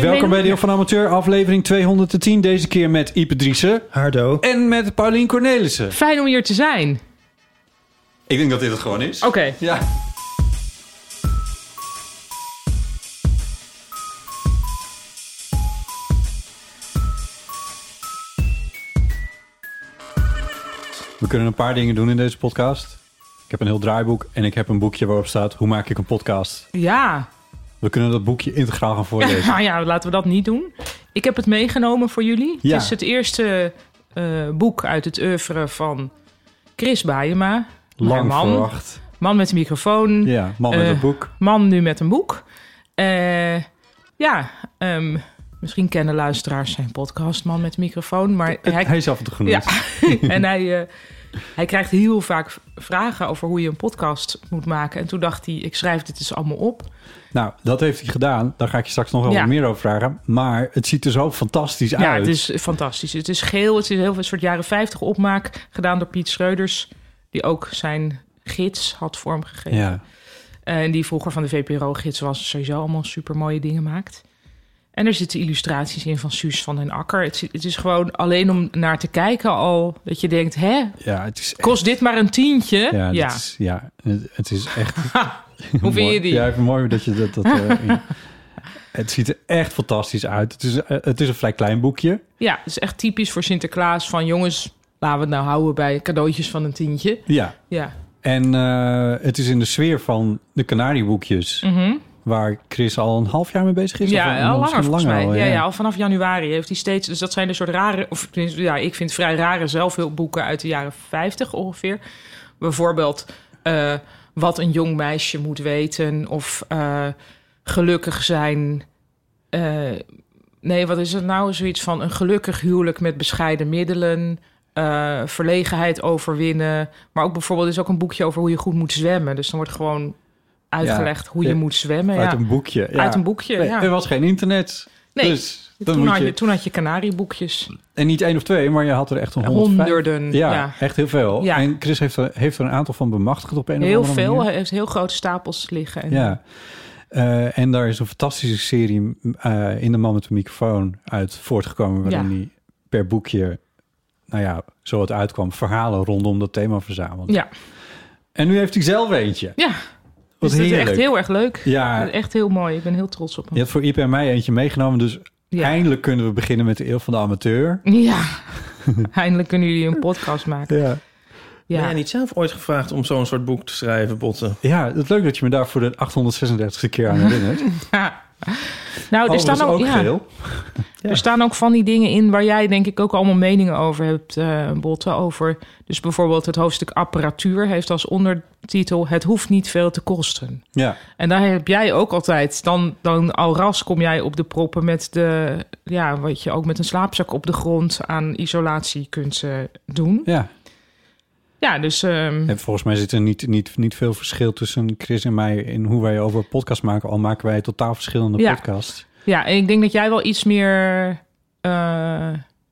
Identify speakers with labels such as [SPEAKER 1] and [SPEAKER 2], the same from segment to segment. [SPEAKER 1] Welkom bij Deel van Amateur, aflevering 210. Deze keer met Ipe Driessen. Hardo. En met Paulien Cornelissen.
[SPEAKER 2] Fijn om hier te zijn.
[SPEAKER 1] Ik denk dat dit het gewoon is.
[SPEAKER 2] Oké.
[SPEAKER 1] Ja. We kunnen een paar dingen doen in deze podcast. Ik heb een heel draaiboek en ik heb een boekje waarop staat... hoe maak ik een podcast?
[SPEAKER 2] Ja.
[SPEAKER 1] We kunnen dat boekje integraal gaan voorlezen.
[SPEAKER 2] Nou ja, laten we dat niet doen. Ik heb het meegenomen voor jullie.
[SPEAKER 1] Ja.
[SPEAKER 2] Het is het eerste eh, boek uit het oeuvre van Chris Baiema. Mijn
[SPEAKER 1] Lang
[SPEAKER 2] man.
[SPEAKER 1] verwacht.
[SPEAKER 2] Man met een microfoon.
[SPEAKER 1] Ja, man met
[SPEAKER 2] Eh,
[SPEAKER 1] een boek.
[SPEAKER 2] Man nu met een boek. Eh, ja, ehm, misschien kennen luisteraars zijn podcast Man met een microfoon. Maar
[SPEAKER 1] Hij,
[SPEAKER 2] hij,
[SPEAKER 1] hij is af en toe genoemd.
[SPEAKER 2] Ja. en hij, eh, hij krijgt heel vaak vragen over hoe je een podcast moet maken. En toen dacht hij, ik schrijf dit eens allemaal op.
[SPEAKER 1] Nou, dat heeft hij gedaan. Daar ga ik je straks nog wel
[SPEAKER 2] Ja.
[SPEAKER 1] wat meer over vragen. Maar het ziet er zo fantastisch uit.
[SPEAKER 2] Ja, het is fantastisch. Het is geel, het is heel veel een soort jaren 50 opmaak. Gedaan door Piet Schreuders, die ook zijn gids had vormgegeven. Eh,
[SPEAKER 1] Ja.
[SPEAKER 2] En die vroeger van de VPRO-gids was, sowieso allemaal super mooie dingen maakt. En er zitten illustraties in van Suus van den Akker. Het, is- het is gewoon alleen om naar te kijken al dat je denkt, hè,
[SPEAKER 1] ja, het is echt...
[SPEAKER 2] kost dit maar een tientje?
[SPEAKER 1] Ja,
[SPEAKER 2] Ja,
[SPEAKER 1] het Is, ja, het, het is echt...
[SPEAKER 2] hoe vind je die?
[SPEAKER 1] Ja, even mooi dat je dat... dat eh, in- Het ziet er echt fantastisch uit. Het is, eh, het is een vrij klein boekje.
[SPEAKER 2] Ja, het is echt typisch voor Sinterklaas van jongens, laten we het nou houden bij cadeautjes van een tientje.
[SPEAKER 1] Ja.
[SPEAKER 2] Ja,
[SPEAKER 1] En eh, het is in de sfeer van de Canarieboekjes. Waar Chris al een half jaar mee bezig is. of een-
[SPEAKER 2] Mhm. ja al
[SPEAKER 1] misschien
[SPEAKER 2] langer volgens mij.
[SPEAKER 1] al,
[SPEAKER 2] ja. Ja, al vanaf januari heeft hij steeds... Dus dat zijn de soort rare... Of tenminste, ja, ik vind vrij rare zelfhulpboeken uit de jaren 50 ongeveer. Bijvoorbeeld eh, wat een jong meisje moet weten. Of eh, gelukkig zijn... eh, nee, wat is het nou? Zoiets van een gelukkig huwelijk met bescheiden middelen... eh, verlegenheid overwinnen. Maar ook bijvoorbeeld er is ook een boekje over hoe je goed moet zwemmen. Dus dan wordt gewoon uitgelegd hoe je
[SPEAKER 1] Ja.
[SPEAKER 2] moet zwemmen.
[SPEAKER 1] Uit
[SPEAKER 2] ja.
[SPEAKER 1] een boekje. ja.
[SPEAKER 2] Uit een boekje,
[SPEAKER 1] Nee,
[SPEAKER 2] ja.
[SPEAKER 1] Er was geen internet.
[SPEAKER 2] Nee,
[SPEAKER 1] Dus dan
[SPEAKER 2] Toen
[SPEAKER 1] moet
[SPEAKER 2] had je,
[SPEAKER 1] je...
[SPEAKER 2] toen had je kanarieboekjes.
[SPEAKER 1] En niet één of twee, maar je had er echt een honderd.
[SPEAKER 2] Honderden.
[SPEAKER 1] Ja,
[SPEAKER 2] Ja.
[SPEAKER 1] echt heel veel.
[SPEAKER 2] Ja.
[SPEAKER 1] En Chris heeft er, heeft er een aantal van bemachtigd op een
[SPEAKER 2] Heel
[SPEAKER 1] of andere
[SPEAKER 2] veel.
[SPEAKER 1] manier.
[SPEAKER 2] Hij heeft heel grote stapels liggen. En
[SPEAKER 1] Ja. Eh, en daar is een fantastische serie eh, in de man met de microfoon uit voortgekomen. Waarin
[SPEAKER 2] Ja.
[SPEAKER 1] hij per boekje, nou ja, zo het uitkwam, verhalen rondom dat thema verzameld.
[SPEAKER 2] ja.
[SPEAKER 1] En nu heeft hij zelf eentje.
[SPEAKER 2] ja.
[SPEAKER 1] Wat
[SPEAKER 2] Dus dat is
[SPEAKER 1] heerlijk.
[SPEAKER 2] echt heel erg leuk.
[SPEAKER 1] Ja.
[SPEAKER 2] Echt heel mooi. Ik ben heel trots op hem.
[SPEAKER 1] Je hebt voor Iep en mij eentje meegenomen, dus
[SPEAKER 2] Ja.
[SPEAKER 1] eindelijk kunnen we beginnen met de eeuw van de amateur.
[SPEAKER 2] Ja. Eindelijk kunnen jullie een podcast maken.
[SPEAKER 1] Ja.
[SPEAKER 3] Ja. Ben
[SPEAKER 2] Ja.
[SPEAKER 3] jij niet zelf ooit gevraagd om zo'n soort boek te schrijven, Botten?
[SPEAKER 1] ja, het leuk dat je me daar voor de 836e keer aan herinnert.
[SPEAKER 2] Ja. Nou, er
[SPEAKER 1] Overigens
[SPEAKER 2] Oh, staan ook,
[SPEAKER 1] ook
[SPEAKER 2] ja,
[SPEAKER 1] geel.
[SPEAKER 2] er staan ook van die dingen in waar jij denk ik ook allemaal meningen over hebt, eh Botten. Over, dus bijvoorbeeld het hoofdstuk apparatuur heeft als ondertitel... Het hoeft niet veel te kosten.
[SPEAKER 1] Ja.
[SPEAKER 2] En daar heb jij ook altijd. Dan, dan al ras kom jij op de proppen met de. Ja, wat je ook met een slaapzak op de grond aan isolatie kunt eh, doen.
[SPEAKER 1] ja,
[SPEAKER 2] Ja, dus. ehm,
[SPEAKER 1] En volgens mij zit er niet, niet, niet veel verschil tussen Chris en mij in hoe wij over podcast maken. Al maken wij totaal verschillende
[SPEAKER 2] Ja.
[SPEAKER 1] podcasts.
[SPEAKER 2] ja, en ik denk dat jij wel iets meer. eh,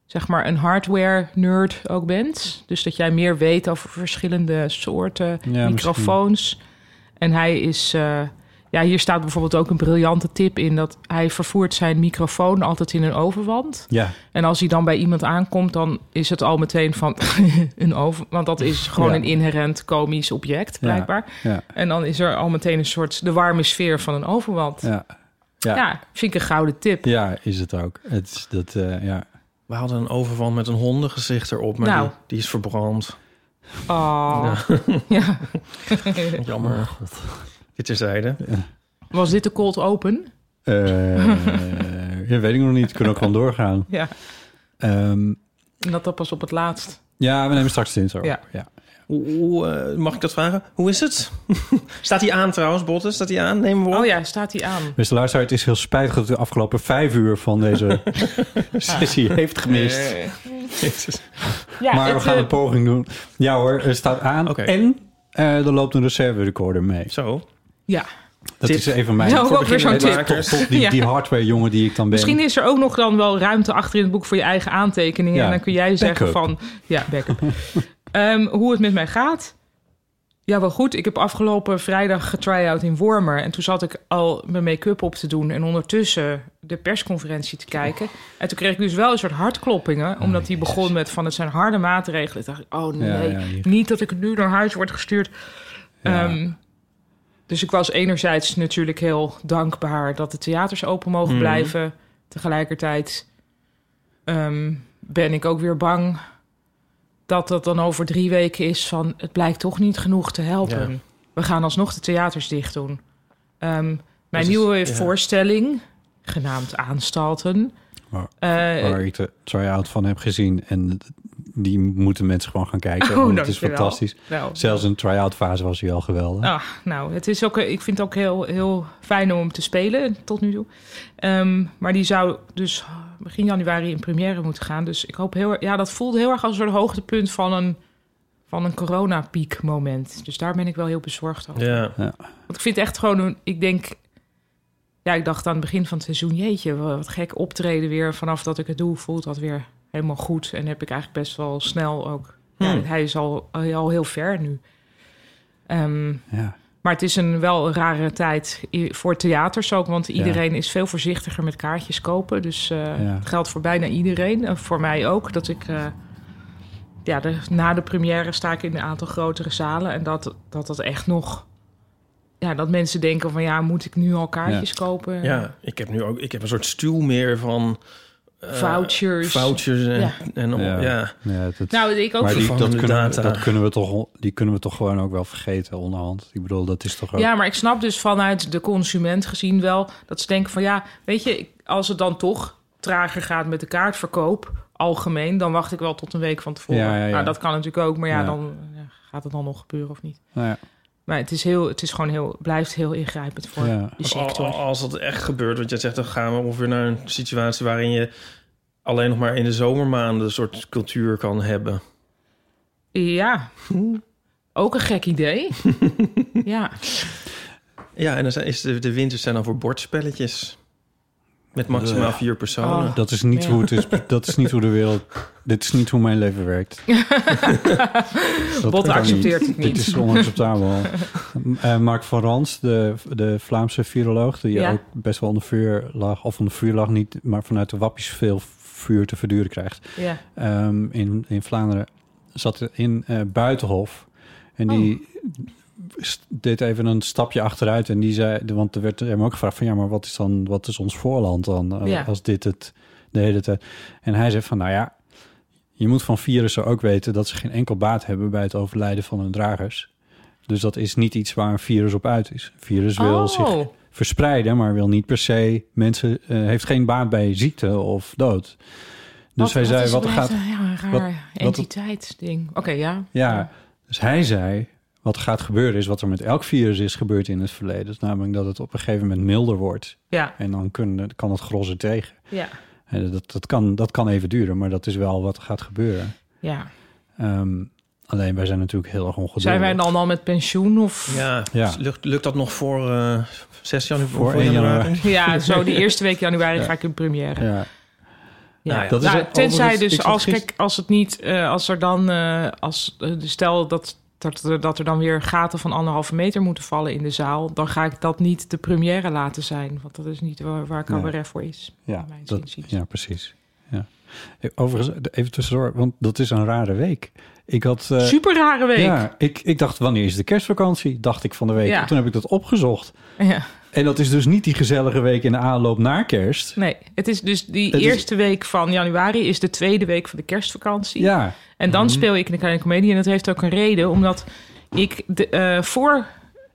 [SPEAKER 2] zeg maar een hardware-nerd ook bent. Dus dat jij meer weet over verschillende soorten
[SPEAKER 1] Ja,
[SPEAKER 2] microfoons. En hij is. eh, ja, hier staat bijvoorbeeld ook een briljante tip in dat hij vervoert zijn microfoon altijd in een overwand.
[SPEAKER 1] Ja,
[SPEAKER 2] En als hij dan bij iemand aankomt, dan is het al meteen van een over. Want dat is gewoon
[SPEAKER 1] Ja.
[SPEAKER 2] een inherent komisch object, blijkbaar.
[SPEAKER 1] ja,
[SPEAKER 2] En dan is er al meteen een soort de warme sfeer van een overwand. Ja,
[SPEAKER 1] ja. Ja, ja.
[SPEAKER 2] vind ik een gouden tip.
[SPEAKER 1] is het ook. Het is dat, eh, ja.
[SPEAKER 3] We hadden een overwand met een hondengezicht erop, maar
[SPEAKER 2] Nou.
[SPEAKER 3] die, die is verbrand.
[SPEAKER 2] Oh. Ja.
[SPEAKER 3] Jammer. Dit terzijde.
[SPEAKER 2] Was dit de cold open?
[SPEAKER 1] Eh, Ja, weet ik nog niet. Kunnen ook gewoon doorgaan.
[SPEAKER 2] Ja,
[SPEAKER 1] Ehm,
[SPEAKER 2] en dat dan pas op het laatst.
[SPEAKER 1] ja, we nemen straks het in zo.
[SPEAKER 2] Ja.
[SPEAKER 1] ja.
[SPEAKER 3] Hoe, hoe, eh, mag ik dat vragen? Hoe is het? Staat hij aan trouwens, Botten? Staat hij aan? Neem hem op.
[SPEAKER 2] Oh ja, staat hij aan.
[SPEAKER 1] Beste luisteraar, het is heel spijtig dat u de afgelopen vijf uur van deze sessie heeft gemist.
[SPEAKER 3] Nee. Jezus.
[SPEAKER 2] Ja,
[SPEAKER 1] maar we
[SPEAKER 2] het,
[SPEAKER 1] gaan
[SPEAKER 2] eh,
[SPEAKER 1] een poging doen. Ja hoor, het staat aan.
[SPEAKER 3] Oké.
[SPEAKER 1] En eh, er loopt een reserve recorder mee.
[SPEAKER 3] Zo.
[SPEAKER 2] ja.
[SPEAKER 1] Dat
[SPEAKER 3] Tip.
[SPEAKER 1] is even mijn...
[SPEAKER 2] Nou, ook weer zo'n
[SPEAKER 3] beginnende
[SPEAKER 2] tip.
[SPEAKER 3] makers.
[SPEAKER 1] Tot die,
[SPEAKER 2] Ja.
[SPEAKER 1] die hardware jongen die ik dan ben.
[SPEAKER 2] Misschien is er ook nog dan wel ruimte achter in het boek voor je eigen aantekeningen.
[SPEAKER 1] Ja,
[SPEAKER 2] En dan kun jij zeggen
[SPEAKER 1] backup.
[SPEAKER 2] van... Ja, backup. Ehm, hoe het met mij gaat? Ja, wel goed. Ik heb afgelopen vrijdag getry-out in Wormer. En toen zat ik al mijn make-up op te doen. En ondertussen de persconferentie te kijken. En toen kreeg ik dus wel een soort hartkloppingen. Omdat die begon met van het zijn harde maatregelen. Toen dacht ik, oh
[SPEAKER 1] Oh, Ja,
[SPEAKER 2] nee.
[SPEAKER 1] ja, hier.
[SPEAKER 2] Niet dat ik nu naar huis word gestuurd.
[SPEAKER 1] Ja.
[SPEAKER 2] Ehm, dus ik was enerzijds natuurlijk heel dankbaar dat de theaters open mogen
[SPEAKER 3] Mhm.
[SPEAKER 2] blijven. Tegelijkertijd ehm, ben ik ook weer bang dat dat dan over drie weken is van het blijkt toch niet genoeg te helpen.
[SPEAKER 3] Ja.
[SPEAKER 2] We gaan alsnog de theaters dicht doen. Ehm, mijn
[SPEAKER 3] Dus het-
[SPEAKER 2] nieuwe
[SPEAKER 3] ja.
[SPEAKER 2] voorstelling, genaamd Aanstalten.
[SPEAKER 1] Waar-
[SPEAKER 2] eh,
[SPEAKER 1] Waar ik de try-out van heb gezien. En die moeten mensen gewoon gaan kijken.
[SPEAKER 2] Oh,
[SPEAKER 1] want het is
[SPEAKER 2] dankjewel.
[SPEAKER 1] fantastisch.
[SPEAKER 2] nou,
[SPEAKER 1] Zelfs een try-out fase was hij al geweldig.
[SPEAKER 2] Ah, nou, het is ook, ik vind het ook heel, heel fijn om hem te spelen tot nu toe. Ehm, maar die zou dus begin januari in première moeten gaan. Dus ik hoop heel erg. Ja, dat voelde heel erg als een soort hoogtepunt van een, van een coronapiek moment. Dus daar ben ik wel heel bezorgd over.
[SPEAKER 3] Ja.
[SPEAKER 2] Want ik vind het echt gewoon, een- ik denk. Ja, ik dacht aan het begin van het seizoen, jeetje, wat gek optreden weer. Vanaf dat ik het doe, voelt dat weer helemaal goed. En heb ik eigenlijk best wel snel ook. Ja,
[SPEAKER 3] Hmm.
[SPEAKER 2] hij is al, al heel ver nu. Ehm,
[SPEAKER 1] Ja.
[SPEAKER 2] maar het is een wel een rare tijd i- voor theaters ook, want iedereen is veel voorzichtiger met kaartjes kopen. Dus eh
[SPEAKER 1] Ja.
[SPEAKER 2] het geldt voor bijna iedereen. En voor mij ook. Dat ik. eh, ja, de, na de première sta ik in een aantal grotere zalen. En dat dat, dat echt nog. Ja, dat mensen denken van ja, moet ik nu al kaartjes kopen?
[SPEAKER 3] ja, ik heb nu ook ik heb een soort stuw meer van... eh,
[SPEAKER 2] Vouchers.
[SPEAKER 3] Vouchers en...
[SPEAKER 2] Ja.
[SPEAKER 3] en
[SPEAKER 1] Ja.
[SPEAKER 3] ja.
[SPEAKER 1] Ja, dat-
[SPEAKER 2] Nou, ik ook.
[SPEAKER 1] maar die, dat,
[SPEAKER 3] Vervangende
[SPEAKER 1] kunnen, we-
[SPEAKER 3] data.
[SPEAKER 1] dat kunnen we toch, die kunnen we toch gewoon ook wel vergeten onderhand. Ik bedoel, dat is toch ook...
[SPEAKER 2] Ja, maar ik snap dus vanuit de consument gezien wel dat ze denken van ja, weet je, ik- als het dan toch trager gaat met de kaartverkoop algemeen, dan wacht ik wel tot een week van tevoren.
[SPEAKER 1] Ja, ja, ja.
[SPEAKER 2] Nou, dat kan natuurlijk ook, maar ja,
[SPEAKER 1] Ja.
[SPEAKER 2] dan ja, gaat het dan nog gebeuren of niet.
[SPEAKER 1] Nou ja,
[SPEAKER 2] Maar het is heel, het is gewoon heel, blijft heel ingrijpend voor
[SPEAKER 1] Ja.
[SPEAKER 2] de
[SPEAKER 3] Al-
[SPEAKER 2] sector.
[SPEAKER 3] al- Als dat echt gebeurt, want jij zegt dan gaan we ongeveer naar een situatie waarin je alleen nog maar in de zomermaanden een soort cultuur kan hebben.
[SPEAKER 2] Ja, ook een gek idee. ja,
[SPEAKER 3] Ja, en dan zijn, is de, de winters zijn dan voor bordspelletjes. Met maximaal vier personen.
[SPEAKER 2] Oh.
[SPEAKER 1] dat, is niet
[SPEAKER 2] Ja.
[SPEAKER 1] hoe het is, dat is niet hoe de wereld... Dit is niet hoe mijn leven werkt. Dat
[SPEAKER 2] Botte
[SPEAKER 1] kan
[SPEAKER 2] accepteert het niet.
[SPEAKER 1] Dit is onacceptabel. Eh Mark van Rans, de, de Vlaamse viroloog... die
[SPEAKER 2] Ja.
[SPEAKER 1] ook best wel onder vuur lag... of onder vuur lag niet, maar vanuit de wappies veel vuur te verduren krijgt...
[SPEAKER 2] ja.
[SPEAKER 1] ehm, in, in Vlaanderen zat er in eh, Buitenhof. En die
[SPEAKER 2] Oh.
[SPEAKER 1] st- deed even een stapje achteruit. En die zei, de- want er werd hem ook gevraagd van... ja, maar wat is, dan, wat is ons voorland dan eh,
[SPEAKER 2] Ja.
[SPEAKER 1] als dit het de hele tijd... En hij zei van, nou ja, je moet van virussen ook weten... dat ze geen enkel baat hebben bij het overlijden van hun dragers. Dus dat is niet iets waar een virus op uit is. Een virus Dus wil zich
[SPEAKER 2] Oh,
[SPEAKER 1] verspreiden, maar wil niet per se mensen... eh, heeft geen baat bij ziekte of dood. Dus
[SPEAKER 2] wat-
[SPEAKER 1] hij zei,
[SPEAKER 2] is
[SPEAKER 1] wat
[SPEAKER 2] het
[SPEAKER 1] gaat...
[SPEAKER 2] nou Ja, een
[SPEAKER 1] wat-
[SPEAKER 2] raar
[SPEAKER 1] wat-
[SPEAKER 2] entiteitsding. Oké, ja.
[SPEAKER 1] Ja, dus hij zei... wat er gaat gebeuren is wat er met elk virus is gebeurd in het verleden. Dus namelijk dat het op een gegeven moment milder wordt.
[SPEAKER 2] Ja,
[SPEAKER 1] En dan kunnen, kan het gros er tegen.
[SPEAKER 2] ja,
[SPEAKER 1] En dat, dat, kan, dat kan even duren, maar dat is wel wat er gaat gebeuren.
[SPEAKER 2] ja.
[SPEAKER 1] Ehm, alleen wij zijn natuurlijk heel erg ongeduldig.
[SPEAKER 2] Zijn wij dan al met pensioen of...
[SPEAKER 3] Ja,
[SPEAKER 1] Ja.
[SPEAKER 3] dus Lukt, lukt dat nog voor eh 6 januari?
[SPEAKER 1] Voor eh, 1 januari.
[SPEAKER 2] Ja, zo die eerste week januari ga ik in première. Ja.
[SPEAKER 1] Ja,
[SPEAKER 3] Nou ja,
[SPEAKER 1] dat is
[SPEAKER 2] Nou,
[SPEAKER 1] het-
[SPEAKER 2] tenzij
[SPEAKER 1] overigens, ik
[SPEAKER 2] dus
[SPEAKER 1] zat
[SPEAKER 2] als,
[SPEAKER 1] gisteren-
[SPEAKER 2] kijk, als het niet, eh, als er dan, eh, als, eh, stel dat, dat, er- dat er dan weer gaten van anderhalve meter moeten vallen in de zaal, dan ga ik dat niet de première laten zijn. Want dat is niet waar, waar cabaret voor is.
[SPEAKER 1] Ja,
[SPEAKER 2] mijn
[SPEAKER 1] dat,
[SPEAKER 2] zinziens.
[SPEAKER 1] ja precies. Ja. Eh, Overigens, even tussendoor, want dat is een rare week. Ik had... eh,
[SPEAKER 2] Super rare week. Ja.
[SPEAKER 1] Ja, ik, ik dacht, wanneer is de kerstvakantie? Dacht ik van de week.
[SPEAKER 2] Ja.
[SPEAKER 1] Toen heb ik dat opgezocht. En dat is dus niet die gezellige week in de aanloop naar kerst.
[SPEAKER 2] Nee, het is dus die
[SPEAKER 1] Het is-
[SPEAKER 2] eerste week van januari is de tweede week van de kerstvakantie.
[SPEAKER 1] Ja,
[SPEAKER 2] En
[SPEAKER 1] Mhm.
[SPEAKER 2] dan speel ik in de kleine comedie en dat heeft ook een reden, omdat ik de, eh, voor...
[SPEAKER 1] ik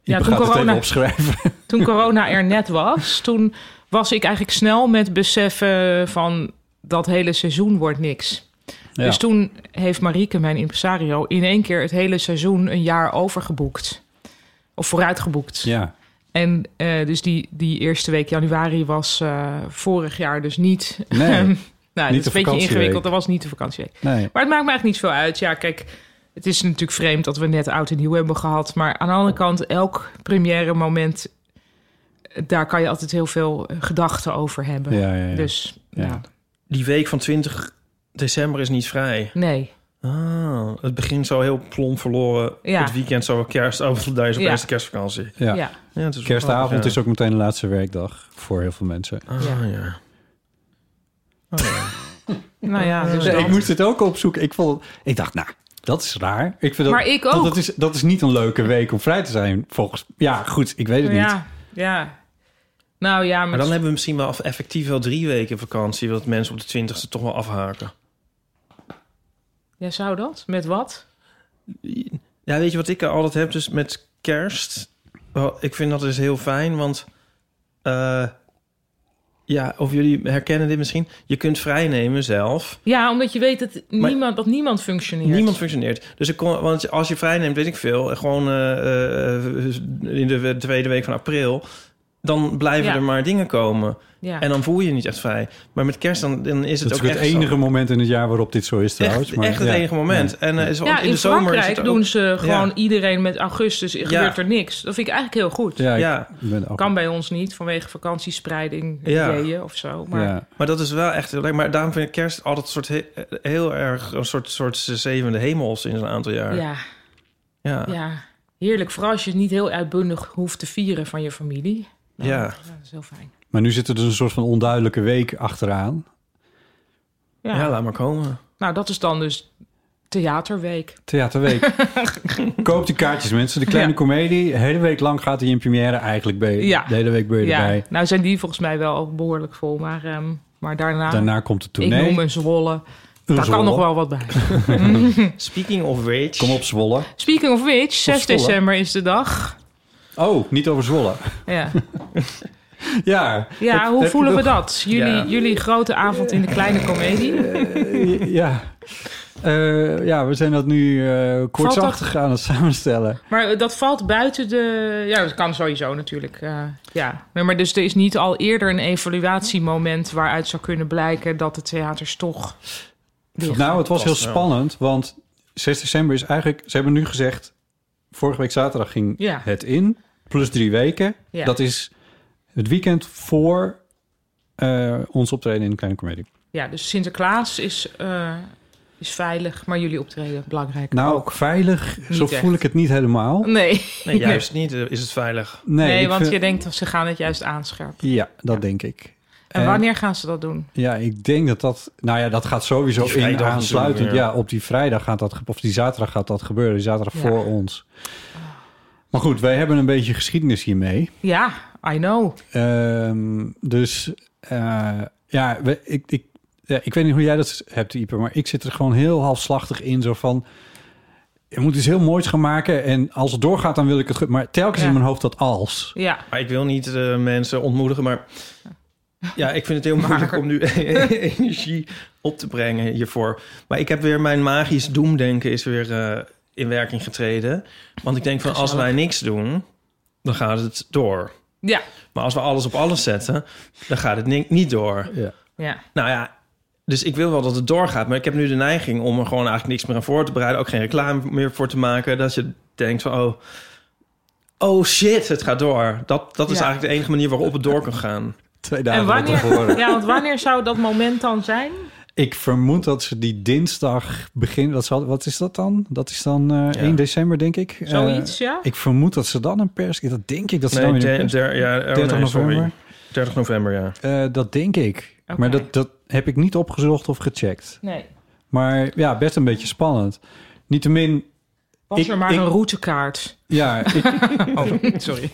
[SPEAKER 2] ja,
[SPEAKER 1] ga
[SPEAKER 2] toen
[SPEAKER 1] het even
[SPEAKER 2] corona,
[SPEAKER 1] opschrijven.
[SPEAKER 2] toen corona er net was, toen was ik eigenlijk snel met beseffen van dat hele seizoen wordt niks.
[SPEAKER 1] Ja.
[SPEAKER 2] Dus toen heeft Marieke, mijn impresario, in één keer het hele seizoen een jaar overgeboekt. Of vooruitgeboekt.
[SPEAKER 1] ja.
[SPEAKER 2] En eh, dus die, die eerste week januari was eh, vorig jaar dus niet.
[SPEAKER 1] Nee,
[SPEAKER 2] nou,
[SPEAKER 1] niet de
[SPEAKER 2] dat is een beetje
[SPEAKER 1] vakantieweek.
[SPEAKER 2] ingewikkeld. Dat was niet de vakantieweek.
[SPEAKER 1] Nee.
[SPEAKER 2] Maar het maakt me eigenlijk niet veel uit. Ja, kijk, het is natuurlijk vreemd dat we net oud en nieuw hebben gehad. Maar aan de andere kant, elk première moment, eh, daar kan je altijd heel veel eh, gedachten over hebben.
[SPEAKER 1] Ja, ja, ja.
[SPEAKER 2] Dus
[SPEAKER 1] Ja.
[SPEAKER 2] ja.
[SPEAKER 3] Die week van 20 december is niet vrij.
[SPEAKER 2] nee.
[SPEAKER 3] Ah, het begint zo heel plomp verloren.
[SPEAKER 2] Ja.
[SPEAKER 3] Het weekend zo kerst. Oh, daar is op
[SPEAKER 2] Ja.
[SPEAKER 3] eerste kerstvakantie.
[SPEAKER 1] Ja.
[SPEAKER 2] ja.
[SPEAKER 3] Ja, het is
[SPEAKER 1] Kerstavond
[SPEAKER 3] ja.
[SPEAKER 1] is ook meteen de laatste werkdag voor heel veel mensen.
[SPEAKER 3] Ah, ja.
[SPEAKER 2] Ja.
[SPEAKER 3] Oh, ja.
[SPEAKER 2] Nou ja, dus
[SPEAKER 1] Nee,
[SPEAKER 2] dat.
[SPEAKER 1] ik moest het ook opzoeken. Ik, vond, ik dacht, nou, dat is raar. Ik vind dat,
[SPEAKER 2] Maar ik
[SPEAKER 1] want
[SPEAKER 2] ook.
[SPEAKER 1] Dat is, dat is niet een leuke week om vrij te zijn, volgens... Ja, goed, ik weet het niet.
[SPEAKER 2] ja, ja. Nou ja,
[SPEAKER 3] Maar dan hebben we misschien wel effectief wel drie weken vakantie. Dat mensen op de 20ste toch wel afhaken.
[SPEAKER 2] ja, zou dat? Met wat?
[SPEAKER 3] Ja, weet je wat ik altijd heb? Dus met kerst. Wel, ik vind dat is heel fijn, want... eh, ja, of jullie herkennen dit misschien. Je kunt vrijnemen zelf.
[SPEAKER 2] Ja, omdat je weet dat niemand, dat niemand functioneert.
[SPEAKER 3] Niemand functioneert. Dus ik kon, want als je vrijneemt, weet ik veel. eh, Gewoon eh, eh, in de tweede week van april. Dan blijven
[SPEAKER 2] Ja.
[SPEAKER 3] er maar dingen komen.
[SPEAKER 2] Ja.
[SPEAKER 3] En dan voel je je niet echt vrij. Maar met kerst dan, dan is het
[SPEAKER 1] Dat is
[SPEAKER 3] ook
[SPEAKER 1] ook
[SPEAKER 3] echt
[SPEAKER 1] het enige
[SPEAKER 3] zo.
[SPEAKER 1] moment in het jaar waarop dit zo is trouwens.
[SPEAKER 3] Echt,
[SPEAKER 1] maar,
[SPEAKER 3] echt het
[SPEAKER 1] ja.
[SPEAKER 3] enige moment. En eh, is,
[SPEAKER 2] ja,
[SPEAKER 3] in,
[SPEAKER 2] in
[SPEAKER 3] de zomer is
[SPEAKER 2] Frankrijk
[SPEAKER 3] het ook-
[SPEAKER 2] doen ze gewoon
[SPEAKER 3] Ja.
[SPEAKER 2] iedereen met augustus. Er
[SPEAKER 3] Ja.
[SPEAKER 2] gebeurt er niks. Dat vind ik eigenlijk heel goed.
[SPEAKER 1] Ja, ik
[SPEAKER 3] Ja.
[SPEAKER 1] ben ook...
[SPEAKER 2] Kan bij ons niet vanwege vakantiespreiding
[SPEAKER 3] Ja.
[SPEAKER 2] ideeën of zo. Maar ja.
[SPEAKER 1] ja.
[SPEAKER 3] Maar dat is wel echt heel leuk. Maar daarom vind ik kerst altijd een soort he- heel erg een soort, soort zevende hemels in een aantal jaar.
[SPEAKER 2] Ja,
[SPEAKER 3] ja. ja.
[SPEAKER 2] heerlijk. Vooral als je het niet heel uitbundig hoeft te vieren van je familie. Nou,
[SPEAKER 3] Ja.
[SPEAKER 2] Dat is heel fijn.
[SPEAKER 1] Maar nu zit er dus een soort van onduidelijke week achteraan.
[SPEAKER 2] Ja.
[SPEAKER 3] laat maar komen.
[SPEAKER 2] Nou, dat is dan dus theaterweek.
[SPEAKER 1] Theaterweek. Koop die kaartjes, mensen. De kleine
[SPEAKER 2] Ja.
[SPEAKER 1] komedie. De hele week lang gaat hij in première eigenlijk. Ben je,
[SPEAKER 2] Ja.
[SPEAKER 1] De hele week ben je erbij.
[SPEAKER 2] nou zijn die volgens mij wel behoorlijk vol. Maar, ehm, maar daarna,
[SPEAKER 1] Daarna komt het
[SPEAKER 2] ik
[SPEAKER 1] tournee.
[SPEAKER 2] noem een Zwolle. Daar
[SPEAKER 1] Zwolle.
[SPEAKER 2] kan nog wel wat bij.
[SPEAKER 3] Speaking of which.
[SPEAKER 1] Kom op, Zwolle.
[SPEAKER 2] Speaking of which, 6
[SPEAKER 1] Zwolle.
[SPEAKER 2] december is de dag.
[SPEAKER 1] Oh, niet over Zwolle.
[SPEAKER 2] Ja.
[SPEAKER 1] Ja,
[SPEAKER 2] Ja,
[SPEAKER 1] Heb-
[SPEAKER 2] hoe
[SPEAKER 1] heb
[SPEAKER 2] voelen
[SPEAKER 1] je
[SPEAKER 2] we
[SPEAKER 1] nog-
[SPEAKER 2] dat? Jullie,
[SPEAKER 3] Ja.
[SPEAKER 2] jullie grote avond in de kleine komedie.
[SPEAKER 1] ja. Eh, ja, we zijn dat nu eh kortachtig aan het samenstellen.
[SPEAKER 2] Maar eh, dat valt buiten de... Ja, dat kan sowieso natuurlijk. eh, ja. Nee, maar dus er is niet al eerder een evaluatiemoment... waaruit zou kunnen blijken dat de theaters toch... dicht
[SPEAKER 1] Nou, het was heel
[SPEAKER 3] wel.
[SPEAKER 1] spannend, want 6 december is eigenlijk... Ze hebben nu gezegd, vorige week zaterdag ging
[SPEAKER 2] Ja.
[SPEAKER 1] het in. Plus drie weken.
[SPEAKER 2] Ja.
[SPEAKER 1] Dat is het weekend voor eh, ons optreden in de Kleine Comedie.
[SPEAKER 2] Ja, dus Sinterklaas is, eh, is veilig, maar jullie optreden belangrijk.
[SPEAKER 1] Nou, veilig, zo
[SPEAKER 2] echt.
[SPEAKER 1] voel ik het niet helemaal. Nee,
[SPEAKER 2] Nee,
[SPEAKER 3] Nee, juist niet. eh, Is het veilig?
[SPEAKER 2] nee
[SPEAKER 1] ik
[SPEAKER 2] want
[SPEAKER 1] vind-
[SPEAKER 2] je denkt dat ze gaan het juist aanscherpen.
[SPEAKER 1] Ja, dat denk ik.
[SPEAKER 2] En
[SPEAKER 1] Eh,
[SPEAKER 2] wanneer gaan ze dat doen?
[SPEAKER 1] Ja, ik denk dat dat... Nou ja, dat gaat sowieso
[SPEAKER 3] Die vrijdag
[SPEAKER 1] in
[SPEAKER 3] natuurlijk,
[SPEAKER 1] aansluitend.
[SPEAKER 3] ja.
[SPEAKER 1] Ja, op die vrijdag gaat dat... ge- Of die zaterdag gaat dat gebeuren. Die zaterdag
[SPEAKER 2] Ja.
[SPEAKER 1] voor ons. Maar goed, wij hebben een beetje geschiedenis hiermee.
[SPEAKER 2] Ja, I know.
[SPEAKER 1] Ehm, dus eh, ja, we- ik, ik, ja, ik weet niet hoe jij dat hebt, Ieper. Maar ik zit er gewoon heel halfslachtig in. Zo van... Je moet iets heel moois gaan maken. En als het doorgaat, dan wil ik het... goed- Maar telkens
[SPEAKER 2] Ja.
[SPEAKER 1] in mijn hoofd dat als.
[SPEAKER 2] Ja,
[SPEAKER 3] Maar ik wil niet eh, mensen ontmoedigen, maar... Ja, ik vind het heel moeilijk om nu energie op te brengen hiervoor. Maar ik heb weer mijn magisch doemdenken is weer eh, in werking getreden. Want ik denk van, als wij niks doen, dan gaat het door.
[SPEAKER 2] ja,
[SPEAKER 3] Maar als we alles op alles zetten, dan gaat het ni- niet door.
[SPEAKER 2] ja.
[SPEAKER 3] Nou ja, dus ik wil wel dat het doorgaat. Maar ik heb nu de neiging om er gewoon eigenlijk niks meer aan voor te bereiden. Ook geen reclame meer voor te maken. Dat je denkt van, oh, oh shit, het gaat door. Dat, dat is
[SPEAKER 2] Ja.
[SPEAKER 3] eigenlijk de enige manier waarop het door kan gaan.
[SPEAKER 1] Twee
[SPEAKER 2] En
[SPEAKER 1] dagen van tevoren.
[SPEAKER 2] wanneer, ja, want wanneer zou dat moment dan zijn?
[SPEAKER 1] Ik vermoed dat ze die dinsdag beginnen. Dat zal, wat is dat dan? Dat is dan eh,
[SPEAKER 3] Ja.
[SPEAKER 1] 1 december, denk ik.
[SPEAKER 2] Zoiets,
[SPEAKER 1] Eh,
[SPEAKER 2] ja?
[SPEAKER 1] Ik vermoed dat ze dan een pers... Dat denk ik dat ze dan weer een
[SPEAKER 3] de-
[SPEAKER 1] pers-
[SPEAKER 3] der- ja, oh
[SPEAKER 1] 30
[SPEAKER 3] nee, sorry.
[SPEAKER 1] november?
[SPEAKER 3] 30 november, ja.
[SPEAKER 1] Eh, dat denk ik.
[SPEAKER 2] Oké.
[SPEAKER 1] Maar dat, dat heb ik niet opgezocht of gecheckt.
[SPEAKER 2] Nee.
[SPEAKER 1] Maar ja, best een beetje spannend. Niettemin,
[SPEAKER 2] Was
[SPEAKER 1] Ik-
[SPEAKER 2] er maar
[SPEAKER 1] ik-
[SPEAKER 2] een routekaart?
[SPEAKER 1] ja, ik,
[SPEAKER 2] Sorry.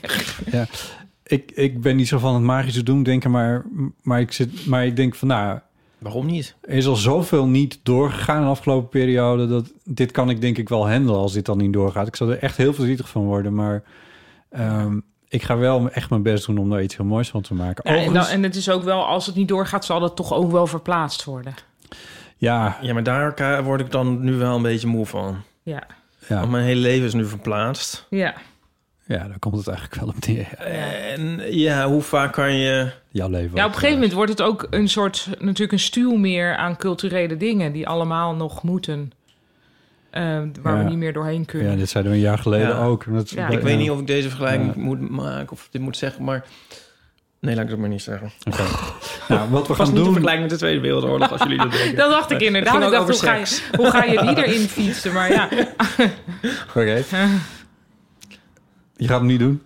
[SPEAKER 1] ik, ik ben niet zo van het magische doen denken, maar, maar, ik zit, maar ik denk van nou,
[SPEAKER 3] Waarom niet?
[SPEAKER 1] er is al zoveel niet doorgegaan in de afgelopen periode. Dat, dit kan ik denk ik wel handelen als dit dan niet doorgaat. Ik zou er echt heel verdrietig van worden. Maar ehm, ik ga wel echt mijn best doen om daar iets heel moois van te maken.
[SPEAKER 2] Ja, en,
[SPEAKER 1] Overigens-
[SPEAKER 2] dan- en het is ook wel, als het niet doorgaat, zal dat toch ook wel verplaatst worden.
[SPEAKER 1] ja,
[SPEAKER 3] Ja, maar daar ka- word ik dan nu wel een beetje moe van.
[SPEAKER 2] Ja,
[SPEAKER 1] Ja.
[SPEAKER 3] Want mijn hele leven is nu verplaatst.
[SPEAKER 2] ja.
[SPEAKER 1] ja, daar komt het eigenlijk wel op neer.
[SPEAKER 3] En ja, hoe vaak kan je...
[SPEAKER 1] Jouw leven. eh,
[SPEAKER 2] ja op een gegeven moment wordt het ook een soort, natuurlijk een stuw meer aan culturele dingen die allemaal nog moeten. eh, waar
[SPEAKER 1] Ja.
[SPEAKER 2] we niet meer doorheen kunnen.
[SPEAKER 1] Ja, dit zeiden we een jaar geleden
[SPEAKER 3] Ja.
[SPEAKER 1] ook. En dat-
[SPEAKER 2] Ja.
[SPEAKER 3] Ik
[SPEAKER 2] Ja.
[SPEAKER 3] weet niet of ik deze vergelijking
[SPEAKER 1] Ja.
[SPEAKER 3] moet maken of dit moet zeggen, maar... Nee, laat ik dat maar niet zeggen.
[SPEAKER 1] Oké. Nou, wat we
[SPEAKER 3] Pas
[SPEAKER 1] gaan
[SPEAKER 3] niet te
[SPEAKER 1] doen...
[SPEAKER 3] vergelijken met de Tweede Wereldoorlog, als jullie dat denken.
[SPEAKER 2] Dat dacht ik inderdaad.
[SPEAKER 3] Het
[SPEAKER 2] Ik
[SPEAKER 3] ging ook
[SPEAKER 2] dacht, hoe
[SPEAKER 3] over
[SPEAKER 2] ga, je, hoe ga je die erin fietsen? Maar ja,
[SPEAKER 1] Oké. Je gaat hem niet doen?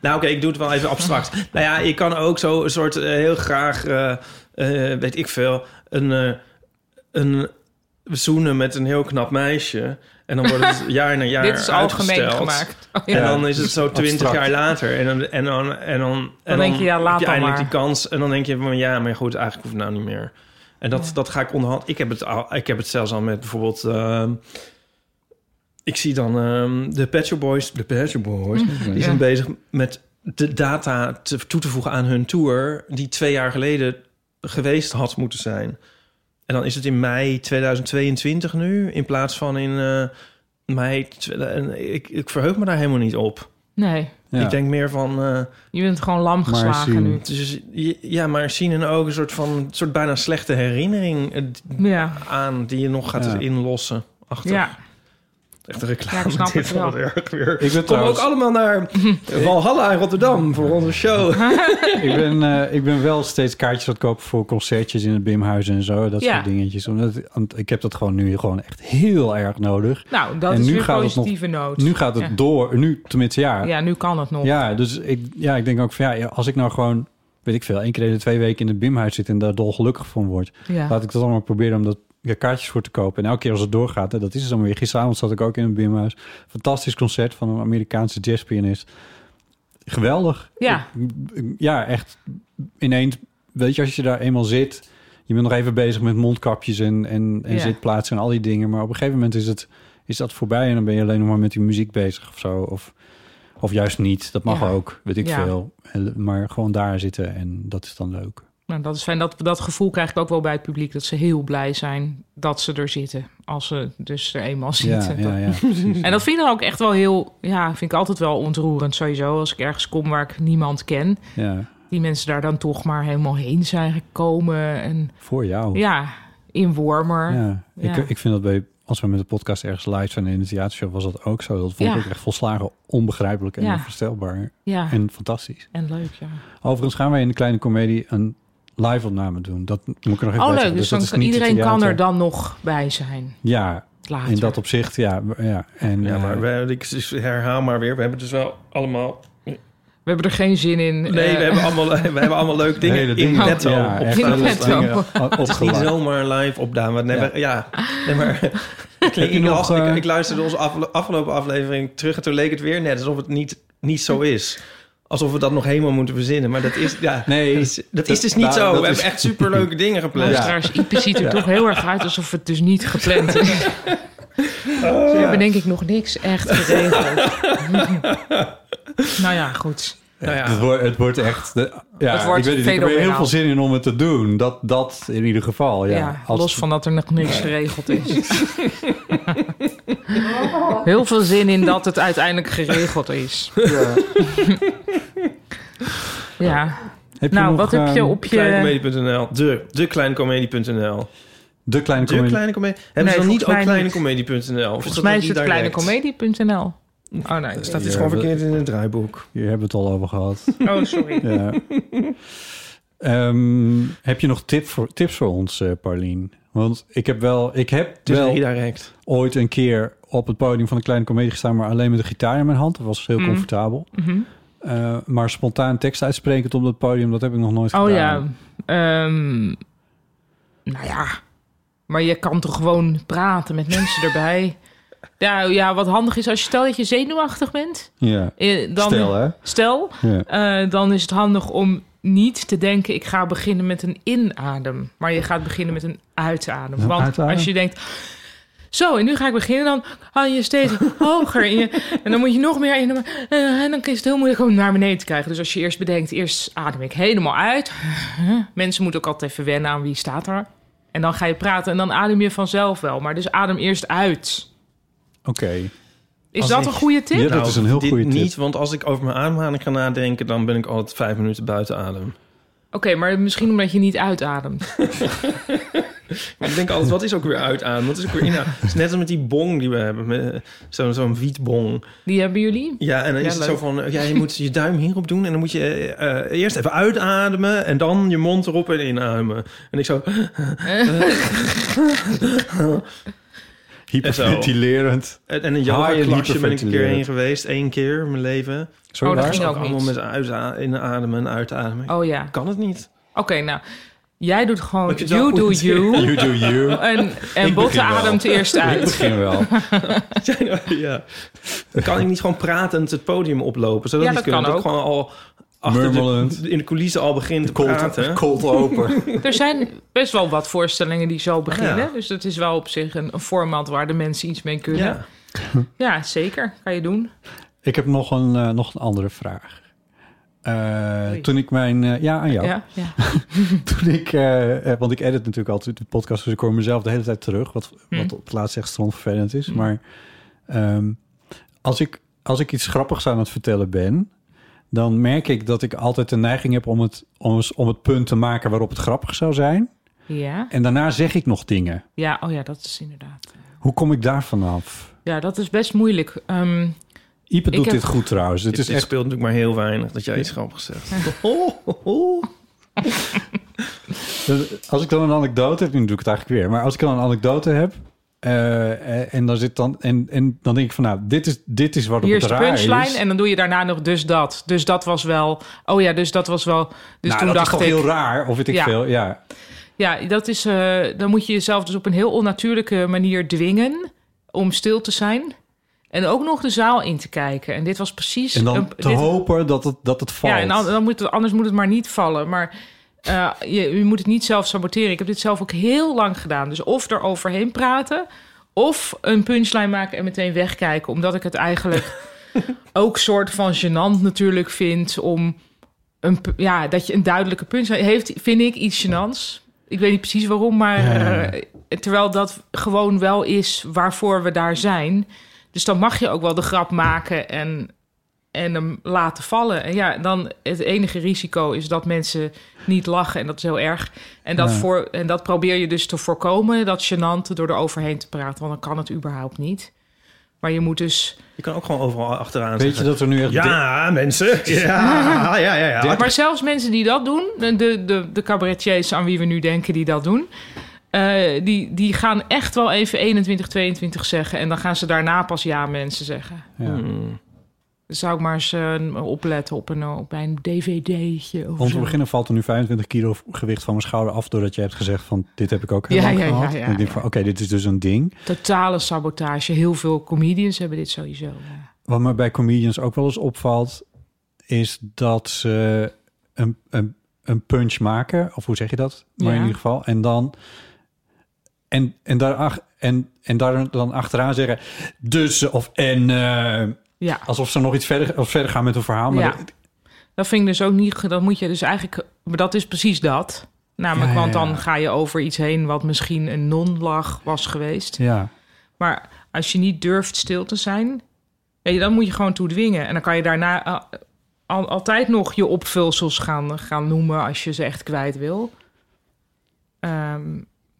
[SPEAKER 3] Nou, oké, ik doe het wel even abstract. nou ja, je kan ook zo een soort eh, heel graag, eh, eh, weet ik veel, een, eh, een zoenen met een heel knap meisje. En dan wordt het jaar na jaar
[SPEAKER 2] dit is algemeen
[SPEAKER 3] uitgesteld.
[SPEAKER 2] gemaakt. Oh, ja.
[SPEAKER 3] En
[SPEAKER 1] Ja,
[SPEAKER 3] dan is het zo twintig
[SPEAKER 1] abstract.
[SPEAKER 3] jaar later. En dan, en dan, en dan, en dan
[SPEAKER 2] denk je, ja, laat
[SPEAKER 3] heb je
[SPEAKER 2] dan
[SPEAKER 3] eindelijk
[SPEAKER 2] maar.
[SPEAKER 3] die kans. En dan denk je, van, ja, maar goed, eigenlijk hoeft het nou niet meer. En dat, dat ga ik onderhand. Ik heb, het al, ik heb het zelfs al met bijvoorbeeld... ehm, ik zie dan ehm, de Pet Shop Boys. De Pet Shop Boys. Die zijn
[SPEAKER 2] Mm-hmm. Ja.
[SPEAKER 3] bezig met de data te, toe te voegen aan hun tour... die twee jaar geleden geweest had moeten zijn. En dan is het in mei 2022 nu... in plaats van in eh, mei... tw- en ik, ik verheug me daar helemaal niet op.
[SPEAKER 2] Nee,
[SPEAKER 1] Ja.
[SPEAKER 3] Ik denk meer van... eh,
[SPEAKER 2] je bent gewoon lam
[SPEAKER 1] Maar
[SPEAKER 2] geslagen
[SPEAKER 1] zien.
[SPEAKER 2] nu.
[SPEAKER 3] dus, je- ja, maar zien en ook een soort van... een soort bijna slechte herinnering eh, d-
[SPEAKER 2] Ja,
[SPEAKER 3] aan... die je nog gaat
[SPEAKER 1] Ja.
[SPEAKER 3] inlossen. Achter.
[SPEAKER 2] ja.
[SPEAKER 3] Echt een reclame.
[SPEAKER 2] Ja, ik snap
[SPEAKER 3] Dit
[SPEAKER 2] het wel.
[SPEAKER 3] wordt erg weer.
[SPEAKER 1] Ik ben
[SPEAKER 3] Kom
[SPEAKER 1] trouwens-
[SPEAKER 3] ook allemaal naar Walhalla in Rotterdam voor onze show.
[SPEAKER 1] Eh, ik, ben, eh, ik ben wel steeds kaartjes aan het kopen voor concertjes in het Bimhuis en zo. Dat
[SPEAKER 2] Ja.
[SPEAKER 1] soort dingetjes. Omdat, want ik heb dat gewoon nu gewoon echt heel erg nodig.
[SPEAKER 2] Nou, dat
[SPEAKER 1] En
[SPEAKER 2] is
[SPEAKER 1] nu
[SPEAKER 2] weer
[SPEAKER 1] gaat het
[SPEAKER 2] positieve noot.
[SPEAKER 1] Nu gaat het
[SPEAKER 2] Ja.
[SPEAKER 1] door. Nu, tenminste, ja. Ja,
[SPEAKER 2] Ja, nu kan het nog.
[SPEAKER 1] dus ik, ja, ik denk ook van ja, als ik nou gewoon, weet ik veel, één keer in de twee weken in het Bimhuis zit en daar dolgelukkig van word.
[SPEAKER 2] Ja.
[SPEAKER 1] Laat ik dat allemaal proberen om dat ja, kaartjes voor te kopen. En elke keer als het doorgaat, hè, dat is het dan weer. Gisteravond zat ik ook in een bimhuis. Fantastisch concert van een Amerikaanse jazzpianist. Geweldig.
[SPEAKER 2] Ja.
[SPEAKER 1] Ik- ik- ja, echt ineens. Weet je, als je daar eenmaal zit... Je bent nog even bezig met mondkapjes en, en, en
[SPEAKER 2] Ja.
[SPEAKER 1] zitplaatsen en al die dingen. Maar op een gegeven moment is, het, is dat voorbij... en dan ben je alleen nog maar met die muziek bezig of zo. Of, of juist niet. Dat mag
[SPEAKER 2] Ja.
[SPEAKER 1] ook, weet ik
[SPEAKER 2] Ja.
[SPEAKER 1] veel. En- Maar gewoon daar zitten en dat is dan leuk.
[SPEAKER 2] Nou, dat is fijn. Dat, dat gevoel krijg ik ook wel bij het publiek. Dat ze heel blij zijn dat ze er zitten. Als ze dus er eenmaal
[SPEAKER 1] Ja,
[SPEAKER 2] zitten.
[SPEAKER 1] ja, ja, precies.
[SPEAKER 2] En dat vind ik dan ook echt wel heel... Ja, vind ik altijd wel ontroerend sowieso. Als ik ergens kom waar ik niemand ken.
[SPEAKER 1] ja.
[SPEAKER 2] Die mensen daar dan toch maar helemaal heen zijn gekomen. En
[SPEAKER 1] Voor jou.
[SPEAKER 2] ja, in Wormer. Ja.
[SPEAKER 1] Ja, Ik, ik vind dat bij als we met de podcast ergens live zijn in een theatershow, was dat ook zo. Dat vond
[SPEAKER 2] Ja.
[SPEAKER 1] ik ook echt volslagen onbegrijpelijk en
[SPEAKER 2] Ja.
[SPEAKER 1] onvoorstelbaar.
[SPEAKER 2] En,
[SPEAKER 1] En fantastisch.
[SPEAKER 2] leuk, ja.
[SPEAKER 1] Overigens gaan wij in de kleine komedie een live opname doen. Dat moet ik er nog even bij
[SPEAKER 2] Oh, leuk.
[SPEAKER 1] zeggen.
[SPEAKER 2] Dus
[SPEAKER 1] dat
[SPEAKER 2] dan,
[SPEAKER 1] is niet
[SPEAKER 2] iedereen
[SPEAKER 1] het
[SPEAKER 2] kan
[SPEAKER 1] theater.
[SPEAKER 2] er dan Ah, nog bij zijn.
[SPEAKER 1] Ja,
[SPEAKER 2] Later.
[SPEAKER 1] in dat opzicht, ja. ja. En,
[SPEAKER 3] Ja,
[SPEAKER 1] eh,
[SPEAKER 3] maar we- ik herhaal maar weer. We hebben dus wel allemaal...
[SPEAKER 2] We hebben er geen zin in.
[SPEAKER 3] Nee,
[SPEAKER 2] eh,
[SPEAKER 3] we, hebben allemaal, we hebben allemaal leuke dingen
[SPEAKER 1] hele
[SPEAKER 3] in
[SPEAKER 1] dingen.
[SPEAKER 3] netto.
[SPEAKER 1] Ja,
[SPEAKER 3] op
[SPEAKER 1] echt
[SPEAKER 2] In
[SPEAKER 3] staan.
[SPEAKER 1] alles
[SPEAKER 2] netto.
[SPEAKER 1] dingen
[SPEAKER 3] Niet
[SPEAKER 1] opgeladen.
[SPEAKER 3] zomaar live opdaan. Maar nee,
[SPEAKER 1] Ja.
[SPEAKER 3] maar- ja. nee, maar ik,
[SPEAKER 1] je
[SPEAKER 3] ik,
[SPEAKER 1] nog,
[SPEAKER 3] las- ik-
[SPEAKER 1] eh,
[SPEAKER 3] ik luisterde onze afle- afgelopen aflevering terug... en toen leek het weer net alsof het niet, niet zo is. Alsof we dat nog helemaal moeten verzinnen. Maar dat is, ja,
[SPEAKER 1] Nee,
[SPEAKER 3] dat is, dat is dus
[SPEAKER 1] dat-
[SPEAKER 3] niet
[SPEAKER 1] nou, dat
[SPEAKER 3] zo. We
[SPEAKER 1] is-
[SPEAKER 3] hebben echt superleuke dingen gepland.
[SPEAKER 2] Luisteraars, Ipe ziet er toch heel erg uit alsof het dus niet gepland is. Ze hebben denk ik nog niks echt geregeld. nou ja, goed.
[SPEAKER 3] Nou ja.
[SPEAKER 1] Het, wordt, het wordt echt... de- ja,
[SPEAKER 2] Het wordt
[SPEAKER 1] ik weet niet, ik heb er heel
[SPEAKER 2] fenomenaal.
[SPEAKER 1] veel zin in om het te doen. Dat, dat in ieder geval, ja.
[SPEAKER 2] Ja,
[SPEAKER 1] Als-
[SPEAKER 2] los van dat er nog niks geregeld is. heel veel zin in dat het uiteindelijk geregeld is. Ja.
[SPEAKER 1] Heb je
[SPEAKER 2] Nou,
[SPEAKER 1] nog,
[SPEAKER 2] wat heb je
[SPEAKER 1] ehm,
[SPEAKER 3] eh,
[SPEAKER 2] op je...
[SPEAKER 3] Kleinecomedie.nl. De, de kleinecomedie.nl.
[SPEAKER 1] De kleine
[SPEAKER 3] De
[SPEAKER 1] comedie.
[SPEAKER 3] kleine comedie. Hebben ze
[SPEAKER 2] volgens
[SPEAKER 3] dan niet ook
[SPEAKER 2] mij niet.
[SPEAKER 3] kleinecomedie.nl?
[SPEAKER 2] Volgens mij is het kleinecomedie.nl. Oh nee,
[SPEAKER 3] Staat
[SPEAKER 1] dit
[SPEAKER 3] dit
[SPEAKER 1] gewoon verkeerd
[SPEAKER 3] gewoon verkeerd in het draaiboek?
[SPEAKER 1] Hier hebben we het al over gehad.
[SPEAKER 2] Oh, sorry.
[SPEAKER 1] ja. Ehm, heb je nog tip voor, tips voor ons, eh, Paulien? Want ik heb wel, ik heb
[SPEAKER 3] Het is
[SPEAKER 1] wel
[SPEAKER 3] redirect.
[SPEAKER 1] ooit een keer op het podium van een kleine comedie gestaan, maar alleen met de gitaar in mijn hand. Dat was heel
[SPEAKER 2] Mm.
[SPEAKER 1] comfortabel. Eh, maar spontaan tekst uitsprekend op dat podium, dat heb ik nog nooit
[SPEAKER 2] Oh ja.
[SPEAKER 1] gedaan.
[SPEAKER 2] ehm, nou ja. Maar je kan toch gewoon praten met mensen erbij. Ja, ja, wat handig is als je stel dat je zenuwachtig bent.
[SPEAKER 1] Ja.
[SPEAKER 2] eh, Dan,
[SPEAKER 1] Stel, hè?
[SPEAKER 2] Stel,
[SPEAKER 1] Ja.
[SPEAKER 2] eh, dan is het handig om niet te denken... ik ga beginnen met een inadem. Maar je gaat beginnen met een uitadem.
[SPEAKER 1] Een
[SPEAKER 2] Want
[SPEAKER 1] uitadem?
[SPEAKER 2] als je denkt... Zo, en nu ga ik beginnen. Dan haal je steeds hoger. En, je- en dan moet je nog meer. in. en dan is het heel moeilijk om naar beneden te krijgen. Dus als je eerst bedenkt, eerst adem ik helemaal uit. Mensen moeten ook altijd even wennen aan wie staat er. En dan ga je praten en dan adem je vanzelf wel. Maar dus adem eerst uit.
[SPEAKER 1] Oké.
[SPEAKER 2] Is
[SPEAKER 3] Als
[SPEAKER 2] dat
[SPEAKER 3] ik-
[SPEAKER 2] een goede tip?
[SPEAKER 1] Ja, dat is een heel
[SPEAKER 3] Nou, dit
[SPEAKER 1] goede tip.
[SPEAKER 3] niet, want als ik over mijn ademhaling ga nadenken... dan ben ik altijd vijf minuten buiten adem.
[SPEAKER 2] Oké, maar misschien omdat je niet uitademt.
[SPEAKER 3] Maar ik denk altijd, wat is ook weer uitademen? Wat is ook weer inademen? Het is net als met die bong die we hebben. met, eh, Zo'n zo'n wietbong.
[SPEAKER 2] Die hebben jullie?
[SPEAKER 3] Ja, en dan
[SPEAKER 2] Ja,
[SPEAKER 3] is het
[SPEAKER 2] leuk.
[SPEAKER 3] zo van... eh, Ja, je moet je duim hierop doen. En dan moet je eh, eh, eerst even uitademen... en dan je mond erop en inademen. En ik zo...
[SPEAKER 1] Hyperventilerend.
[SPEAKER 3] En en een
[SPEAKER 1] Haaien die
[SPEAKER 3] yoga-klasje ben ik een keer
[SPEAKER 1] hyperventileren.
[SPEAKER 3] heen geweest. één keer in mijn leven.
[SPEAKER 1] Sorry,
[SPEAKER 2] Oh, dat
[SPEAKER 1] waar?
[SPEAKER 2] ging ook
[SPEAKER 3] allemaal
[SPEAKER 2] niet.
[SPEAKER 3] met uita- inademen en uitademen.
[SPEAKER 2] Oh ja.
[SPEAKER 3] Ik kan het niet.
[SPEAKER 2] Oké, nou. Jij doet gewoon
[SPEAKER 3] Moet je het wel
[SPEAKER 2] you
[SPEAKER 3] goed
[SPEAKER 2] do
[SPEAKER 3] doen.
[SPEAKER 2] you.
[SPEAKER 1] You do you.
[SPEAKER 2] En, en
[SPEAKER 1] Ik
[SPEAKER 2] Botte
[SPEAKER 1] begin wel.
[SPEAKER 2] ademt eerst
[SPEAKER 1] Ik
[SPEAKER 2] uit.
[SPEAKER 1] begin wel.
[SPEAKER 3] ja. Dan kan ik niet gewoon pratend het podium oplopen. Zou dat
[SPEAKER 2] Ja,
[SPEAKER 3] niet
[SPEAKER 2] dat kan
[SPEAKER 3] kunnen? Dat ik gewoon al achter
[SPEAKER 1] Murmelend.
[SPEAKER 3] de, in de coulissen al begin te praten.
[SPEAKER 1] Cold, cold open.
[SPEAKER 2] Er zijn best wel wat voorstellingen die zo beginnen.
[SPEAKER 3] Ja.
[SPEAKER 2] Dus dat is wel op zich een, een format waar de mensen iets mee kunnen. Ja,
[SPEAKER 3] Ja.
[SPEAKER 2] zeker. Kan je doen.
[SPEAKER 1] Ik heb nog een, eh, nog een andere vraag. Eh,
[SPEAKER 2] Oei.
[SPEAKER 1] toen ik mijn... eh, ja, aan jou.
[SPEAKER 2] Ja, ja.
[SPEAKER 1] Toen ik... eh, eh, want ik edit natuurlijk altijd de podcast, dus ik hoor mezelf de hele tijd terug. Wat,
[SPEAKER 2] Hm.
[SPEAKER 1] wat op het laatst echt vervelend is. Maar ehm, als, ik, als ik iets grappigs aan het vertellen ben... dan merk ik dat ik altijd de neiging heb om het, om, om het punt te maken waarop het grappig zou zijn.
[SPEAKER 2] Ja.
[SPEAKER 1] En daarna zeg ik nog dingen.
[SPEAKER 2] ja, oh ja, dat is inderdaad.
[SPEAKER 1] Hoe kom ik daar vanaf?
[SPEAKER 2] Ja, dat is best moeilijk. Ehm,
[SPEAKER 1] Ipe doet
[SPEAKER 2] heb-
[SPEAKER 1] dit goed trouwens. Het
[SPEAKER 3] Dit,
[SPEAKER 1] is
[SPEAKER 3] dit
[SPEAKER 1] echt
[SPEAKER 3] speelt natuurlijk maar heel weinig dat jij iets grappigs
[SPEAKER 1] Oh,
[SPEAKER 3] zegt.
[SPEAKER 1] Dus Als ik dan een anekdote heb, nu doe ik het eigenlijk weer. Maar als ik dan een anekdote heb. eh, en dan zit dan en, en dan denk ik van nou dit is dit is wat
[SPEAKER 2] hier
[SPEAKER 1] het
[SPEAKER 2] is de
[SPEAKER 1] raar
[SPEAKER 2] punchline
[SPEAKER 1] is.
[SPEAKER 2] en dan doe je daarna nog dus dat. Dus dat was wel... Oh ja, dus dat was wel... Dus
[SPEAKER 1] nou,
[SPEAKER 2] toen
[SPEAKER 1] dat
[SPEAKER 2] dacht
[SPEAKER 1] is toch
[SPEAKER 2] ik...
[SPEAKER 1] heel raar of weet ik
[SPEAKER 2] Ja.
[SPEAKER 1] veel. Ja,
[SPEAKER 2] Ja, dat is, eh, dan moet je jezelf dus op een heel onnatuurlijke manier dwingen om stil te zijn. En ook nog de zaal in te kijken. En dit was precies...
[SPEAKER 1] en dan
[SPEAKER 2] een-
[SPEAKER 1] te
[SPEAKER 2] dit-
[SPEAKER 1] hopen dat het dat het valt.
[SPEAKER 2] Ja, en dan, dan moet het, anders moet het maar niet vallen. Maar eh, je, je moet het niet zelf saboteren. Ik heb dit zelf ook heel lang gedaan. Dus of er overheen praten, of een punchline maken en meteen wegkijken. Omdat ik het eigenlijk ook soort van gênant natuurlijk vind om een, pu- ja, dat je een duidelijke punchline heeft, vind ik iets gênants. Ik weet niet precies waarom, maar eh, terwijl dat gewoon wel is waarvoor we daar zijn. Dus dan mag je ook wel de grap maken en, en hem laten vallen. En ja, dan het enige risico is dat mensen niet lachen en dat is heel erg. En dat,
[SPEAKER 1] Ja.
[SPEAKER 2] voor, en dat probeer je dus te voorkomen, dat gênante door er overheen te praten. Want dan kan het überhaupt niet. Maar je moet dus...
[SPEAKER 3] Je kan ook gewoon overal achteraan
[SPEAKER 1] Weet je
[SPEAKER 3] zeggen.
[SPEAKER 1] dat er nu echt di-
[SPEAKER 3] Ja, mensen. Ja, ja, ja. ja.
[SPEAKER 2] Maar zelfs mensen die dat doen, de, de, de cabaretiers aan wie we nu denken die dat doen... eh, die, die gaan echt wel even 21, 22 zeggen. En dan gaan ze daarna pas ja mensen zeggen.
[SPEAKER 1] ja.
[SPEAKER 2] Dan zou ik maar eens eh, opletten op een, op een dvd'tje of
[SPEAKER 1] Om te
[SPEAKER 2] zo.
[SPEAKER 1] beginnen valt er nu 25 kilo gewicht van mijn schouder af doordat je hebt gezegd van dit heb ik ook
[SPEAKER 2] Ja,
[SPEAKER 1] heel lang
[SPEAKER 2] ja, ja,
[SPEAKER 1] gehad.
[SPEAKER 2] ja,
[SPEAKER 1] en ik denk
[SPEAKER 2] ja.
[SPEAKER 1] van oké, dit is dus een ding.
[SPEAKER 2] Totale sabotage. Heel veel comedians hebben dit sowieso. ja.
[SPEAKER 1] Wat me bij comedians ook wel eens opvalt, is dat ze een, een, een punch maken, of hoe zeg je dat? Maar
[SPEAKER 2] Ja.
[SPEAKER 1] in ieder geval. En dan. En, en, daar, ach- en, en daar dan achteraan zeggen. Dus of en. eh,
[SPEAKER 2] Ja.
[SPEAKER 1] alsof ze nog iets verder, of verder gaan met hun verhaal. Maar
[SPEAKER 2] Ja.
[SPEAKER 1] dat-
[SPEAKER 2] Dat vind ik dus ook niet. ge- Dat moet je dus eigenlijk. Maar dat is precies dat. Namelijk,
[SPEAKER 1] Ja, ja,
[SPEAKER 2] want
[SPEAKER 1] ja.
[SPEAKER 2] dan ga je over iets heen wat misschien een non-lach was geweest.
[SPEAKER 1] ja.
[SPEAKER 2] Maar als je niet durft stil te zijn, weet je, dan moet je gewoon toe dwingen. En dan kan je daarna eh, al- altijd nog je opvulsels gaan, gaan noemen als je ze echt kwijt wil. Ehm,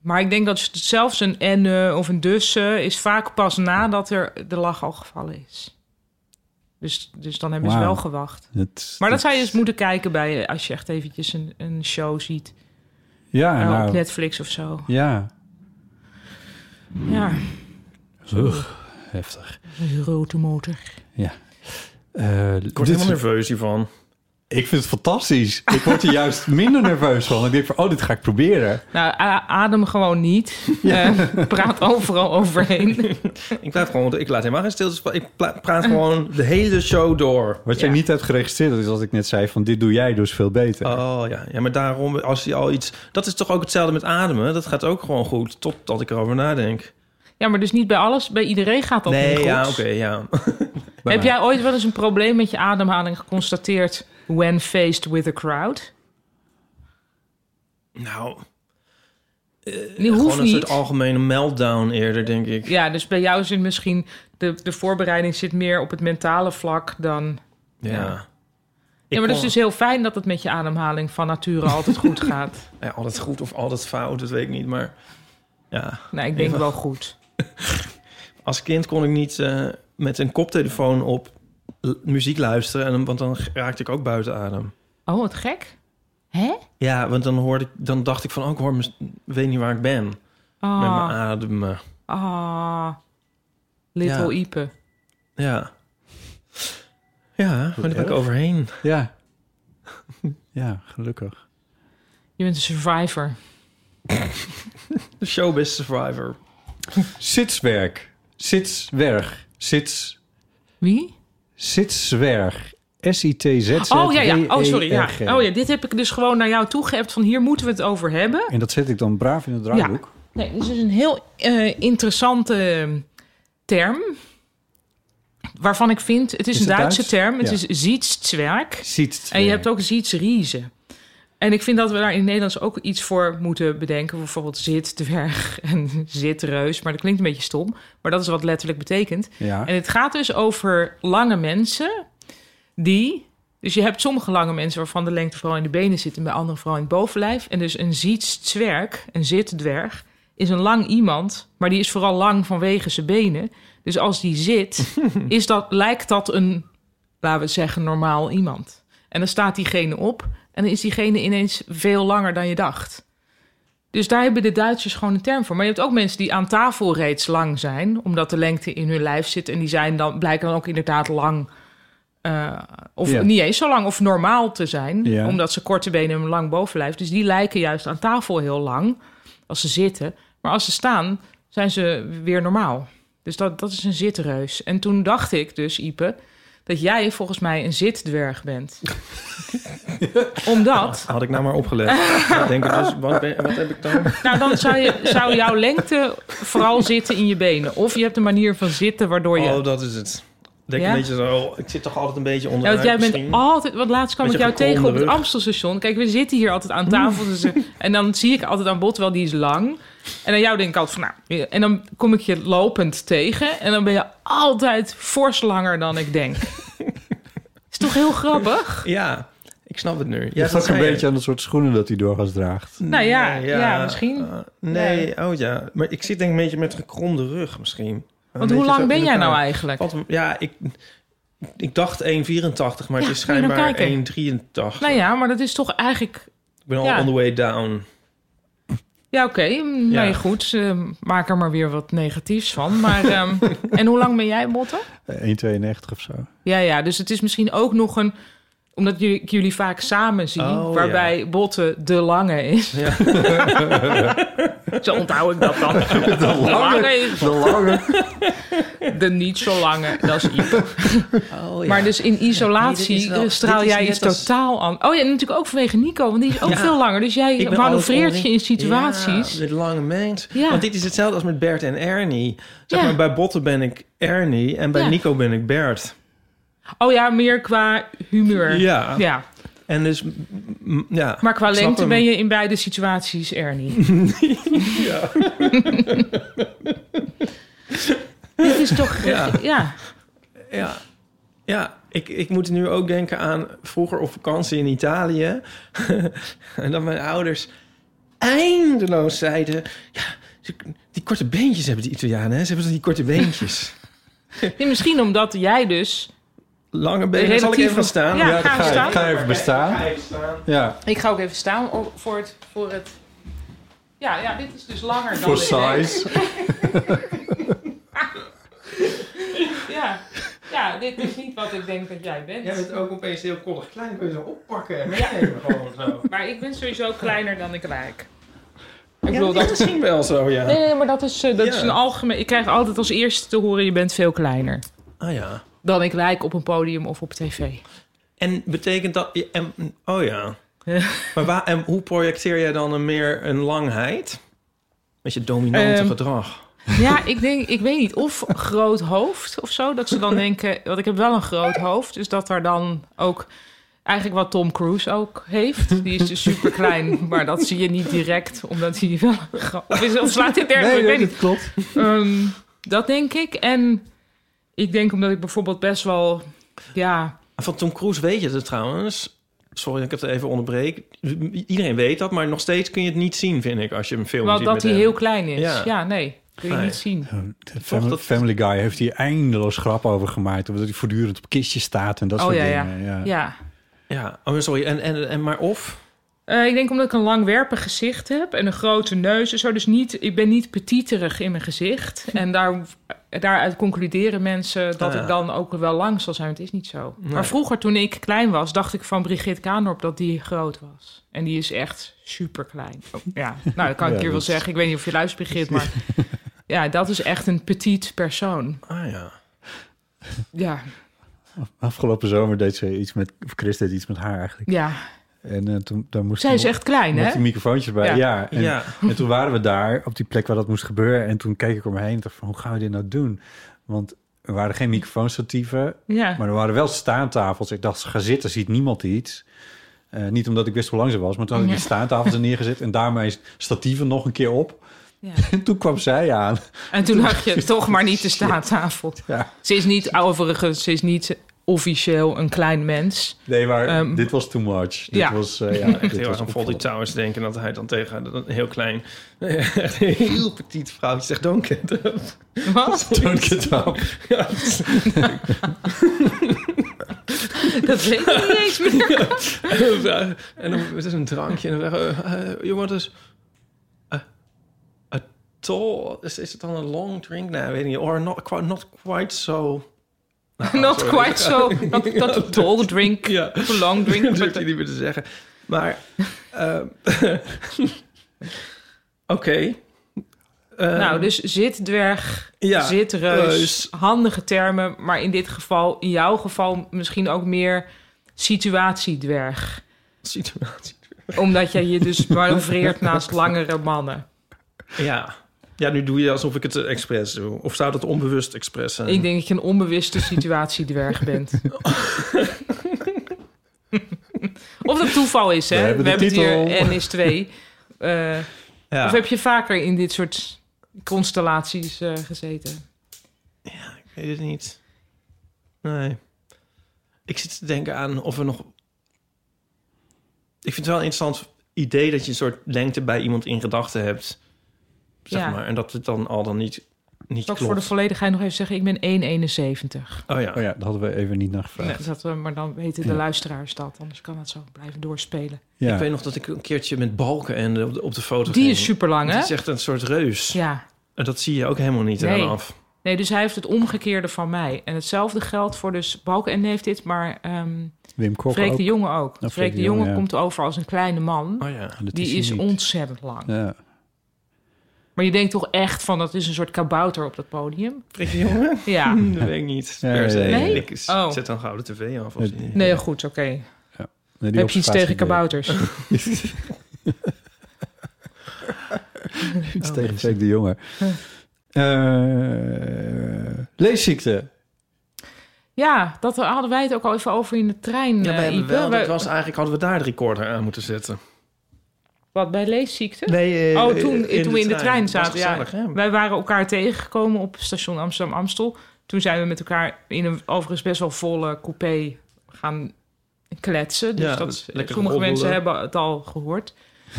[SPEAKER 2] maar ik denk dat s- zelfs een en eh, of een dus eh, is vaak pas nadat er de lach al gevallen is. Dus, dus dan hebben ze
[SPEAKER 1] Wauw.
[SPEAKER 2] wel gewacht.
[SPEAKER 1] Het-
[SPEAKER 2] Maar dat zou je
[SPEAKER 1] het-
[SPEAKER 2] eens moeten kijken bij eh, als je echt eventjes een, een show ziet
[SPEAKER 1] Ja,
[SPEAKER 2] eh,
[SPEAKER 1] nou,
[SPEAKER 2] op Netflix of zo.
[SPEAKER 1] ja.
[SPEAKER 2] Ja,
[SPEAKER 1] Ugh, heftig.
[SPEAKER 2] een grote motor.
[SPEAKER 1] Eh,
[SPEAKER 3] Ik word
[SPEAKER 1] dit-
[SPEAKER 3] helemaal nerveus hiervan.
[SPEAKER 1] ik vind het fantastisch. Ik word er juist minder nerveus van. Ik denk van, oh, dit ga ik proberen.
[SPEAKER 2] Nou, a- adem gewoon niet. Eh, praat overal overheen.
[SPEAKER 3] Ik, blijf gewoon, ik laat helemaal geen stilte. Ik pla- praat gewoon de hele show door.
[SPEAKER 1] Wat jij
[SPEAKER 2] Ja.
[SPEAKER 1] niet hebt geregistreerd is wat ik net zei van dit doe jij dus veel beter.
[SPEAKER 3] Oh ja. ja, maar daarom, als je al iets. Dat is toch ook hetzelfde met ademen? Dat gaat ook gewoon goed, totdat ik erover nadenk.
[SPEAKER 2] Ja, maar dus niet bij alles. Bij iedereen gaat dat niet
[SPEAKER 3] nee,
[SPEAKER 2] goed.
[SPEAKER 3] ja, oké, ja.
[SPEAKER 1] Bij
[SPEAKER 2] Heb
[SPEAKER 1] mij.
[SPEAKER 2] jij ooit wel eens een probleem met je ademhaling geconstateerd... when faced with a crowd?
[SPEAKER 3] Nou,
[SPEAKER 2] Die
[SPEAKER 3] Eh, gewoon
[SPEAKER 2] hoeft
[SPEAKER 3] een soort
[SPEAKER 2] niet.
[SPEAKER 3] algemene meltdown eerder, denk ik.
[SPEAKER 2] Ja, dus bij jou zit misschien... De, de voorbereiding zit meer op het mentale vlak dan...
[SPEAKER 3] Ja.
[SPEAKER 2] Ja, maar
[SPEAKER 3] Ik
[SPEAKER 2] dat is
[SPEAKER 3] kon-
[SPEAKER 2] dus heel fijn dat het met je ademhaling van nature altijd goed gaat.
[SPEAKER 3] ja, altijd goed of altijd fout, dat weet ik niet. Maar ja,
[SPEAKER 2] Nou, ik denk
[SPEAKER 3] Ja.
[SPEAKER 2] wel goed.
[SPEAKER 3] als kind kon ik niet eh, met een koptelefoon op l- muziek luisteren, en, dan- want dan raakte ik ook buiten adem.
[SPEAKER 2] Oh, wat gek. Hè?
[SPEAKER 3] Ja, want dan, hoorde ik, dan dacht ik van, oh, ik hoor mez- weet niet waar ik ben met mijn
[SPEAKER 2] Ah,
[SPEAKER 3] ademen.
[SPEAKER 2] ah. Little
[SPEAKER 3] Ja.
[SPEAKER 2] Ipe.
[SPEAKER 3] Ja. Ja, maar daar ben ik
[SPEAKER 1] erg.
[SPEAKER 3] overheen.
[SPEAKER 1] Ja. ja, gelukkig.
[SPEAKER 2] Je bent een survivor.
[SPEAKER 3] De showbiz survivor.
[SPEAKER 1] Sitswerk. Sitswerg. Sits...
[SPEAKER 2] Wie?
[SPEAKER 1] Sitswerg. S-I-T-Z.
[SPEAKER 2] Oh ja, ja.
[SPEAKER 1] E,
[SPEAKER 2] Oh, sorry. Ja. Oh ja, dit heb ik dus gewoon naar jou toegeëpt van hier moeten we het over hebben.
[SPEAKER 1] En dat zet ik dan braaf in het draaiboek.
[SPEAKER 2] Nee, dit is dus een heel eh, interessante ehm, term. Waarvan ik vind, het
[SPEAKER 1] Is
[SPEAKER 2] is, een
[SPEAKER 1] het
[SPEAKER 2] Duitse
[SPEAKER 1] Duits?
[SPEAKER 2] term. Het
[SPEAKER 1] Ja.
[SPEAKER 2] is zietszwerk.
[SPEAKER 1] Ziet.
[SPEAKER 2] En je hebt ook zietsriezen. En ik vind dat we daar in het Nederlands ook iets voor moeten bedenken. Bijvoorbeeld zitdwerg en zitreus. Maar dat klinkt een beetje stom. Maar dat is wat letterlijk betekent.
[SPEAKER 1] Ja.
[SPEAKER 2] En het gaat dus over lange mensen die... Dus je hebt sommige lange mensen waarvan de lengte vooral in de benen zit... en bij anderen vooral in het bovenlijf. En dus een zietszwerg, een zitdwerg, is een lang iemand... maar die is vooral lang vanwege zijn benen. Dus als die zit, is dat, lijkt dat een, laten we zeggen, normaal iemand. En dan staat diegene op en dan is diegene ineens veel langer dan je dacht... Dus daar hebben de Duitsers gewoon een term voor. Maar je hebt ook mensen die aan tafel reeds lang zijn, omdat de lengte in hun lijf zit. En die zijn dan, blijken dan ook inderdaad lang, eh, of
[SPEAKER 1] Ja.
[SPEAKER 2] niet eens zo lang, of normaal te zijn.
[SPEAKER 1] Ja.
[SPEAKER 2] Omdat ze korte benen en een lang bovenlijf. Dus die lijken juist aan tafel heel lang als ze zitten. Maar als ze staan, zijn ze weer normaal. Dus dat, dat is een zitreus. En toen dacht ik dus, Ipe, dat jij volgens mij een zitdwerg bent. omdat.
[SPEAKER 3] Had ik nou maar opgelet. Ja, denk ik dus, wat, ben- wat heb ik dan?
[SPEAKER 2] Nou, dan zou, je, zou jouw lengte vooral zitten in je benen. Of je hebt een manier van zitten waardoor je...
[SPEAKER 3] Oh, dat is het. Denk
[SPEAKER 2] Ja?
[SPEAKER 3] een beetje zo, oh, ik zit toch altijd een beetje onder.
[SPEAKER 2] Ja, want Nou, jij bent altijd... Want laatst kwam ik
[SPEAKER 3] Beetje
[SPEAKER 2] jou tegen op
[SPEAKER 3] gekromde
[SPEAKER 2] het
[SPEAKER 3] rug.
[SPEAKER 2] Amstelstation. Kijk, we zitten hier altijd aan tafel. dus, eh, en dan zie ik altijd aan bod, wel die is lang. En aan jou denk ik altijd van, nou... En dan kom ik je lopend tegen. En dan ben je altijd fors langer dan ik denk. is toch heel grappig?
[SPEAKER 3] Ja, ik snap het nu.
[SPEAKER 1] Je
[SPEAKER 3] Ja,
[SPEAKER 1] hebt ook
[SPEAKER 3] zei
[SPEAKER 1] een
[SPEAKER 3] je.
[SPEAKER 1] beetje aan het soort schoenen dat hij doorgaans draagt.
[SPEAKER 2] Nou ja,
[SPEAKER 3] Nee,
[SPEAKER 2] ja, misschien.
[SPEAKER 3] eh, nee, oh ja. Maar ik zit denk ik een beetje met gekromde rug misschien.
[SPEAKER 2] Want hoe lang ben jij nou eigenlijk?
[SPEAKER 3] eigenlijk? Ja, ik, ik dacht 1,84, maar
[SPEAKER 2] Ja,
[SPEAKER 3] het is
[SPEAKER 2] moet je nou
[SPEAKER 3] schijnbaar 1,83.
[SPEAKER 2] kijken. Nou ja, maar dat is toch eigenlijk...
[SPEAKER 3] Ik ben al
[SPEAKER 2] ja.
[SPEAKER 3] on the way down.
[SPEAKER 2] Ja, oké. Mm,
[SPEAKER 3] Ja.
[SPEAKER 2] Nee, goed. Eh, maak er maar weer wat negatiefs van. Maar, ehm, en hoe lang ben jij, Botte?
[SPEAKER 1] Eh, 1,92 of zo.
[SPEAKER 2] Ja, ja. Dus het is misschien ook nog een... Omdat jullie, ik jullie vaak samen zie,
[SPEAKER 3] Oh,
[SPEAKER 2] waarbij Botte de lange is.
[SPEAKER 3] Ja.
[SPEAKER 2] zo onthoud ik dat dan. De, lange is
[SPEAKER 1] De lange.
[SPEAKER 2] de niet zo lange. Dat is Ipe.
[SPEAKER 3] Oh,
[SPEAKER 2] Maar dus in
[SPEAKER 3] Nee,
[SPEAKER 2] isolatie
[SPEAKER 3] dit is wel-
[SPEAKER 2] eh, straal
[SPEAKER 3] dit is
[SPEAKER 2] jij
[SPEAKER 3] net
[SPEAKER 2] iets
[SPEAKER 3] als-
[SPEAKER 2] totaal anders. Oh ja, en natuurlijk ook vanwege Nico, want die is ook
[SPEAKER 3] Ja.
[SPEAKER 2] veel langer. Dus jij manoeuvreert je in situaties.
[SPEAKER 3] Ja, met lange mens.
[SPEAKER 2] Ja.
[SPEAKER 3] Want dit is hetzelfde als met Bert en Ernie. Zeg
[SPEAKER 2] Ja.
[SPEAKER 3] maar, bij Botten ben ik Ernie en bij
[SPEAKER 2] Ja.
[SPEAKER 3] Nico ben ik Bert.
[SPEAKER 2] Oh ja, meer qua humeur.
[SPEAKER 3] Ja.
[SPEAKER 2] ja.
[SPEAKER 3] En dus, m- m- ja.
[SPEAKER 2] Maar qua
[SPEAKER 3] Ik snap
[SPEAKER 2] lengte
[SPEAKER 3] hem.
[SPEAKER 2] ben je in beide situaties Ernie. ja. Dit is toch... Ja.
[SPEAKER 3] Ja. Ja, ja ik, ik moet nu ook denken aan vroeger op vakantie in Italië. en dat mijn ouders eindeloos zeiden... Ja, die- die korte beentjes hebben die Italianen, hè? Ze hebben toch die korte beentjes.
[SPEAKER 2] Nee, misschien omdat jij dus...
[SPEAKER 3] Lange benen, zal ik
[SPEAKER 2] Relatief-
[SPEAKER 3] even gaan staan?
[SPEAKER 2] Ja, ga
[SPEAKER 1] ga,
[SPEAKER 2] even staan.
[SPEAKER 1] ik ga even bestaan. Ja,
[SPEAKER 2] Ik ga ook even staan o- voor het... Voor het ja, ja, dit is dus langer dan...
[SPEAKER 1] voor
[SPEAKER 2] ik denk.
[SPEAKER 1] size.
[SPEAKER 2] Ja. ja, dit is niet wat ik denk dat jij bent.
[SPEAKER 3] ook opeens heel koddig klein, kun je zo oppakken en
[SPEAKER 2] meenemen
[SPEAKER 3] gewoon zo.
[SPEAKER 2] Maar ik ben sowieso kleiner dan ik lijk. Ik
[SPEAKER 3] Ik bedoel, dat is misschien wel zo,
[SPEAKER 2] Nee,
[SPEAKER 3] ja.
[SPEAKER 2] nee, nee, maar dat is, eh, dat
[SPEAKER 3] Ja.
[SPEAKER 2] is een algemeen... Ik krijg altijd als eerste te horen... je bent veel kleiner
[SPEAKER 3] Ah ja.
[SPEAKER 2] dan ik lijk op een podium of op tv.
[SPEAKER 3] En betekent dat... En, oh ja.
[SPEAKER 2] Ja.
[SPEAKER 3] Maar waar, en hoe projecteer jij dan een meer een langheid? Met je dominante
[SPEAKER 2] Ehm,
[SPEAKER 3] gedrag.
[SPEAKER 2] Ja, ik denk, ik weet niet, of groot hoofd of zo. Dat ze dan denken, want ik heb wel een groot hoofd. Dus dat er dan ook, eigenlijk wat Tom Cruise ook heeft. Die is dus super klein, maar dat zie je niet direct. Omdat hij wel een gro- Of, is, of slaat dit ergens? op? ik weet niet.
[SPEAKER 1] dat klopt.
[SPEAKER 2] Ehm, dat denk ik. En ik denk omdat ik bijvoorbeeld best wel, ja...
[SPEAKER 3] Van Tom Cruise weet je het trouwens. Sorry dat ik het even onderbreek. Iedereen weet dat, maar nog steeds kun je het niet zien, vind ik, als je een film
[SPEAKER 2] Wel
[SPEAKER 3] ziet
[SPEAKER 2] dat
[SPEAKER 3] met
[SPEAKER 2] hij
[SPEAKER 3] hem.
[SPEAKER 2] heel klein is. Ja,
[SPEAKER 3] Ja.
[SPEAKER 2] nee. Kun je
[SPEAKER 3] Nee.
[SPEAKER 2] niet zien.
[SPEAKER 1] Family,
[SPEAKER 3] dat-
[SPEAKER 1] Family Guy heeft hier eindeloos grap over gemaakt. Omdat hij voortdurend op kistjes staat en dat
[SPEAKER 2] Oh
[SPEAKER 1] soort
[SPEAKER 2] ja, ja.
[SPEAKER 1] dingen.
[SPEAKER 2] Ja.
[SPEAKER 3] Ja, oh, sorry. En, en, en maar of?
[SPEAKER 2] Eh, ik denk omdat ik een langwerpig gezicht heb en een grote neus en zo. Dus niet, ik ben niet petiterig in mijn gezicht. En daar, daaruit concluderen mensen dat
[SPEAKER 3] Ah, ja.
[SPEAKER 2] ik dan ook wel lang zal zijn. Het is niet zo. Maar vroeger, toen ik klein was, dacht ik van Brigitte Kaandorp dat die groot was. En die is echt super klein. ja, nou, dat kan
[SPEAKER 1] Ja,
[SPEAKER 2] ik hier wel
[SPEAKER 1] dat is-
[SPEAKER 2] zeggen. Ik weet niet of je luistert, Brigitte, maar... Ja, dat is echt een petit persoon.
[SPEAKER 3] Ah ja.
[SPEAKER 2] Ja,
[SPEAKER 1] Afgelopen zomer deed ze iets met, of Chris deed iets met haar eigenlijk.
[SPEAKER 2] ja.
[SPEAKER 1] En eh, toen daar moest
[SPEAKER 2] Zij is
[SPEAKER 1] toen-
[SPEAKER 2] echt klein,
[SPEAKER 1] Met
[SPEAKER 2] hè?
[SPEAKER 1] die microfoontjes bij. Ja.
[SPEAKER 2] Ja.
[SPEAKER 1] en,
[SPEAKER 3] Ja.
[SPEAKER 1] en toen waren we daar op die plek waar dat moest gebeuren. En toen keek ik om me heen en dacht van, hoe gaan we dit nou doen? Want er waren geen microfoonstatieven,
[SPEAKER 2] Ja.
[SPEAKER 1] maar er waren wel staantafels. Ik dacht, ga zitten, ziet niemand iets. Eh, niet omdat ik wist hoe lang ze was, maar toen had ik die staantafels er neergezet. En daarmee statieven nog een keer op.
[SPEAKER 2] Ja.
[SPEAKER 1] En toen kwam zij aan.
[SPEAKER 2] En toen lag je toch maar niet te staattafel.
[SPEAKER 1] Ja.
[SPEAKER 2] Ze is niet, overigens, ze is niet officieel een klein mens.
[SPEAKER 1] Nee, maar
[SPEAKER 2] Ehm,
[SPEAKER 1] dit was too much. Dit
[SPEAKER 2] ja.
[SPEAKER 1] was, eh, ja,
[SPEAKER 3] Echt
[SPEAKER 1] dit
[SPEAKER 3] heel
[SPEAKER 1] was
[SPEAKER 3] erg aan Fawlty
[SPEAKER 1] opvallend.
[SPEAKER 3] Towers denken dat hij dan tegen een heel klein, echt een heel petit vrouwtje zegt: Don't get up.
[SPEAKER 2] Wat?
[SPEAKER 1] Don't get up.
[SPEAKER 3] Ja,
[SPEAKER 2] Dat weet ik niet eens meer.
[SPEAKER 3] en dan het is een drankje en dan zeggen eh, eh, jongen, het is eh, a tall, is, is het dan een long drink? Nee, weet ik niet. Or not, quite, not quite so.
[SPEAKER 2] Not
[SPEAKER 3] Nou, sorry.
[SPEAKER 2] quite so. Not, not a tall drink.
[SPEAKER 3] Ja.
[SPEAKER 2] Too long drink.
[SPEAKER 3] Dat durf
[SPEAKER 2] but-
[SPEAKER 3] je niet meer te zeggen. Maar, ehm, oké. Ehm,
[SPEAKER 2] nou, dus zit dwerg,
[SPEAKER 3] ja,
[SPEAKER 2] zit reus,
[SPEAKER 3] reus.
[SPEAKER 2] Handige termen, maar in dit geval, in jouw geval, misschien ook meer situatiedwerg.
[SPEAKER 3] situatie.
[SPEAKER 2] Omdat jij je dus manoeuvreert naast langere mannen.
[SPEAKER 3] Ja. ja, nu doe je alsof ik het eh, expres doe. Of zou dat onbewust expres zijn?
[SPEAKER 2] Ik denk dat je een onbewuste situatiedwerg bent. of dat toeval is, hè?
[SPEAKER 1] We hebben de
[SPEAKER 2] het
[SPEAKER 1] titel.
[SPEAKER 2] hier NS2. Eh,
[SPEAKER 3] ja.
[SPEAKER 2] Of heb je vaker in dit soort constellaties eh, gezeten?
[SPEAKER 3] Ik weet het niet. Nee. Ik zit te denken aan of we nog... Ik vind het wel een interessant idee dat je een soort lengte bij iemand in gedachten hebt. Zeg
[SPEAKER 2] Ja.
[SPEAKER 3] maar. En dat het dan al dan niet, niet
[SPEAKER 2] Zal ik
[SPEAKER 3] klopt.
[SPEAKER 2] voor de volledigheid nog even zeggen, ik ben 1,71.
[SPEAKER 3] Oh ja.
[SPEAKER 1] Oh ja, daar hadden we even niet naar gevraagd.
[SPEAKER 2] Dus dat, eh, maar dan weten de luisteraars dat, anders kan dat zo blijven doorspelen.
[SPEAKER 1] Ja.
[SPEAKER 3] Ik weet nog dat ik een keertje met balken en eh, op de, op de foto
[SPEAKER 2] Die
[SPEAKER 3] ging.
[SPEAKER 2] is super lang,
[SPEAKER 3] Dat is
[SPEAKER 2] hè?
[SPEAKER 3] echt een soort reus.
[SPEAKER 2] Ja.
[SPEAKER 3] En dat zie je ook helemaal niet
[SPEAKER 2] Nee.
[SPEAKER 3] aan af.
[SPEAKER 2] Nee, dus hij heeft het omgekeerde van mij. En hetzelfde geldt voor dus Balken en heeft dit, maar ehm
[SPEAKER 1] Wim Kok
[SPEAKER 2] Freek
[SPEAKER 1] ook. Nou,
[SPEAKER 2] de Jonge ook.
[SPEAKER 1] Freek
[SPEAKER 2] Freek
[SPEAKER 1] de
[SPEAKER 2] de Jonge
[SPEAKER 1] Jonge, ja.
[SPEAKER 2] komt over als een kleine man.
[SPEAKER 3] Oh ja.
[SPEAKER 1] Ah, Dat
[SPEAKER 2] die
[SPEAKER 1] hij
[SPEAKER 2] is
[SPEAKER 1] niet.
[SPEAKER 2] ontzettend lang.
[SPEAKER 1] Ja.
[SPEAKER 2] Maar je denkt toch echt van dat is een soort kabouter op dat podium?
[SPEAKER 3] Prik je jongen?
[SPEAKER 2] Ja.
[SPEAKER 3] Dat weet ik niet.
[SPEAKER 1] Ja,
[SPEAKER 3] per se.
[SPEAKER 1] ja, ja, ja.
[SPEAKER 3] Ik s-
[SPEAKER 2] Oh.
[SPEAKER 3] zet dan gouden tv af. Of
[SPEAKER 1] Het-
[SPEAKER 3] zo.
[SPEAKER 2] Nee, goed, oké.
[SPEAKER 1] Nee, die
[SPEAKER 2] Heb je iets
[SPEAKER 1] observatie
[SPEAKER 2] tegen
[SPEAKER 1] deed ik.
[SPEAKER 2] kabouters?
[SPEAKER 1] Iets
[SPEAKER 2] Oh,
[SPEAKER 1] tegen Freek de Jonge. Eh, leesziekte.
[SPEAKER 2] Ja, dat hadden wij het ook al even over in de trein.
[SPEAKER 3] Ja,
[SPEAKER 2] eh,
[SPEAKER 3] wij hebben
[SPEAKER 2] Ipe.
[SPEAKER 3] wel,
[SPEAKER 2] Wij-
[SPEAKER 3] dat was eigenlijk hadden we daar de recorder aan moeten zetten.
[SPEAKER 2] Wat, bij leesziekte?
[SPEAKER 3] Nee,
[SPEAKER 2] oh, toen, toen we in de trein
[SPEAKER 3] Dat was
[SPEAKER 2] zaten. Ja.
[SPEAKER 3] gezellig, hè?
[SPEAKER 2] Wij waren elkaar tegengekomen op station Amsterdam-Amstel. Toen zijn we met elkaar in een overigens best wel volle coupé gaan kletsen. Dus
[SPEAKER 3] Ja,
[SPEAKER 2] dat,
[SPEAKER 3] dus lekker
[SPEAKER 2] sommige
[SPEAKER 3] roddelen.
[SPEAKER 2] mensen hebben het al gehoord.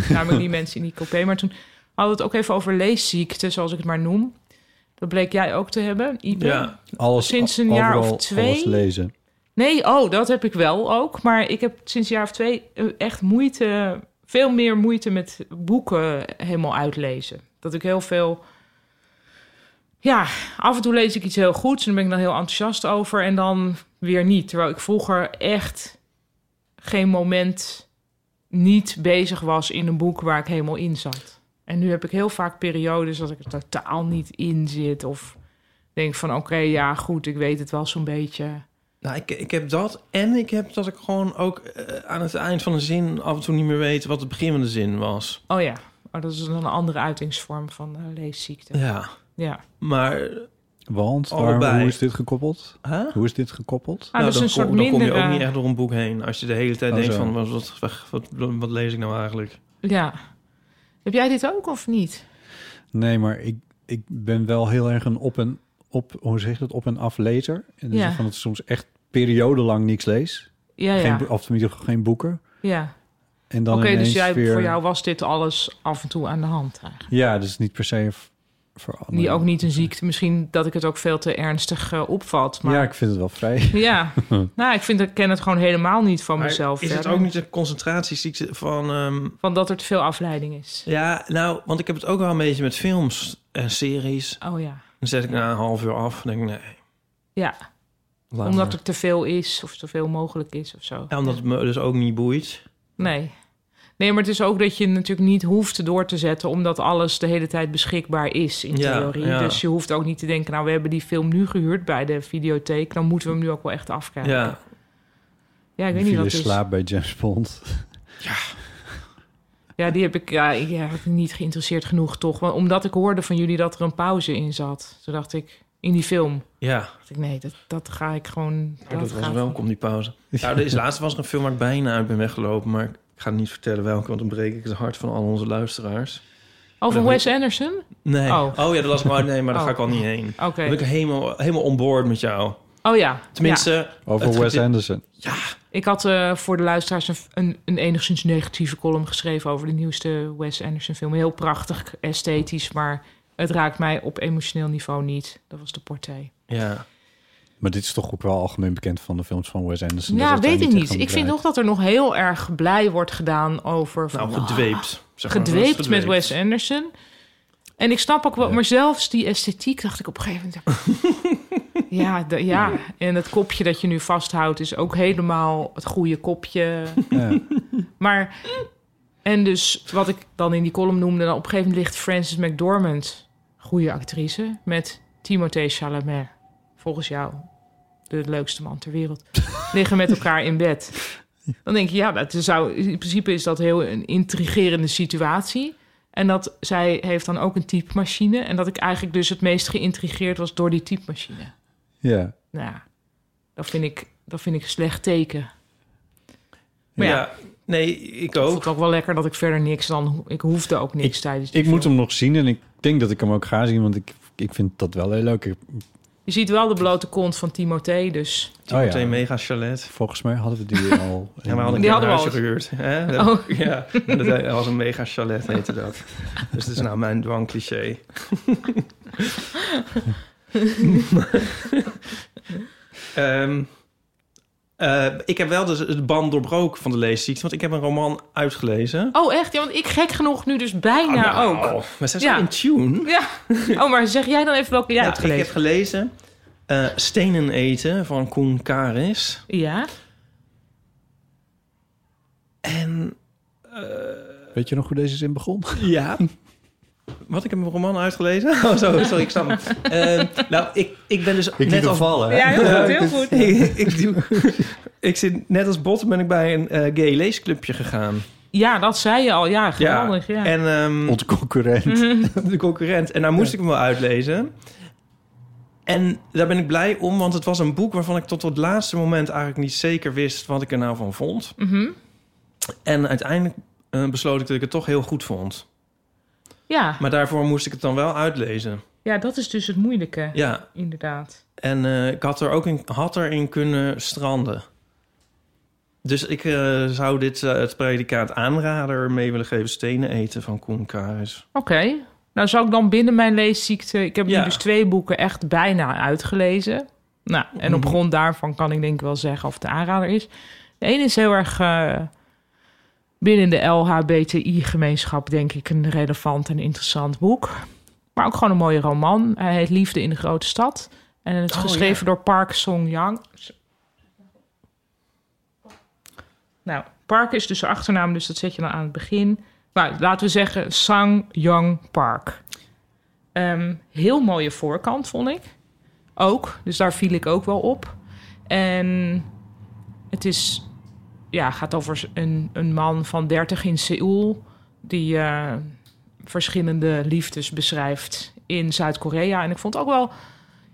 [SPEAKER 2] Namelijk die mensen in die coupé. Maar toen hadden we het ook even over leesziekte, zoals ik het maar noem. Dat bleek jij ook te hebben, Ipe.
[SPEAKER 3] Ja,
[SPEAKER 1] Alles,
[SPEAKER 2] Sinds een jaar
[SPEAKER 1] overal
[SPEAKER 2] of twee?
[SPEAKER 1] alles lezen.
[SPEAKER 2] Nee, oh, dat heb ik wel ook. Maar ik heb sinds een jaar of twee eh, echt moeite, veel meer moeite met boeken helemaal uitlezen. Dat ik heel veel. Ja, af en toe lees ik iets heel goeds en daar ben ik dan heel enthousiast over en dan weer niet. Terwijl ik vroeger echt geen moment niet bezig was in een boek waar ik helemaal in zat. En nu heb ik heel vaak periodes dat ik er totaal niet in zit of denk van oké, ja goed, ik weet het wel zo'n beetje.
[SPEAKER 3] nou, ik, ik heb dat en ik heb dat ik gewoon ook eh, aan het eind van een zin af en toe niet meer weet wat het begin van de zin was.
[SPEAKER 2] Oh ja, oh, dat is dan een andere uitingsvorm van eh, leesziekte.
[SPEAKER 3] Ja.
[SPEAKER 2] Ja.
[SPEAKER 3] Maar,
[SPEAKER 1] Want waar,
[SPEAKER 3] Allebei.
[SPEAKER 1] hoe is dit gekoppeld?
[SPEAKER 3] huh?
[SPEAKER 1] hoe is dit gekoppeld?
[SPEAKER 2] Ah,
[SPEAKER 3] nou,
[SPEAKER 2] dus
[SPEAKER 3] dan,
[SPEAKER 2] een
[SPEAKER 3] kom,
[SPEAKER 2] soort eh,
[SPEAKER 3] dan kom je
[SPEAKER 2] mindere-
[SPEAKER 3] ook niet echt door een boek heen. Als je de hele tijd
[SPEAKER 1] Oh,
[SPEAKER 3] denkt
[SPEAKER 1] zo.
[SPEAKER 3] van, wat, wat, wat, wat lees ik nou eigenlijk?
[SPEAKER 2] ja. Heb jij dit ook of niet?
[SPEAKER 1] Nee, maar ik, ik ben wel heel erg een op en op, hoe zeg je dat, op en aflezer. En dus
[SPEAKER 2] Ja.
[SPEAKER 1] van dat ik soms echt periodenlang niks lees.
[SPEAKER 2] Ja, ja.
[SPEAKER 1] Geen, bo- of in ieder geval geen boeken.
[SPEAKER 2] ja.
[SPEAKER 1] En dan
[SPEAKER 2] Oké,
[SPEAKER 1] ineens
[SPEAKER 2] dus jij,
[SPEAKER 1] weer,
[SPEAKER 2] voor jou was dit alles af en toe aan de hand eigenlijk.
[SPEAKER 1] Ja, dus niet per se v- voor anderen.
[SPEAKER 3] Oh,
[SPEAKER 2] Die ook niet een ziekte. Misschien dat ik het ook veel te ernstig eh, opvat. Maar
[SPEAKER 1] Ja, ik vind het wel vrij.
[SPEAKER 2] Ja, nou, ik vind ik ken het gewoon helemaal niet van
[SPEAKER 3] Maar
[SPEAKER 2] mezelf.
[SPEAKER 3] is het
[SPEAKER 2] verder.
[SPEAKER 3] ook niet een concentratieziekte van... ehm,
[SPEAKER 2] Van dat er te veel afleiding is.
[SPEAKER 3] ja, nou, want ik heb het ook wel een beetje met films en series.
[SPEAKER 2] Oh ja.
[SPEAKER 3] Dan zet ik na een half uur af en denk ik, nee.
[SPEAKER 2] Ja,
[SPEAKER 3] laat maar.
[SPEAKER 2] omdat er te veel is of te veel mogelijk is of zo.
[SPEAKER 3] Oh, Ja, omdat het me dus ook niet boeit.
[SPEAKER 2] Nee. Nee, maar het is ook dat je natuurlijk niet hoeft door te zetten... omdat alles de hele tijd beschikbaar is in
[SPEAKER 3] Ja,
[SPEAKER 2] theorie.
[SPEAKER 3] ja.
[SPEAKER 2] Dus je hoeft ook niet te denken... nou, we hebben die film nu gehuurd bij de videotheek... dan moeten we hem nu ook wel echt afkijken.
[SPEAKER 3] Ja,
[SPEAKER 2] Ja, ik
[SPEAKER 1] Ik
[SPEAKER 2] weet
[SPEAKER 1] viel
[SPEAKER 2] niet wat
[SPEAKER 1] in
[SPEAKER 2] het is.
[SPEAKER 1] slaap bij James Bond.
[SPEAKER 2] Ja, die heb ik ja, ik ja, heb ik niet geïnteresseerd genoeg, toch? Want omdat ik hoorde van jullie dat er een pauze in zat... toen dacht ik, in die film...
[SPEAKER 3] ja.
[SPEAKER 2] dacht ik, nee, dat, dat ga ik gewoon...
[SPEAKER 3] Nou, dat was
[SPEAKER 2] gaat-
[SPEAKER 3] welkom, die pauze. Nou, er is laatst was er een film waar ik bijna uit ben weggelopen... maar ik ga niet vertellen welke, want dan breek ik het hart van al onze luisteraars.
[SPEAKER 2] Oh, van
[SPEAKER 3] Dat-
[SPEAKER 2] Wes Anderson?
[SPEAKER 3] Nee.
[SPEAKER 2] Oh.
[SPEAKER 3] Oh, ja, dat was maar... Nee, maar daar
[SPEAKER 2] Oh.
[SPEAKER 3] ga ik al niet heen.
[SPEAKER 2] Oké.
[SPEAKER 3] Dan ben ik helemaal, helemaal on board met jou.
[SPEAKER 2] Oh ja.
[SPEAKER 3] Tenminste...
[SPEAKER 1] Over
[SPEAKER 3] het
[SPEAKER 1] Wes
[SPEAKER 3] gete-
[SPEAKER 1] Anderson.
[SPEAKER 2] Ja. Ik had eh, voor de luisteraars een, een, een enigszins negatieve column geschreven over de nieuwste Wes Anderson film. Heel prachtig, esthetisch, maar het raakt mij op emotioneel niveau niet. Dat was de portée.
[SPEAKER 3] Ja.
[SPEAKER 1] Maar dit is toch ook wel algemeen bekend van de films van Wes Anderson.
[SPEAKER 2] ja,
[SPEAKER 1] dat het daar
[SPEAKER 2] weet ik
[SPEAKER 1] echt
[SPEAKER 2] niet.
[SPEAKER 1] aan
[SPEAKER 2] Ik vind
[SPEAKER 1] draait.
[SPEAKER 2] toch dat er nog heel erg blij wordt gedaan over... van,
[SPEAKER 3] Nou,
[SPEAKER 2] "Ah,
[SPEAKER 3] gedweept. zeg maar.
[SPEAKER 2] gedweept
[SPEAKER 3] Dat is
[SPEAKER 2] met Wes Anderson. En ik snap ook wel,
[SPEAKER 1] Ja.
[SPEAKER 2] maar zelfs die esthetiek dacht ik op een gegeven moment. ja, de- ja, en het kopje dat je nu vasthoudt is ook helemaal het goede kopje.
[SPEAKER 1] Ja.
[SPEAKER 2] Maar, en dus wat ik dan in die column noemde, dan op een gegeven moment ligt Frances McDormand, goede actrice, met Timothée Chalamet, volgens jou de leukste man ter wereld, liggen met elkaar in bed. Dan denk je, ja, dat zou, in principe is dat heel een intrigerende situatie. En dat zij heeft dan ook een typemachine. En dat ik eigenlijk dus het meest geïntrigeerd was door die typemachine.
[SPEAKER 1] Ja.
[SPEAKER 2] Nou, ja, dat vind ik, dat vind ik een slecht teken. Maar
[SPEAKER 3] Ja.
[SPEAKER 2] ja,
[SPEAKER 3] Nee, ik
[SPEAKER 2] ik
[SPEAKER 3] ook.
[SPEAKER 2] vond het ook wel lekker dat ik verder niks dan... Ik hoefde ook niks tijdens die
[SPEAKER 1] Ik moet
[SPEAKER 2] film.
[SPEAKER 1] hem nog zien en ik denk dat ik hem ook ga zien, want ik, ik vind dat wel heel leuk. Ik-
[SPEAKER 2] Je ziet wel de blote kont van Timothée, dus...
[SPEAKER 1] Oh
[SPEAKER 3] Meteen
[SPEAKER 1] ja,
[SPEAKER 3] mega chalet.
[SPEAKER 1] volgens mij hadden we die al.
[SPEAKER 3] Ja, we hadden
[SPEAKER 2] Die
[SPEAKER 3] een
[SPEAKER 2] hadden
[SPEAKER 3] keer
[SPEAKER 2] we
[SPEAKER 3] een
[SPEAKER 2] al
[SPEAKER 3] huisje gehuurd. Hè?
[SPEAKER 2] Oh.
[SPEAKER 3] Ja, dat he- was een mega chalet, heette dat. Dus dat is nou mijn dwangcliché. Ehm eh, ik heb wel dus het band doorbroken van de leesziekte, want ik heb een roman uitgelezen. Ah, nou,
[SPEAKER 2] Oh, echt? Ja, want ik gek genoeg nu dus bijna ook.
[SPEAKER 3] We zijn
[SPEAKER 2] Ja.
[SPEAKER 3] zo in tune.
[SPEAKER 2] Ja. Oh, maar zeg jij dan even welke jij
[SPEAKER 3] Ja,
[SPEAKER 2] hebt
[SPEAKER 3] Nou, ik
[SPEAKER 2] gelezen.
[SPEAKER 3] heb gelezen eh, Stenen eten van Koen Karis.
[SPEAKER 2] Ja?
[SPEAKER 3] En
[SPEAKER 1] Weet je nog hoe deze zin begon?
[SPEAKER 3] Ja. Wat, ik heb een roman uitgelezen? Oh, zo, sorry, ik snap hem. Eh, nou, ik, ik ben dus net als...
[SPEAKER 1] vallen.
[SPEAKER 2] Ja, heel goed, heel goed.
[SPEAKER 3] ik, ik, doe- ik zit net als bot ben ik bij een eh, gay leesclubje gegaan.
[SPEAKER 2] Ja, dat zei je al. Ja, geweldig. Ja.
[SPEAKER 3] En ehm,
[SPEAKER 1] Onze concurrent.
[SPEAKER 2] Mhm.
[SPEAKER 3] de concurrent. En daar moest ik hem wel uitlezen. En daar ben ik blij om, want het was een boek waarvan ik tot het laatste moment eigenlijk niet zeker wist wat ik er nou van vond.
[SPEAKER 2] Mhm.
[SPEAKER 3] En uiteindelijk eh, besloot ik dat ik het toch heel goed vond.
[SPEAKER 2] ja.
[SPEAKER 3] Maar daarvoor moest ik het dan wel uitlezen.
[SPEAKER 2] ja, dat is dus het moeilijke.
[SPEAKER 3] Ja,
[SPEAKER 2] Inderdaad.
[SPEAKER 3] En eh, ik had er ook in, had erin kunnen stranden. Dus ik eh, zou dit eh, het predicaat aanrader mee willen geven. Stenen eten van Koen Karis.
[SPEAKER 2] Oké. Nou, zou ik dan binnen mijn leesziekte... Ik heb nu
[SPEAKER 3] Ja.
[SPEAKER 2] dus twee boeken echt bijna uitgelezen. Nou, en op
[SPEAKER 3] Mhm.
[SPEAKER 2] grond daarvan kan ik denk ik wel zeggen of het een aanrader is. De ene is heel erg eh, binnen de LHBTI-gemeenschap... denk ik een relevant en interessant boek. Maar ook gewoon een mooie roman. Hij heet Liefde in de Grote Stad. En het is
[SPEAKER 3] Oh,
[SPEAKER 2] geschreven door Park Song-yang. Nou, Park is dus de achternaam, dus dat zet je dan aan het begin. Nou, laten we zeggen Sang Young Park. Ehm, heel mooie voorkant, vond ik. Ook, dus daar viel ik ook wel op. En het is, ja, gaat over een, een man van 30 in Seoul... die eh, verschillende liefdes beschrijft in Zuid-Korea. En ik vond ook wel,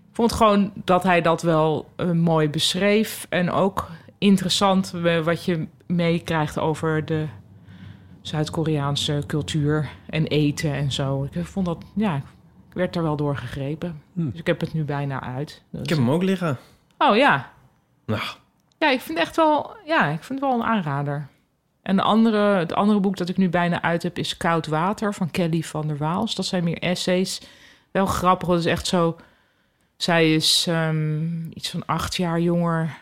[SPEAKER 2] ik vond gewoon dat hij dat wel eh, mooi beschreef. En ook interessant eh, wat je meekrijgt over de Zuid-Koreaanse cultuur en eten en zo. Ik eh, vond dat, ja, ik werd er wel door gegrepen.
[SPEAKER 1] Hmm.
[SPEAKER 2] Dus ik heb het nu bijna uit. Dus-
[SPEAKER 3] Ik heb hem ook liggen.
[SPEAKER 2] Oh ja,
[SPEAKER 3] Nou,
[SPEAKER 2] ja, ik vind echt wel, ja, ik vind het wel een aanrader. En de andere, het andere boek dat ik nu bijna uit heb is Koud Water van Kelly van der Waals. Dat zijn meer essays. Wel grappig, dat is echt zo. Zij is ehm, iets van acht jaar jonger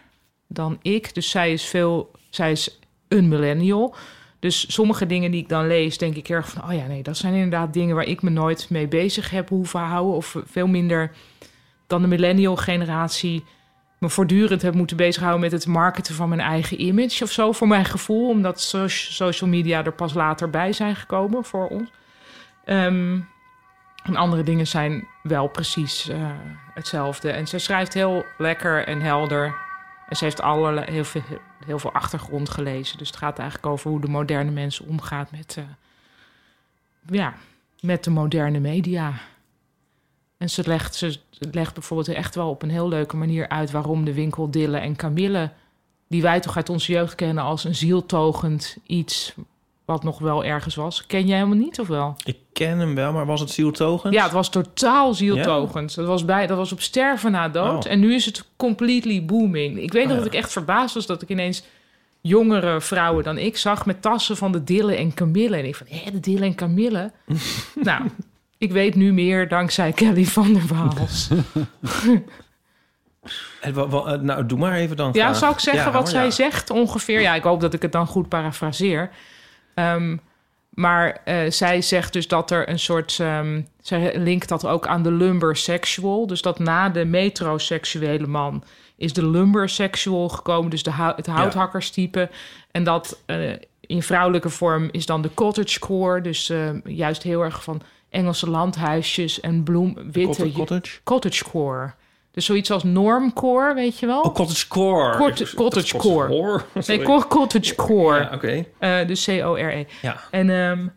[SPEAKER 2] dan ik. Dus zij is veel, zij is een millennial. Dus sommige dingen die ik dan lees, denk ik erg van: oh ja, nee, dat zijn inderdaad dingen waar ik me nooit mee bezig heb hoeven houden. Of veel minder dan de millennial-generatie me voortdurend heb moeten bezighouden met het marketen van mijn eigen image of zo, voor mijn gevoel. Omdat so- social media er pas later bij zijn gekomen voor ons. Ehm, en andere dingen zijn wel precies eh, hetzelfde. En ze schrijft heel lekker en helder. En ze heeft allerlei, heel, veel, heel veel achtergrond gelezen. Dus het gaat eigenlijk over hoe de moderne mens omgaat met, eh, ja, met de moderne media. En ze legt, ze legt bijvoorbeeld echt wel op een heel leuke manier uit waarom de winkel Dille en Camille, die wij toch uit onze jeugd kennen als een zieltogend iets wat nog wel ergens was, ken jij helemaal niet of wel?
[SPEAKER 3] ik ken hem wel, maar was het zieltogend?
[SPEAKER 2] Ja, het was totaal zieltogend. Dat, was bij, dat was op sterven na dood.
[SPEAKER 3] Oh.
[SPEAKER 2] En nu is het completely booming. Ik weet nog
[SPEAKER 3] Oh,
[SPEAKER 2] dat
[SPEAKER 3] ja.
[SPEAKER 2] ik echt verbaasd was dat ik ineens jongere vrouwen dan ik zag met tassen van de Dille en Camille. En ik van, hé, de Dille en Camille? nou, ik weet nu meer dankzij Kelly van der Waals.
[SPEAKER 3] Het wa- wa- eh, nou, doe maar even dan.
[SPEAKER 2] ja,
[SPEAKER 3] graag.
[SPEAKER 2] zou ik zeggen
[SPEAKER 3] Ja,
[SPEAKER 2] wat
[SPEAKER 3] hoor,
[SPEAKER 2] zij
[SPEAKER 3] ja.
[SPEAKER 2] zegt ongeveer? Ja, ik hoop dat ik het dan goed parafraseer. Ehm, maar eh, zij zegt dus dat er een soort... ehm, zij linkt dat ook aan de lumbersexual. Dus dat na de metroseksuele man is de lumbersexual gekomen. Dus de hou- het houthakkerstype. En dat eh, in vrouwelijke vorm is dan de cottagecore. Dus eh, juist heel erg van Engelse landhuisjes en bloem, witte...
[SPEAKER 3] Cottage, cottage.
[SPEAKER 2] cottagecore. Dus zoiets als normcore, weet je wel?
[SPEAKER 3] Oh, cottage core.
[SPEAKER 2] Cort-
[SPEAKER 3] Ik-
[SPEAKER 2] cottage
[SPEAKER 3] cottage
[SPEAKER 2] Nee,
[SPEAKER 3] Sorry.
[SPEAKER 2] cor- cottage core.
[SPEAKER 3] Ja, Oké,
[SPEAKER 2] Eh, dus C-O-R-E.
[SPEAKER 3] ja.
[SPEAKER 2] En, ehm,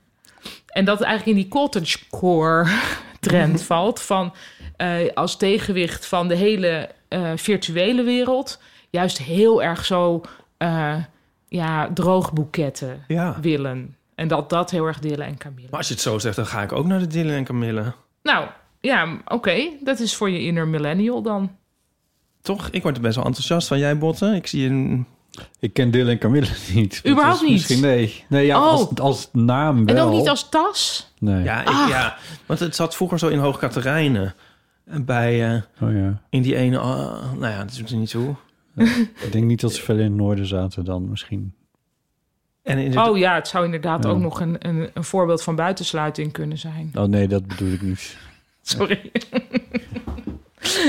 [SPEAKER 2] en dat het eigenlijk in die cottage core trend valt. Van, eh, als tegenwicht van de hele eh, virtuele wereld. Juist heel erg zo eh, ja, droogboeketten
[SPEAKER 3] ja.
[SPEAKER 2] willen. En dat dat heel erg Dille en Camille.
[SPEAKER 3] Maar als je het zo zegt, dan ga ik ook naar de Dylan en Camille.
[SPEAKER 2] Nou, ja, m- oké. Dat is voor je inner millennial dan.
[SPEAKER 3] Toch? Ik word er best wel enthousiast van. Jij, Botten? Ik zie een...
[SPEAKER 1] Ik ken Dylan en Camille niet. Dat
[SPEAKER 2] Überhaupt
[SPEAKER 1] is
[SPEAKER 2] niet?
[SPEAKER 1] Misschien nee. Nee, ja,
[SPEAKER 2] Oh.
[SPEAKER 1] als, als naam wel.
[SPEAKER 2] En ook niet als tas.
[SPEAKER 1] Nee.
[SPEAKER 3] Ja, ik,
[SPEAKER 2] Ah.
[SPEAKER 3] ja, want het zat vroeger zo in Hoog Catharijnen. En Bij, eh,
[SPEAKER 1] Oh, ja.
[SPEAKER 3] in die ene... ah, nou ja, dat doet er niet toe.
[SPEAKER 1] Ik denk niet dat ze verder in het noorden zaten dan misschien.
[SPEAKER 3] En in de,
[SPEAKER 2] Oh ja, het zou inderdaad
[SPEAKER 1] Ja.
[SPEAKER 2] ook nog een, een, een voorbeeld van buitensluiting kunnen zijn.
[SPEAKER 1] Oh nee, dat bedoel ik niet.
[SPEAKER 2] Sorry.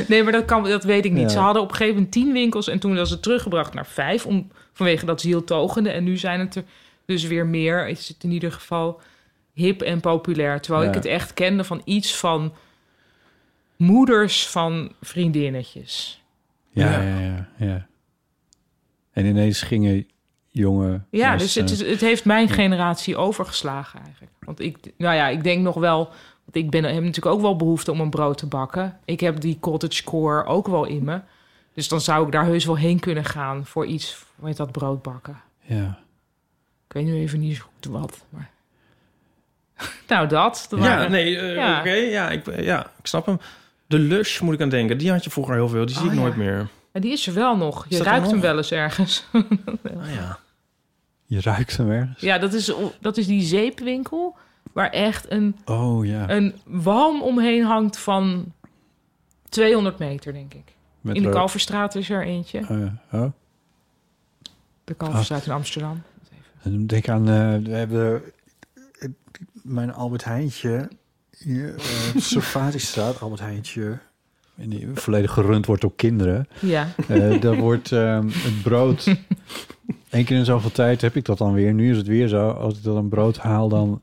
[SPEAKER 2] nee, maar dat, kan, dat weet ik niet.
[SPEAKER 1] Ja.
[SPEAKER 2] Ze hadden op een gegeven moment tien winkels en toen was het teruggebracht naar vijf om, vanwege dat zieltogende. En nu zijn het er dus weer meer. Is het in ieder geval hip en populair. Terwijl
[SPEAKER 1] Ja.
[SPEAKER 2] ik het echt kende van iets van moeders van vriendinnetjes.
[SPEAKER 1] Ja, ja,
[SPEAKER 3] Ja.
[SPEAKER 1] ja. ja. En ineens gingen jonge...
[SPEAKER 2] Ja, dus
[SPEAKER 1] mensen-
[SPEAKER 2] het,
[SPEAKER 3] eh,
[SPEAKER 2] is- het heeft mijn generatie overgeslagen eigenlijk. Want ik, nou ja, ik denk nog wel. Want ik ben, heb natuurlijk ook wel behoefte om een brood te bakken. Ik heb die cottagecore ook wel in me. Dus dan zou ik daar heus wel heen kunnen gaan voor iets met dat brood bakken.
[SPEAKER 1] Ja.
[SPEAKER 2] Ik weet nu even niet zo goed wat. Maar... nou, dat. dat
[SPEAKER 3] ja,
[SPEAKER 2] waren-
[SPEAKER 3] nee, eh,
[SPEAKER 2] Ja.
[SPEAKER 3] oké. ja, ik, ja, ik snap hem. De Lush moet ik aan denken. Die had je vroeger heel veel. Die zie
[SPEAKER 2] Oh,
[SPEAKER 3] ik nooit
[SPEAKER 2] ja.
[SPEAKER 3] meer.
[SPEAKER 2] Maar die is er wel nog. Je
[SPEAKER 3] dat er
[SPEAKER 2] ruikt hem
[SPEAKER 3] nog?
[SPEAKER 2] wel eens ergens.
[SPEAKER 3] Ah, ja.
[SPEAKER 1] Je ruikt hem ergens.
[SPEAKER 2] ja, dat is, dat is die zeepwinkel. Waar echt een,
[SPEAKER 1] Oh ja.
[SPEAKER 2] een walm omheen hangt van 200 meter, denk ik.
[SPEAKER 1] Met
[SPEAKER 2] In de
[SPEAKER 1] rood.
[SPEAKER 2] Kalverstraat is er eentje.
[SPEAKER 1] Oh, ja. oh.
[SPEAKER 2] De
[SPEAKER 1] Ah.
[SPEAKER 2] Kalverstraat in Amsterdam.
[SPEAKER 1] En Denk aan, eh, we hebben eh, mijn Albert Heintje, hier, eh, Safaristraat, Albert Heintje, en die volledig gerund wordt door kinderen.
[SPEAKER 2] Ja.
[SPEAKER 1] Eh, daar wordt ehm, het brood, Eén keer in zoveel tijd heb ik dat dan weer. Nu is het weer zo, als ik dan een brood haal, dan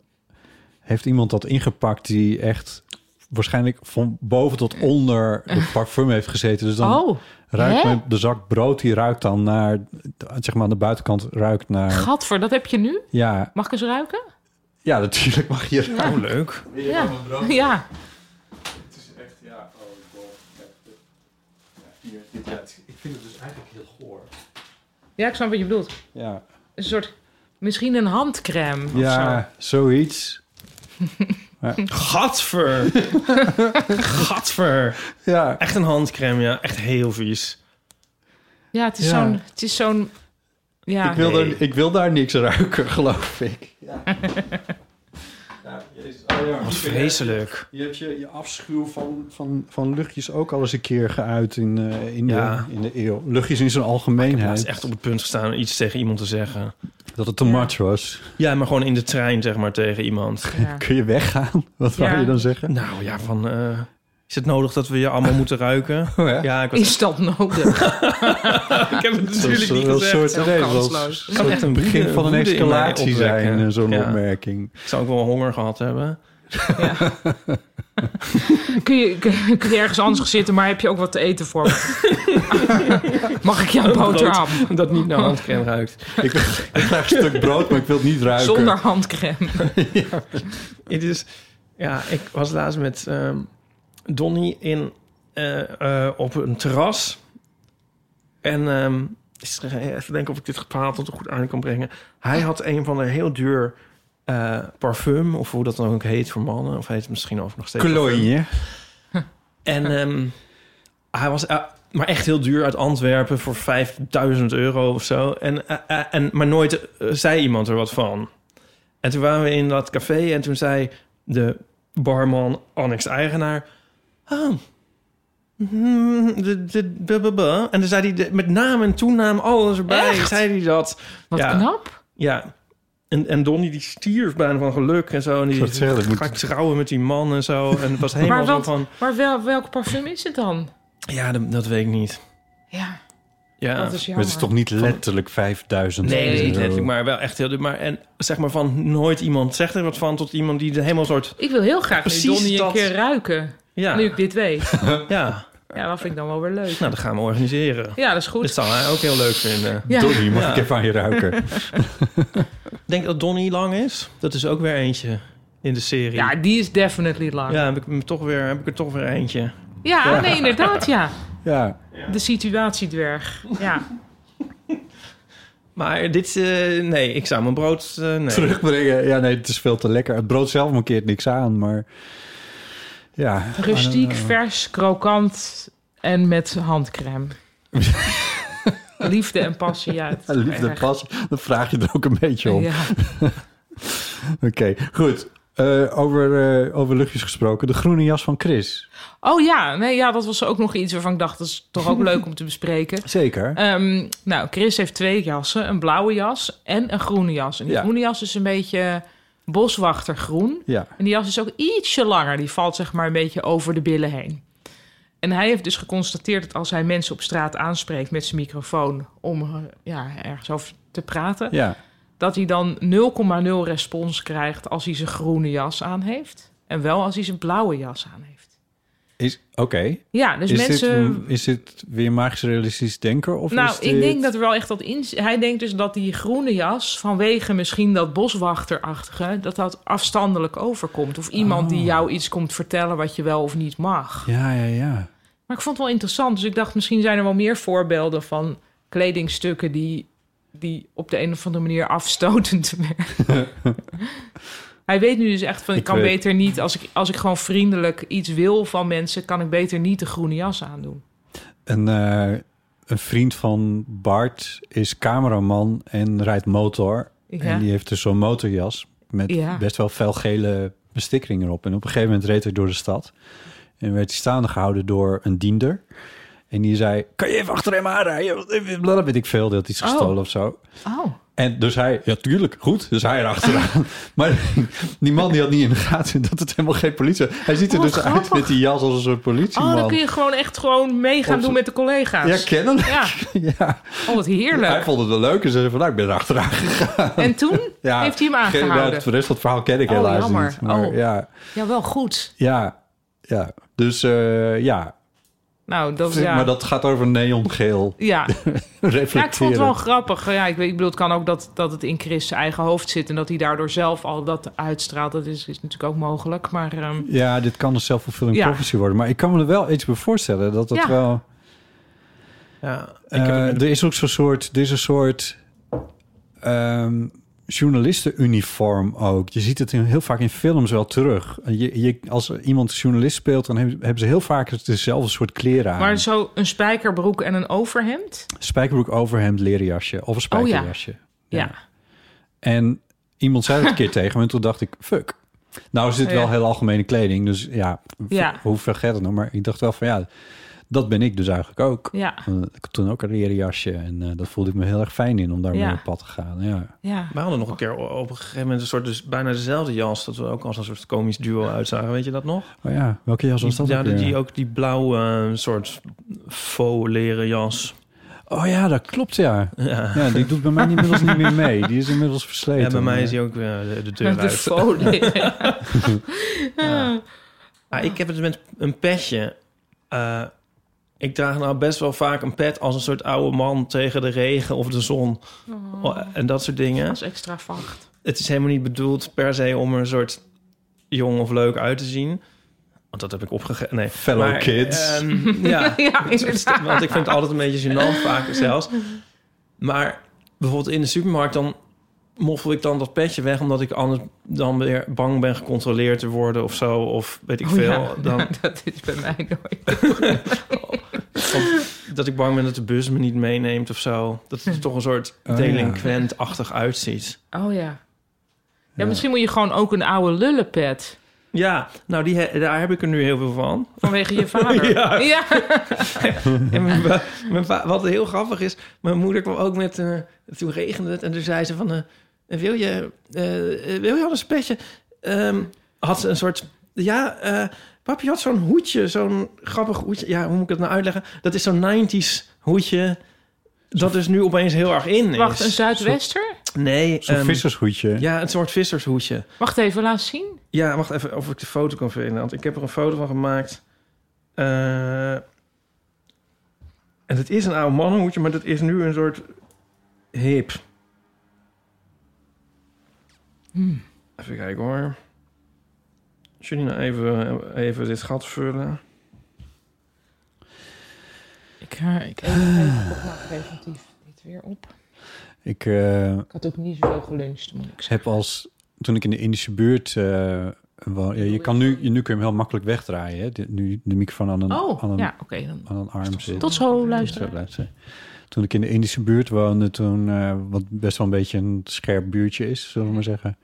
[SPEAKER 1] heeft iemand dat ingepakt die echt waarschijnlijk van boven tot onder de parfum heeft gezeten. Dus dan
[SPEAKER 2] oh,
[SPEAKER 1] ruikt
[SPEAKER 2] hè?
[SPEAKER 1] mijn- de zak brood, die ruikt dan naar, zeg maar aan de buitenkant ruikt naar,
[SPEAKER 2] gadver, dat heb je nu?
[SPEAKER 1] ja,
[SPEAKER 2] Mag ik eens ruiken?
[SPEAKER 1] ja, natuurlijk mag je.
[SPEAKER 3] Oh, leuk.
[SPEAKER 2] Ja. Ja.
[SPEAKER 3] oh, hier dit uit. Ik vind het dus eigenlijk heel goor.
[SPEAKER 2] Ja, ik snap wat je bedoelt.
[SPEAKER 1] Ja,
[SPEAKER 2] Een soort, misschien een handcrème of zo.
[SPEAKER 1] ja zoiets.
[SPEAKER 3] Gadver! Gadver!
[SPEAKER 1] Ja,
[SPEAKER 3] Echt een handcrème, ja. Echt heel vies.
[SPEAKER 2] Ja, het
[SPEAKER 1] Ja.
[SPEAKER 2] is zo'n, het is zo'n, ja.
[SPEAKER 1] ik, wil
[SPEAKER 3] Nee.
[SPEAKER 1] daar, ik wil daar niks ruiken, geloof ik.
[SPEAKER 3] Wat vreselijk.
[SPEAKER 1] Je hebt je, je afschuw van, van, van luchtjes ook al eens een keer geuit in, eh, in,
[SPEAKER 3] Ja.
[SPEAKER 1] de, in de eeuw. Luchtjes in zijn
[SPEAKER 3] Hij is
[SPEAKER 1] algemeenheid.
[SPEAKER 3] echt op het punt gestaan om iets tegen iemand te zeggen.
[SPEAKER 1] Dat het te much was.
[SPEAKER 3] Ja, maar gewoon in de trein, zeg maar, tegen iemand.
[SPEAKER 2] ja.
[SPEAKER 1] Kun je weggaan? Wat
[SPEAKER 2] Ja.
[SPEAKER 1] wou je dan zeggen?
[SPEAKER 3] Nou ja, van... eh, is het nodig dat we je allemaal moeten ruiken?
[SPEAKER 1] Oh ja.
[SPEAKER 3] Ja, ik, was,
[SPEAKER 2] Is dat nodig?
[SPEAKER 3] ik heb
[SPEAKER 1] Dat
[SPEAKER 3] het natuurlijk
[SPEAKER 1] is
[SPEAKER 3] niet
[SPEAKER 1] wel een
[SPEAKER 3] gezegd.
[SPEAKER 1] soort nee, dat was
[SPEAKER 2] kansloos.
[SPEAKER 1] een soort
[SPEAKER 3] Echt een
[SPEAKER 1] begin
[SPEAKER 3] woede-
[SPEAKER 1] van een
[SPEAKER 3] woede in mij
[SPEAKER 1] escalatie zijn,
[SPEAKER 3] opwekken.
[SPEAKER 1] eh, zo'n
[SPEAKER 3] Ja.
[SPEAKER 1] opmerking.
[SPEAKER 3] Ik zou ook wel honger gehad hebben.
[SPEAKER 2] kun, je, kun, kun je ergens anders gaan zitten, maar heb je ook wat te eten voor me? Mag ik jouw boterham?
[SPEAKER 3] Dat niet naar handcrème ruikt.
[SPEAKER 1] Ik, wil- ik krijg een stuk brood, maar ik wil het niet ruiken.
[SPEAKER 2] Zonder handcrème.
[SPEAKER 3] Het is, ja, ik was laatst met ehm Donnie in, eh, eh, op een terras. En ehm, is er- even denken of ik dit verhaal tot een goed einde kan brengen. Hij had een van de heel duur eh, parfum, of hoe dat dan ook heet voor mannen. Of heet het misschien over nog steeds parfum.
[SPEAKER 1] Cologne.
[SPEAKER 3] En ehm, hij was eh, maar echt heel duur uit Antwerpen voor 5000 euro of zo. En, eh, eh, en, maar nooit eh, zei iemand er wat van. En toen waren we in dat café en toen zei de barman, Annex eigenaar... Oh, hmm, de, de, bu- bu- bu." En dan zei hij de- met naam en toenaam alles erbij.
[SPEAKER 2] Echt?
[SPEAKER 3] Zei hij dat.
[SPEAKER 2] Wat
[SPEAKER 3] Ja.
[SPEAKER 2] knap.
[SPEAKER 3] Ja. En, en Donnie die stierf bijna van geluk en zo. En
[SPEAKER 1] Ik
[SPEAKER 3] die
[SPEAKER 1] zou het zeggen, dat moet-
[SPEAKER 3] ga ik trouwen met die man en zo. En het was helemaal
[SPEAKER 2] Maar,
[SPEAKER 3] zo
[SPEAKER 2] wat,
[SPEAKER 3] van...
[SPEAKER 2] maar wel, welk parfum is het dan?
[SPEAKER 3] Ja, dat, dat weet ik niet.
[SPEAKER 2] Ja,
[SPEAKER 3] Ja.
[SPEAKER 2] dat is jammer.
[SPEAKER 1] Maar het is toch niet letterlijk 5000
[SPEAKER 3] Nee,
[SPEAKER 1] euro?
[SPEAKER 3] niet letterlijk, maar wel echt heel... duur. Maar en zeg maar van nooit iemand zegt er wat van... tot iemand die er helemaal soort...
[SPEAKER 2] Ik wil heel graag die
[SPEAKER 3] Precies
[SPEAKER 2] Donnie
[SPEAKER 3] dat.
[SPEAKER 2] een keer ruiken.
[SPEAKER 3] Ja,
[SPEAKER 2] Nu ik dit weet.
[SPEAKER 3] ja.
[SPEAKER 2] Ja, dat vind ik dan wel weer leuk.
[SPEAKER 3] nou, dat gaan we organiseren.
[SPEAKER 2] Ja, dat is goed.
[SPEAKER 3] Dat zal hij ook heel leuk vinden.
[SPEAKER 2] Ja.
[SPEAKER 1] Donnie, mag
[SPEAKER 3] Ja.
[SPEAKER 1] ik even aan je ruiken?
[SPEAKER 3] Ik denk dat Donnie lang is. Dat is ook weer eentje in de serie.
[SPEAKER 2] ja, die is definitely lang. Ja,
[SPEAKER 3] Ja, heb ik, hem toch weer, heb ik er toch weer eentje.
[SPEAKER 2] nee, inderdaad, ja.
[SPEAKER 1] Ja.
[SPEAKER 2] De situatiedwerg. Ja.
[SPEAKER 3] Maar dit... eh, nee, ik zou mijn brood... eh, nee.
[SPEAKER 1] terugbrengen. Ja, nee, het is veel te lekker. Het brood zelf mankeert niks aan, maar... Ja.
[SPEAKER 2] Rustiek, vers, krokant en met handcrème. Liefde en passie, ja. het is
[SPEAKER 1] Liefde
[SPEAKER 2] erg.
[SPEAKER 1] pas, dan vraag je er ook een beetje om.
[SPEAKER 2] Ja.
[SPEAKER 1] Oké, goed. Eh, over, eh, over luchtjes gesproken. De groene jas van Chris.
[SPEAKER 2] Oh ja, nee, ja, dat was ook nog iets waarvan ik dacht... dat is toch ook leuk om te bespreken.
[SPEAKER 1] Zeker.
[SPEAKER 3] Eh.
[SPEAKER 2] Ehm, nou, Chris heeft twee jassen. Een blauwe jas en een groene jas. En die
[SPEAKER 1] Ja.
[SPEAKER 2] groene jas is een beetje boswachtergroen.
[SPEAKER 1] ja.
[SPEAKER 2] En die jas is ook ietsje langer. Die valt zeg maar een beetje over de billen heen. En hij heeft dus geconstateerd dat als hij mensen op straat aanspreekt met zijn microfoon om eh, ja, ergens over te praten,
[SPEAKER 1] Ja.
[SPEAKER 2] dat hij dan 0,0 respons krijgt als hij zijn groene jas aan heeft. En wel als hij zijn blauwe jas aan heeft.
[SPEAKER 1] Is, Oké.
[SPEAKER 2] Ja, dus
[SPEAKER 1] is,
[SPEAKER 2] mensen.
[SPEAKER 1] dit, is dit weer magisch realistisch denker? Of
[SPEAKER 2] nou,
[SPEAKER 1] is
[SPEAKER 2] ik
[SPEAKER 1] dit-
[SPEAKER 2] denk dat er wel echt dat in. Hij denkt dus dat die groene jas, vanwege misschien dat boswachterachtige, dat dat afstandelijk overkomt. Of iemand
[SPEAKER 1] Oh.
[SPEAKER 2] die jou iets komt vertellen wat je wel of niet mag.
[SPEAKER 1] Ja, ja, ja.
[SPEAKER 2] Maar ik vond het wel interessant. Dus ik dacht, misschien zijn er wel meer voorbeelden van kledingstukken die, die op de een of andere manier afstotend werken. Hij weet nu dus echt van, ik,
[SPEAKER 1] Ik
[SPEAKER 2] kan
[SPEAKER 1] weet-
[SPEAKER 2] beter niet, als ik, als ik gewoon vriendelijk iets wil van mensen, kan ik beter niet de groene jas aandoen.
[SPEAKER 1] Een, eh, een vriend van Bart is cameraman en rijdt motor. En
[SPEAKER 2] Ja.
[SPEAKER 1] die heeft dus zo'n motorjas met
[SPEAKER 2] Ja.
[SPEAKER 1] best wel fel gele bestikkering erop. En op een gegeven moment reed hij door de stad. En werd hij staande gehouden door een diender. En die zei, kan je even achter hem aanrijden? Dat weet ik veel, dat is
[SPEAKER 2] Oh.
[SPEAKER 1] gestolen of zo.
[SPEAKER 2] Oh,
[SPEAKER 1] En dus hij, ja tuurlijk, goed. Dus hij erachteraan. maar die man die had niet in de gaten dat het helemaal geen politie was. Hij ziet er
[SPEAKER 2] Oh,
[SPEAKER 1] dus uit
[SPEAKER 2] grappig.
[SPEAKER 1] met die jas als een soort politieman.
[SPEAKER 2] oh dan kun je gewoon echt gewoon meegaan
[SPEAKER 1] Op-
[SPEAKER 2] doen met de
[SPEAKER 1] Ja,
[SPEAKER 2] collega's.
[SPEAKER 1] kennelijk.
[SPEAKER 2] Ja,
[SPEAKER 1] Ja.
[SPEAKER 2] oh wat
[SPEAKER 1] Hij
[SPEAKER 2] heerlijk.
[SPEAKER 1] vond het wel leuk en zei van, nou, ik ben erachteraan gegaan.
[SPEAKER 2] En toen
[SPEAKER 1] Ja,
[SPEAKER 2] heeft hij hem
[SPEAKER 1] geen- nou,
[SPEAKER 2] aangehouden.
[SPEAKER 1] het rest van het verhaal ken ik
[SPEAKER 2] Oh,
[SPEAKER 1] helaas
[SPEAKER 2] jammer.
[SPEAKER 1] niet. Maar
[SPEAKER 2] Oh.
[SPEAKER 1] ja,
[SPEAKER 2] Ja, wel goed.
[SPEAKER 1] ja, ja. Dus eh, ja.
[SPEAKER 2] Nou, dat ja.
[SPEAKER 1] maar dat gaat over neongeel
[SPEAKER 2] ja,
[SPEAKER 1] reflecteren.
[SPEAKER 2] Ja, ik vond het wel grappig. Ja, ik, weet- ik bedoel, het kan ook dat, dat het in Chris zijn eigen hoofd zit... en dat hij daardoor zelf al dat uitstraalt. Dat is, is natuurlijk ook mogelijk, maar... ehm,
[SPEAKER 1] Ja, dit kan een zelfvervulling
[SPEAKER 2] Ja.
[SPEAKER 1] prophecy worden. Maar ik kan me er wel iets bij voorstellen dat het
[SPEAKER 2] Ja.
[SPEAKER 1] wel...
[SPEAKER 3] Ja, ik
[SPEAKER 1] Eh,
[SPEAKER 3] heb hem in de-
[SPEAKER 1] er is ook zo'n soort, er is een soort ehm, journalistenuniform ook. Je ziet het in, heel vaak in films wel terug. Je, je, als er iemand journalist speelt, dan hebben, hebben ze heel vaak dezelfde soort kleren aan.
[SPEAKER 2] Maar zo een spijkerbroek en een overhemd?
[SPEAKER 1] Spijkerbroek, overhemd, leren jasje of een
[SPEAKER 2] Oh, ja.
[SPEAKER 1] spijkerjasje.
[SPEAKER 2] Ja.
[SPEAKER 1] En iemand zei dat een keer tegen me en toen dacht ik, fuck. Nou is dit
[SPEAKER 2] Ja.
[SPEAKER 1] wel heel algemene kleding, dus ja,
[SPEAKER 2] Ja.
[SPEAKER 1] ja. hoe vergeet het nou? Maar ik dacht wel van ja, dat ben ik dus eigenlijk ook.
[SPEAKER 2] Ja.
[SPEAKER 1] Eh, Ik had toen ook een leren jasje en eh, dat voelde ik me heel erg fijn in om daarmee
[SPEAKER 2] Ja.
[SPEAKER 1] op pad te gaan. Ja.
[SPEAKER 2] Ja.
[SPEAKER 3] we hadden nog een keer o- op een gegeven moment een soort dus bijna dezelfde jas. Dat we ook als een soort komisch duo uitzagen. Weet je dat nog?
[SPEAKER 1] Oh ja, welke jas was dat?
[SPEAKER 3] ja,
[SPEAKER 1] ook weer?
[SPEAKER 3] die ook die blauwe eh, soort faux leren jas.
[SPEAKER 1] Oh ja, dat klopt ja. Ja, die doet bij mij inmiddels niet meer mee. Die is inmiddels versleten.
[SPEAKER 3] Ja, bij mij is die ook weer eh, de, de deur
[SPEAKER 2] de
[SPEAKER 3] uit.
[SPEAKER 2] folie.
[SPEAKER 3] Ah, ik heb het met een petje. Eh, ik draag nou best wel vaak een pet als een soort oude man tegen de regen of de zon. Oh, En dat soort dingen.
[SPEAKER 2] Als extra vacht.
[SPEAKER 3] Het is helemaal niet bedoeld per se om er een soort jong of leuk uit te zien. Want dat heb ik opgegeven. Nee.
[SPEAKER 1] Fellow
[SPEAKER 3] Maar,
[SPEAKER 1] kids.
[SPEAKER 3] ehm, ja.
[SPEAKER 2] Ja, inderdaad.
[SPEAKER 3] Want ik vind het altijd een beetje gênant vaak zelfs. Maar bijvoorbeeld in de supermarkt dan moffel ik dan dat petje weg... omdat ik anders dan weer bang ben gecontroleerd te worden of zo. Of weet ik
[SPEAKER 2] Oh,
[SPEAKER 3] veel.
[SPEAKER 2] ja.
[SPEAKER 3] Dan,
[SPEAKER 2] Dat is bij mij nooit.
[SPEAKER 3] Of dat ik bang ben dat de bus me niet meeneemt of zo. Dat het er toch een soort
[SPEAKER 1] Oh,
[SPEAKER 3] delinquent-achtig uitziet.
[SPEAKER 2] Oh ja. ja. misschien moet je gewoon ook een oude lullenpet.
[SPEAKER 3] Ja, nou die he- daar heb ik er nu heel veel van.
[SPEAKER 2] Vanwege je vader.
[SPEAKER 3] Ja.
[SPEAKER 2] ja.
[SPEAKER 3] En mijn va- mijn va- wat heel grappig is, mijn moeder kwam ook met... eh, toen regende het en toen zei ze van... eh, wil, je, eh, eh, wil je al een petje? Ehm, had ze een soort... Ja, eh papi had zo'n hoedje, zo'n grappig hoedje. Ja, hoe moet ik het nou uitleggen? Dat is zo'n 90s hoedje... Dat is nu opeens heel erg in. Is.
[SPEAKER 2] Wacht, een Zuidwester?
[SPEAKER 3] Nee,
[SPEAKER 1] Zo'n
[SPEAKER 3] ehm,
[SPEAKER 1] vissersgoedje.
[SPEAKER 3] Ja, een soort vissershoedje.
[SPEAKER 2] Wacht even, laat zien.
[SPEAKER 3] Ja, wacht even of ik de foto kan vinden. Want ik heb er een foto van gemaakt. Eh, en het is een oude mannenhoedje, maar dat is nu een soort hip. Even kijken hoor. Als jullie nou even, even dit gat vullen.
[SPEAKER 2] Ik, eh, ik eet nog even op, maar preventief niet weer op.
[SPEAKER 1] Ik... eh,
[SPEAKER 2] Ik had ook niet zoveel geluncht, moet ik
[SPEAKER 1] Ik heb als toen ik in de Indische buurt eh woon- ja, je kan nu, je- nu kun je hem heel makkelijk wegdraaien. Hè? De- nu de microfoon aan een,
[SPEAKER 2] zeggen.
[SPEAKER 1] aan
[SPEAKER 2] Oh,
[SPEAKER 1] een,
[SPEAKER 2] ja, oké. dan
[SPEAKER 1] aan een arm zit.
[SPEAKER 2] Tot zo,
[SPEAKER 1] Zo
[SPEAKER 2] luisteren.
[SPEAKER 1] blijft ze. Toen ik in de Indische buurt woonde, toen, eh, wat best wel een beetje een scherp buurtje is, zullen we maar zeggen.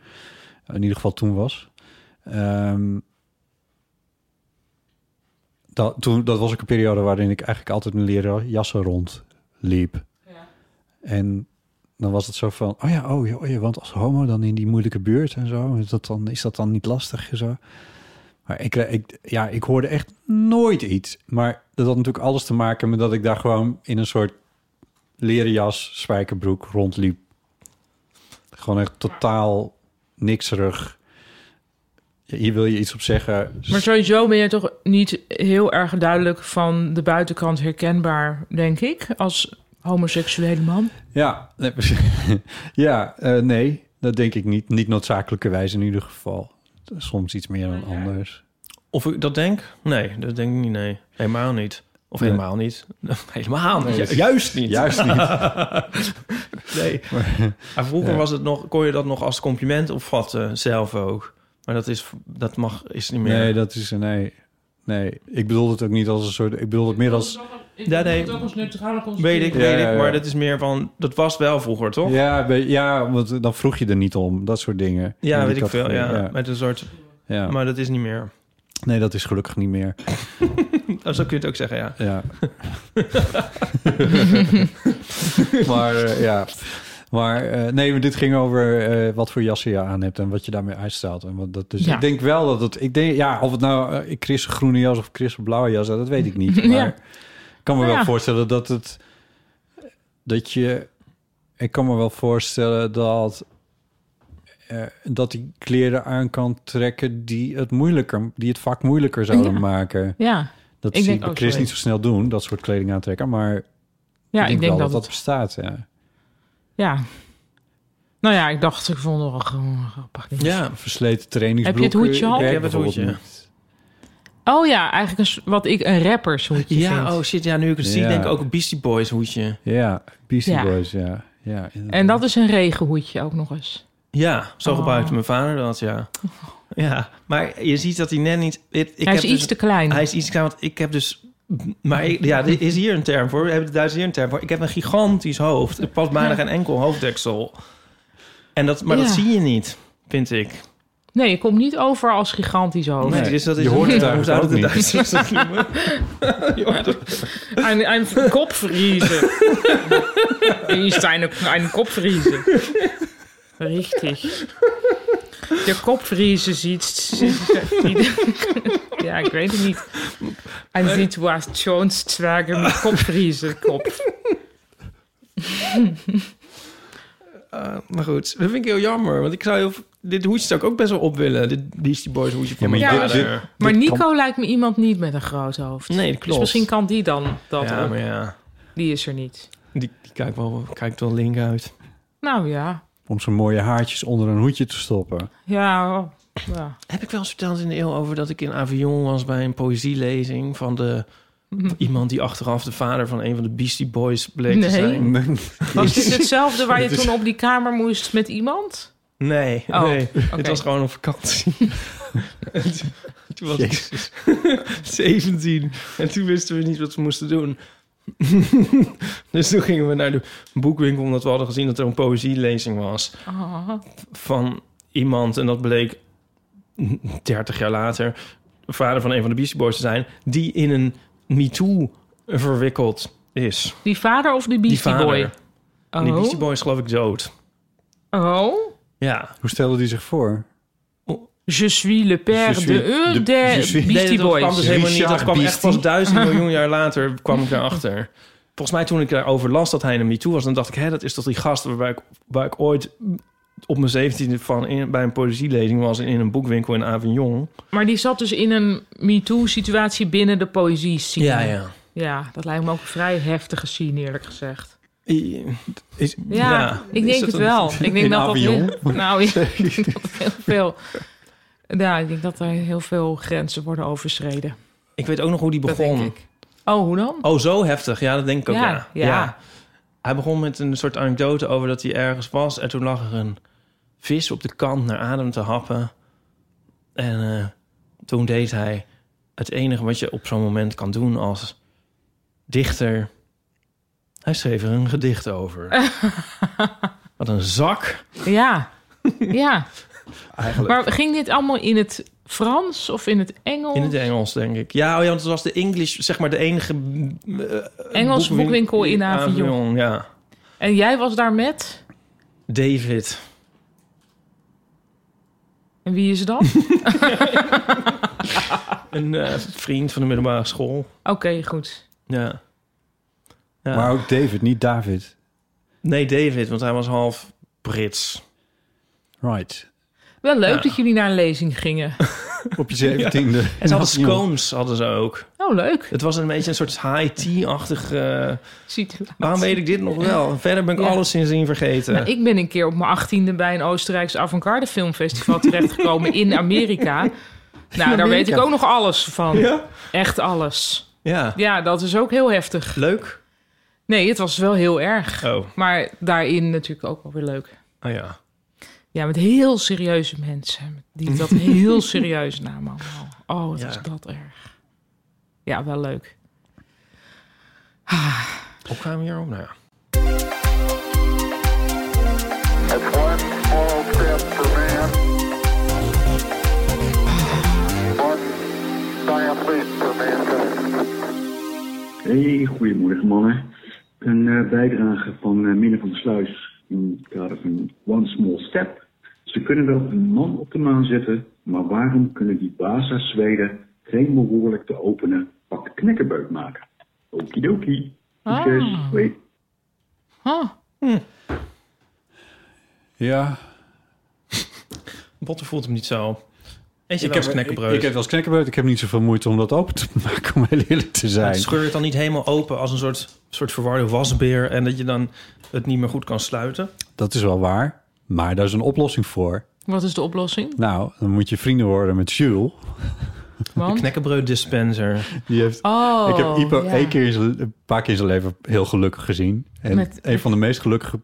[SPEAKER 1] In ieder geval toen was. Ehm, dat, toen, dat was ook een periode waarin ik eigenlijk altijd mijn leren jassen rondliep. En dan was het zo van, oh ja, oh ja, oh ja, want als homo dan in die moeilijke buurt en zo, is dat dan, is dat dan niet lastig en zo. Maar ik, kreeg- ik, ja, ik hoorde echt nooit iets. Maar dat had natuurlijk alles te maken met dat ik daar gewoon in een soort leren jas, spijkerbroek rondliep. Gewoon echt totaal nikserig. Ja, hier wil je iets op zeggen.
[SPEAKER 2] Maar sowieso ben je toch niet heel erg duidelijk van de buitenkant herkenbaar, denk ik, als homoseksuele man.
[SPEAKER 1] Ja, nee, ja eh, nee, dat denk ik niet. Niet noodzakelijkerwijs in ieder geval. Soms iets meer dan anders.
[SPEAKER 3] Of ik dat denk? Nee, dat denk ik niet, nee. Helemaal niet. Of
[SPEAKER 1] Nee.
[SPEAKER 3] helemaal niet. Helemaal niet.
[SPEAKER 1] Nee. dus-
[SPEAKER 3] Ju- Juist niet.
[SPEAKER 1] Juist niet.
[SPEAKER 3] Nee. Maar vroeger was het nog, kon je dat nog als compliment opvatten, zelf ook. Maar dat, is, dat mag, is niet meer.
[SPEAKER 1] Nee, dat is nee. Nee, ik bedoel het ook niet als een soort. Ik bedoel het meer als.
[SPEAKER 3] Ja, nee.
[SPEAKER 2] ook als neutrale
[SPEAKER 3] weet ik,
[SPEAKER 2] Ja.
[SPEAKER 3] weet
[SPEAKER 1] Ja, ja,
[SPEAKER 3] ik.
[SPEAKER 1] ja.
[SPEAKER 3] Maar dat is meer van, dat was wel vroeger, toch? Ja,
[SPEAKER 1] Ja, be- ja, want dan vroeg je er niet om. Dat soort dingen. In die
[SPEAKER 3] weet ik veel.
[SPEAKER 1] categorie,
[SPEAKER 3] Ja,
[SPEAKER 1] ja.
[SPEAKER 3] Met een soort,
[SPEAKER 1] Ja.
[SPEAKER 3] maar dat is niet meer.
[SPEAKER 1] Nee, dat is gelukkig niet meer.
[SPEAKER 3] Oh, zo kun je het ook zeggen, ja.
[SPEAKER 1] Ja. maar eh, ja. Maar eh, nee, maar dit ging over eh, wat voor jassen je aan hebt en wat je daarmee uitstraalt. En wat dat, dus
[SPEAKER 2] Ja.
[SPEAKER 1] ik denk wel dat het. Ik denk, ja, of het nou eh, Chris een groene jas of Chris een blauwe jas, dat weet ik niet. Maar
[SPEAKER 2] Ja.
[SPEAKER 1] ik kan me
[SPEAKER 2] Nou
[SPEAKER 1] wel
[SPEAKER 2] ja.
[SPEAKER 1] voorstellen dat het. Dat je. Ik kan me wel voorstellen dat. eh, dat die kleren aan kan trekken die het moeilijker, die het vak moeilijker zouden
[SPEAKER 2] Ja.
[SPEAKER 1] maken.
[SPEAKER 2] ja,
[SPEAKER 1] Dat
[SPEAKER 2] Ik
[SPEAKER 1] zie
[SPEAKER 2] denk
[SPEAKER 1] ik bij
[SPEAKER 2] ook,
[SPEAKER 1] Chris
[SPEAKER 2] sorry.
[SPEAKER 1] niet zo snel doen, dat soort kleding aantrekken. Maar
[SPEAKER 2] ik denk,
[SPEAKER 1] wel
[SPEAKER 2] dat,
[SPEAKER 1] dat
[SPEAKER 2] het-
[SPEAKER 1] bestaat, ja.
[SPEAKER 2] Ja. Nou ja, ik dacht, ik vond het wel gewoon grappig.
[SPEAKER 3] Ja,
[SPEAKER 1] Versleten trainingsbroeken.
[SPEAKER 2] Heb je het hoedje al?
[SPEAKER 1] werkt
[SPEAKER 3] Ik heb het
[SPEAKER 1] bijvoorbeeld
[SPEAKER 3] hoedje.
[SPEAKER 1] niet.
[SPEAKER 2] Oh ja, eigenlijk een, s- wat ik een rappershoedje vind.
[SPEAKER 3] Ja, oh shit, ja, nu ik het zie,
[SPEAKER 1] Ja.
[SPEAKER 3] denk ik ook een Beastie Boys hoedje.
[SPEAKER 1] Ja, Beastie
[SPEAKER 2] Ja.
[SPEAKER 1] Boys, ja. ja
[SPEAKER 2] En dat is een regenhoedje ook nog eens.
[SPEAKER 3] Ja, zo
[SPEAKER 2] Oh.
[SPEAKER 3] gebruikte mijn vader dat, ja. Ja, maar je ziet dat hij net niet... Ik, ik
[SPEAKER 2] hij is
[SPEAKER 3] heb
[SPEAKER 2] iets
[SPEAKER 3] dus-
[SPEAKER 2] te klein.
[SPEAKER 3] Hij is iets klein, want ik heb dus... Maar ik- ja, dit is hier een term voor. We hebben de Duitsers hier een term voor. Ik heb een gigantisch hoofd. Het past bijna geen enkel hoofddeksel. En dat, maar
[SPEAKER 2] Ja.
[SPEAKER 3] dat zie je niet, vind ik.
[SPEAKER 2] Nee, je komt niet over als gigantisch hoofd.
[SPEAKER 3] Nee, dus dat is
[SPEAKER 1] je hoort het eigenlijk
[SPEAKER 3] Zouden de
[SPEAKER 1] ook niet.
[SPEAKER 3] Duitsers dat noemen? Je hoort het-
[SPEAKER 2] Een, een kopvriezen. Is een, een kopvriezen. Richtig. De kopvriezen ziet... Ja, ik weet het niet. Een situationstzwerger met kopvriezen. Kop.
[SPEAKER 3] Eh, maar goed, dat vind ik heel jammer. Want ik zou heel, dit hoedje zou ik ook best wel op willen. Dit Beastie Boys hoedje van
[SPEAKER 1] Ja, maar
[SPEAKER 3] mijn
[SPEAKER 2] dit-
[SPEAKER 3] vader.
[SPEAKER 2] Maar
[SPEAKER 1] Dit
[SPEAKER 2] Nico lijkt me iemand niet met een groot hoofd.
[SPEAKER 3] Nee, dat
[SPEAKER 2] Dus
[SPEAKER 3] klopt.
[SPEAKER 2] misschien kan die dan dat
[SPEAKER 3] ja,
[SPEAKER 2] ook.
[SPEAKER 3] maar ja.
[SPEAKER 2] Die is er niet.
[SPEAKER 3] Die, die kijkt, wel, kijkt wel link uit.
[SPEAKER 2] Nou ja.
[SPEAKER 1] Om zijn mooie haartjes onder een hoedje te stoppen.
[SPEAKER 2] Ja. ja.
[SPEAKER 3] Heb ik wel eens verteld in de eeuw over dat ik in Avion was bij een poëzielezing van de... Iemand die achteraf de vader van een van de Beastie Boys bleek
[SPEAKER 2] Nee.
[SPEAKER 3] te zijn.
[SPEAKER 2] Was dit hetzelfde waar je toen op die kamer moest met iemand?
[SPEAKER 3] Nee,
[SPEAKER 2] Oh,
[SPEAKER 3] nee.
[SPEAKER 2] oké.
[SPEAKER 3] Het was gewoon op vakantie. En toen- toen was ik 17 en toen wisten we niet wat we moesten doen. dus toen gingen we naar de boekwinkel omdat we hadden gezien dat er een poëzielezing was
[SPEAKER 2] Ah.
[SPEAKER 3] van iemand en dat bleek 30 jaar later de vader van een van de Beastie Boys te zijn die in een MeToo verwikkeld is.
[SPEAKER 2] Die vader of die Beastie
[SPEAKER 3] die vader.
[SPEAKER 2] Boy?
[SPEAKER 3] En
[SPEAKER 2] Oh.
[SPEAKER 3] die Beastie Boy is geloof ik dood.
[SPEAKER 2] oh.
[SPEAKER 3] Ja.
[SPEAKER 1] Hoe stelde die zich voor?
[SPEAKER 2] Je suis le père
[SPEAKER 1] Je suis
[SPEAKER 2] de un
[SPEAKER 1] de-
[SPEAKER 2] des
[SPEAKER 1] je suis-
[SPEAKER 3] Nee,
[SPEAKER 2] Beastie
[SPEAKER 3] dat kwam dus
[SPEAKER 2] Boys.
[SPEAKER 3] helemaal niet. Dat
[SPEAKER 1] Richard
[SPEAKER 3] kwam echt
[SPEAKER 1] Beastie?
[SPEAKER 3] pas duizend miljoen jaar later kwam ik daarachter. Volgens mij toen ik daarover las dat hij in een toe was... dan dacht ik, hè, dat is toch die gast waar ik, waar ik ooit op mijn zeventiende van in, bij een poëzielezing was... in een boekwinkel in Avignon.
[SPEAKER 2] Maar die zat dus in een MeToo-situatie binnen de poëzie scene. Ja, dat lijkt me ook een vrij heftige scene, eerlijk gezegd.
[SPEAKER 3] I-
[SPEAKER 1] Is,
[SPEAKER 2] Ja, ik
[SPEAKER 3] Is
[SPEAKER 2] denk
[SPEAKER 3] dat
[SPEAKER 2] het
[SPEAKER 3] een-
[SPEAKER 2] wel. Ik denk
[SPEAKER 1] In
[SPEAKER 2] dat dat
[SPEAKER 1] Avignon?
[SPEAKER 2] heel- Nou, ja, ik denk dat dat heel veel... Ja, ik denk dat er heel veel grenzen worden overschreden.
[SPEAKER 3] Ik weet ook nog hoe die
[SPEAKER 2] Dat denk
[SPEAKER 3] begon.
[SPEAKER 2] ik. Oh, hoe dan?
[SPEAKER 3] Oh, zo heftig. Ja, dat denk ik ook, ja.
[SPEAKER 2] Ja, ja.
[SPEAKER 3] Hij begon met een soort anekdote over dat hij ergens was... en toen lag er een vis op de kant naar adem te happen. En eh, toen deed hij het enige wat je op zo'n moment kan doen als dichter. Hij schreef er een gedicht over. wat een zak.
[SPEAKER 2] Ja, ja.
[SPEAKER 3] Eigenlijk.
[SPEAKER 2] Maar ging dit allemaal in het Frans of in het Engels?
[SPEAKER 3] In het E- Engels, denk ik. Ja, oh ja, want het was de English, zeg maar de enige... eh,
[SPEAKER 2] Engels boekwinkel in Avignon.
[SPEAKER 3] Ja.
[SPEAKER 2] En jij was daar met?
[SPEAKER 3] David.
[SPEAKER 2] En wie is dat?
[SPEAKER 3] Een eh, vriend van de middelbare school.
[SPEAKER 2] Oké, goed.
[SPEAKER 3] Ja. ja.
[SPEAKER 1] Maar ook David, niet David.
[SPEAKER 3] Nee, David, want hij was half Brits.
[SPEAKER 1] Right.
[SPEAKER 2] Wel leuk
[SPEAKER 3] Ja.
[SPEAKER 2] dat jullie naar een lezing gingen.
[SPEAKER 1] Op je zeventiende.
[SPEAKER 3] En ze hadden scones, hadden ze ook.
[SPEAKER 2] Oh, leuk.
[SPEAKER 3] Het was een beetje een soort high tea-achtig... eh,
[SPEAKER 2] Ziet u.
[SPEAKER 3] waarom weet ik dit nog wel? Verder ben ik
[SPEAKER 2] Ja.
[SPEAKER 3] alles sindsdien vergeten.
[SPEAKER 2] Nou, ik ben een keer op mijn achttiende bij een Oostenrijks avant-garde filmfestival terechtgekomen in Amerika. Nou, daar weet ik ook nog alles van.
[SPEAKER 3] Ja?
[SPEAKER 2] Echt alles.
[SPEAKER 3] Ja.
[SPEAKER 2] Ja, dat is ook heel heftig.
[SPEAKER 3] Leuk?
[SPEAKER 2] Nee, het was wel heel erg.
[SPEAKER 3] Oh,
[SPEAKER 2] Maar daarin natuurlijk ook wel weer leuk.
[SPEAKER 3] oh ja.
[SPEAKER 2] Ja, met heel serieuze mensen. Die dat heel serieus namen allemaal. Oh, wat
[SPEAKER 3] Ja.
[SPEAKER 2] was dat erg. Ja, wel leuk.
[SPEAKER 3] Opgave hierom? Nou ja.
[SPEAKER 4] It's one small step for man, one giant leap for mankind.
[SPEAKER 5] Hey, goedemorgen mannen. Een eh, bijdrage van eh Minne van der Sluis in het kader van One Small Step. Ze kunnen wel een man op de maan zetten, maar waarom kunnen die Baza Zweden geen behoorlijk te openen pak knikkerbeuk maken? Okidoki. Succes.
[SPEAKER 2] Ah.
[SPEAKER 5] Hoi.
[SPEAKER 2] Huh.
[SPEAKER 1] Ja.
[SPEAKER 3] Botten voelt hem niet zo. Eet je
[SPEAKER 1] Ik
[SPEAKER 3] wel
[SPEAKER 1] heb,
[SPEAKER 3] eens
[SPEAKER 1] ik, ik heb
[SPEAKER 3] knekkenbreuk?
[SPEAKER 1] wel eens knekkenbreuk. Ik heb niet zoveel moeite om dat open te maken, om heel eerlijk te zijn.
[SPEAKER 3] Scheur je het dan niet helemaal open als een soort, soort verwarde wasbeer... en dat je dan het niet meer goed kan sluiten?
[SPEAKER 1] Dat is wel waar. Maar daar is een oplossing voor.
[SPEAKER 2] Wat is de oplossing?
[SPEAKER 1] Nou, dan moet je vrienden worden met Jules.
[SPEAKER 2] Want?
[SPEAKER 3] Knekkenbreud dispenser.
[SPEAKER 1] Die heeft,
[SPEAKER 2] Oh,
[SPEAKER 1] ik heb Ipo
[SPEAKER 2] ja.
[SPEAKER 1] één keer in zijn- een paar keer in zijn leven heel gelukkig gezien. En
[SPEAKER 2] Met-
[SPEAKER 1] een van de meest gelukkige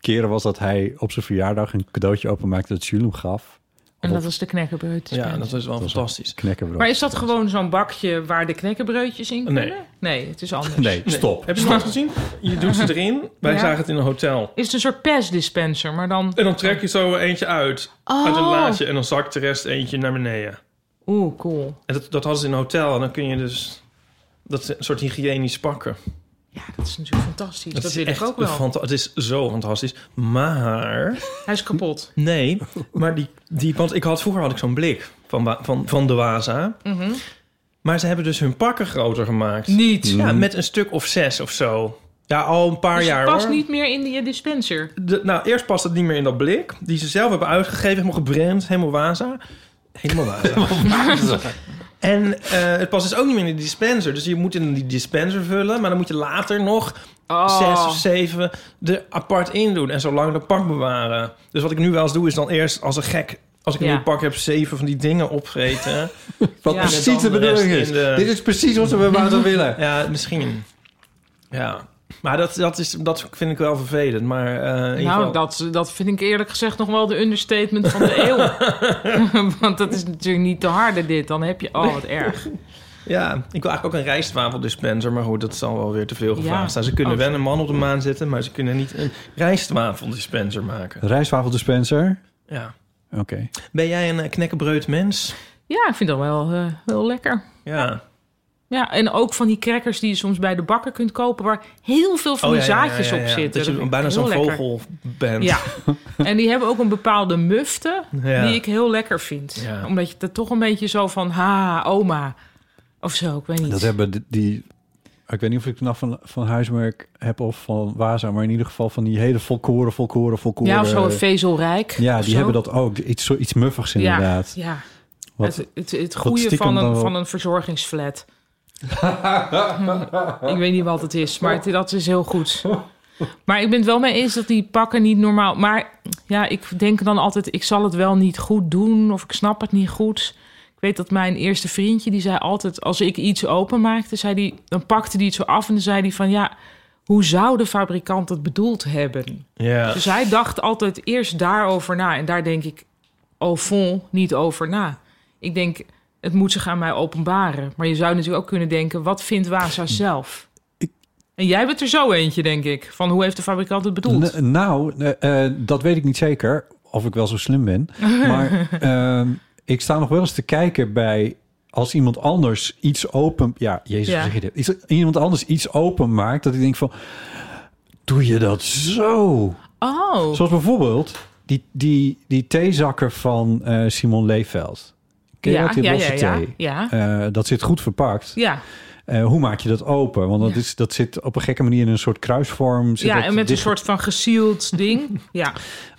[SPEAKER 1] keren was dat hij op zijn verjaardag een cadeautje openmaakte dat Jules hem gaf.
[SPEAKER 2] En dat was de dus knekkenbreud.
[SPEAKER 3] Ja, dat is wel fantastisch.
[SPEAKER 1] Knekken
[SPEAKER 2] Maar is dat gewoon zo'n bakje waar de knekkenbreudjes in kunnen? Nee, het is anders.
[SPEAKER 1] Nee,
[SPEAKER 3] Nee.
[SPEAKER 1] stop.
[SPEAKER 3] Heb je het nog eens gezien? Je doet ze erin. Wij
[SPEAKER 2] Ja.
[SPEAKER 3] zagen het in een hotel.
[SPEAKER 2] Is het een soort persdispenser, maar dan...
[SPEAKER 3] En dan trek je zo eentje uit.
[SPEAKER 2] Oh.
[SPEAKER 3] Uit een laadje. En dan zakt de rest eentje naar beneden.
[SPEAKER 2] Oeh, cool.
[SPEAKER 3] En dat, dat hadden ze in een hotel. En dan kun je dus... Dat is een soort hygiënisch pakken. Dus
[SPEAKER 2] Ja, dat is natuurlijk fantastisch. Dat,
[SPEAKER 3] is
[SPEAKER 2] wil ik
[SPEAKER 3] echt
[SPEAKER 2] ook wel.
[SPEAKER 3] fanta- het is zo fantastisch. Maar...
[SPEAKER 2] Hij is kapot.
[SPEAKER 3] Nee, maar die, die... Want ik had, vroeger had ik zo'n blik van, Wa- van, van de Waza. Maar ze hebben dus hun pakken groter gemaakt.
[SPEAKER 2] Mm-hmm. Niet.
[SPEAKER 3] Ja, met een stuk of zes of zo. Ja, al een paar
[SPEAKER 2] Dus
[SPEAKER 3] jaar
[SPEAKER 2] het past
[SPEAKER 3] hoor.
[SPEAKER 2] niet meer in die dispenser.
[SPEAKER 3] De- nou, eerst past het niet meer in dat blik. Die ze zelf hebben uitgegeven. Helemaal gebrand. Helemaal waza. Helemaal waza. en eh, het past dus ook niet meer in de dispenser. Dus je moet in die dispenser vullen. Maar dan moet je later nog
[SPEAKER 2] Oh.
[SPEAKER 3] zes of zeven er apart in doen. En zo lang dat pak bewaren. Dus wat ik nu wel eens doe, is dan eerst als een gek... Als ik een
[SPEAKER 2] Ja.
[SPEAKER 3] nieuw pak heb, zeven van die dingen opgeten.
[SPEAKER 1] Wat
[SPEAKER 2] Ja.
[SPEAKER 3] En
[SPEAKER 1] precies de
[SPEAKER 3] dan de
[SPEAKER 1] bedoeling
[SPEAKER 3] rest
[SPEAKER 1] is.
[SPEAKER 3] in de-
[SPEAKER 1] Dit is precies wat we bij Wouter willen.
[SPEAKER 3] Ja, misschien. Ja. Maar dat, dat, is, dat vind ik wel vervelend. Maar eh, in ieder geval-
[SPEAKER 2] Nou, dat, dat vind ik eerlijk gezegd nog wel de understatement van de eeuw. Want dat is natuurlijk niet te harde dit. Dan heb je... Oh, wat erg.
[SPEAKER 3] Ja, ik wil eigenlijk ook een rijstwafeldispenser. Maar goed, dat zal wel weer te veel gevraagd
[SPEAKER 2] Ja.
[SPEAKER 3] zijn. Ze kunnen
[SPEAKER 2] Oh,
[SPEAKER 3] wel
[SPEAKER 2] zo.
[SPEAKER 3] een man op de maan zetten, maar ze kunnen niet een rijstwafeldispenser maken.
[SPEAKER 1] Rijstwafeldispenser.
[SPEAKER 3] Ja.
[SPEAKER 1] Oké.
[SPEAKER 3] Ben jij een eh, knekkenbreud mens?
[SPEAKER 2] Ja, ik vind dat wel, eh, wel lekker.
[SPEAKER 3] Ja. Oh,
[SPEAKER 2] Ja, en ook van die crackers die je soms bij de bakker kunt kopen... waar heel veel van die
[SPEAKER 3] Oh, ja, ja, ja,
[SPEAKER 2] zaadjes
[SPEAKER 3] ja, ja.
[SPEAKER 2] op zitten.
[SPEAKER 3] Dat je
[SPEAKER 2] vind ik
[SPEAKER 3] bijna
[SPEAKER 2] heel
[SPEAKER 3] zo'n
[SPEAKER 2] lekker.
[SPEAKER 3] vogel bent.
[SPEAKER 2] Ja, en die hebben ook een bepaalde mufte
[SPEAKER 3] Ja.
[SPEAKER 2] die ik heel lekker vind.
[SPEAKER 3] Ja.
[SPEAKER 2] Omdat je dat toch een beetje zo van, ha, oma. Of zo, ik weet niet.
[SPEAKER 1] Dat hebben die- die... Ik weet niet of ik het nou van, van huismerk heb of van Waza, maar in ieder geval van die hele volkoren, volkoren, volkoren.
[SPEAKER 2] ja, of
[SPEAKER 3] eh,
[SPEAKER 2] zo een vezelrijk.
[SPEAKER 1] Ja,
[SPEAKER 2] of
[SPEAKER 1] die
[SPEAKER 2] zo.
[SPEAKER 1] hebben dat ook. Iets, zo, iets muffigs
[SPEAKER 2] Ja,
[SPEAKER 1] inderdaad.
[SPEAKER 2] Ja,
[SPEAKER 1] Wat-
[SPEAKER 2] het, het, het goede
[SPEAKER 1] stiekem
[SPEAKER 2] van
[SPEAKER 1] dan
[SPEAKER 2] een,
[SPEAKER 1] wel-
[SPEAKER 2] van een verzorgingsflat. Hm, ik weet niet wat het is, maar het- dat is heel goed. Maar ik ben het wel mee eens dat die pakken niet normaal... Maar ja, ik denk dan altijd, ik zal het wel niet goed doen... of ik snap het niet goed. Ik weet dat mijn eerste vriendje, die zei altijd... als ik iets openmaakte, zei die, dan pakte die het zo af... en dan zei die van, ja, hoe zou de fabrikant het bedoeld hebben?
[SPEAKER 3] Ja.
[SPEAKER 2] Dus hij dacht altijd eerst daarover na. En daar denk ik au fond niet over na. Ik denk, het moet zich aan mij openbaren. Maar je zou natuurlijk ook kunnen denken, wat vindt Waza zelf? En jij bent er zo eentje, denk ik. Van hoe heeft de fabrikant het bedoeld?
[SPEAKER 1] N- nou, eh, eh, dat weet ik niet zeker. Of ik wel zo slim ben. Maar ehm, ik sta nog wel eens te kijken bij... Als iemand anders iets open... Ja, jezus,
[SPEAKER 2] Ja.
[SPEAKER 1] wat zeg je dit? Iets, iemand anders iets open maakt... dat ik denk van... Doe je dat zo?
[SPEAKER 2] Oh,
[SPEAKER 1] Zoals bijvoorbeeld die, die, die theezakken van eh, Simon Leefveld. Ken je
[SPEAKER 2] Ja,
[SPEAKER 1] dat, die
[SPEAKER 2] ja,
[SPEAKER 1] losse
[SPEAKER 2] ja, ja,
[SPEAKER 1] thee?
[SPEAKER 2] ja.
[SPEAKER 1] Eh, dat zit goed verpakt.
[SPEAKER 2] ja.
[SPEAKER 1] Eh, hoe maak je dat open? Want dat,
[SPEAKER 2] Ja.
[SPEAKER 1] is, dat zit op een gekke manier in een soort kruisvorm. Zit
[SPEAKER 2] Ja,
[SPEAKER 1] dat
[SPEAKER 2] en met een
[SPEAKER 1] dicht-
[SPEAKER 2] soort van gesield ding. Ja.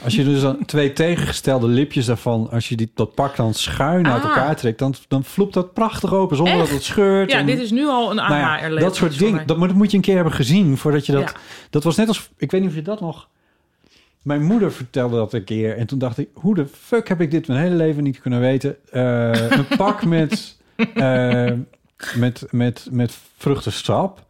[SPEAKER 1] Als je dus dan twee tegengestelde lipjes daarvan... als je die, dat pak dan schuin uit
[SPEAKER 2] Ah.
[SPEAKER 1] elkaar trekt... dan, dan floept dat prachtig open zonder
[SPEAKER 2] Echt?
[SPEAKER 1] dat het scheurt.
[SPEAKER 2] ja,
[SPEAKER 1] en-
[SPEAKER 2] dit is nu al een
[SPEAKER 1] nou ja,
[SPEAKER 2] aha erleven
[SPEAKER 1] dat soort dingen. Dat, maar dat moet je een keer hebben gezien voordat je dat...
[SPEAKER 2] Ja.
[SPEAKER 1] Dat was net als... Ik weet niet of je dat nog... Mijn moeder vertelde dat een keer. En toen dacht ik, hoe de fuck heb ik dit mijn hele leven niet kunnen weten? Eh, een pak met, eh, met, met, met vruchtensap.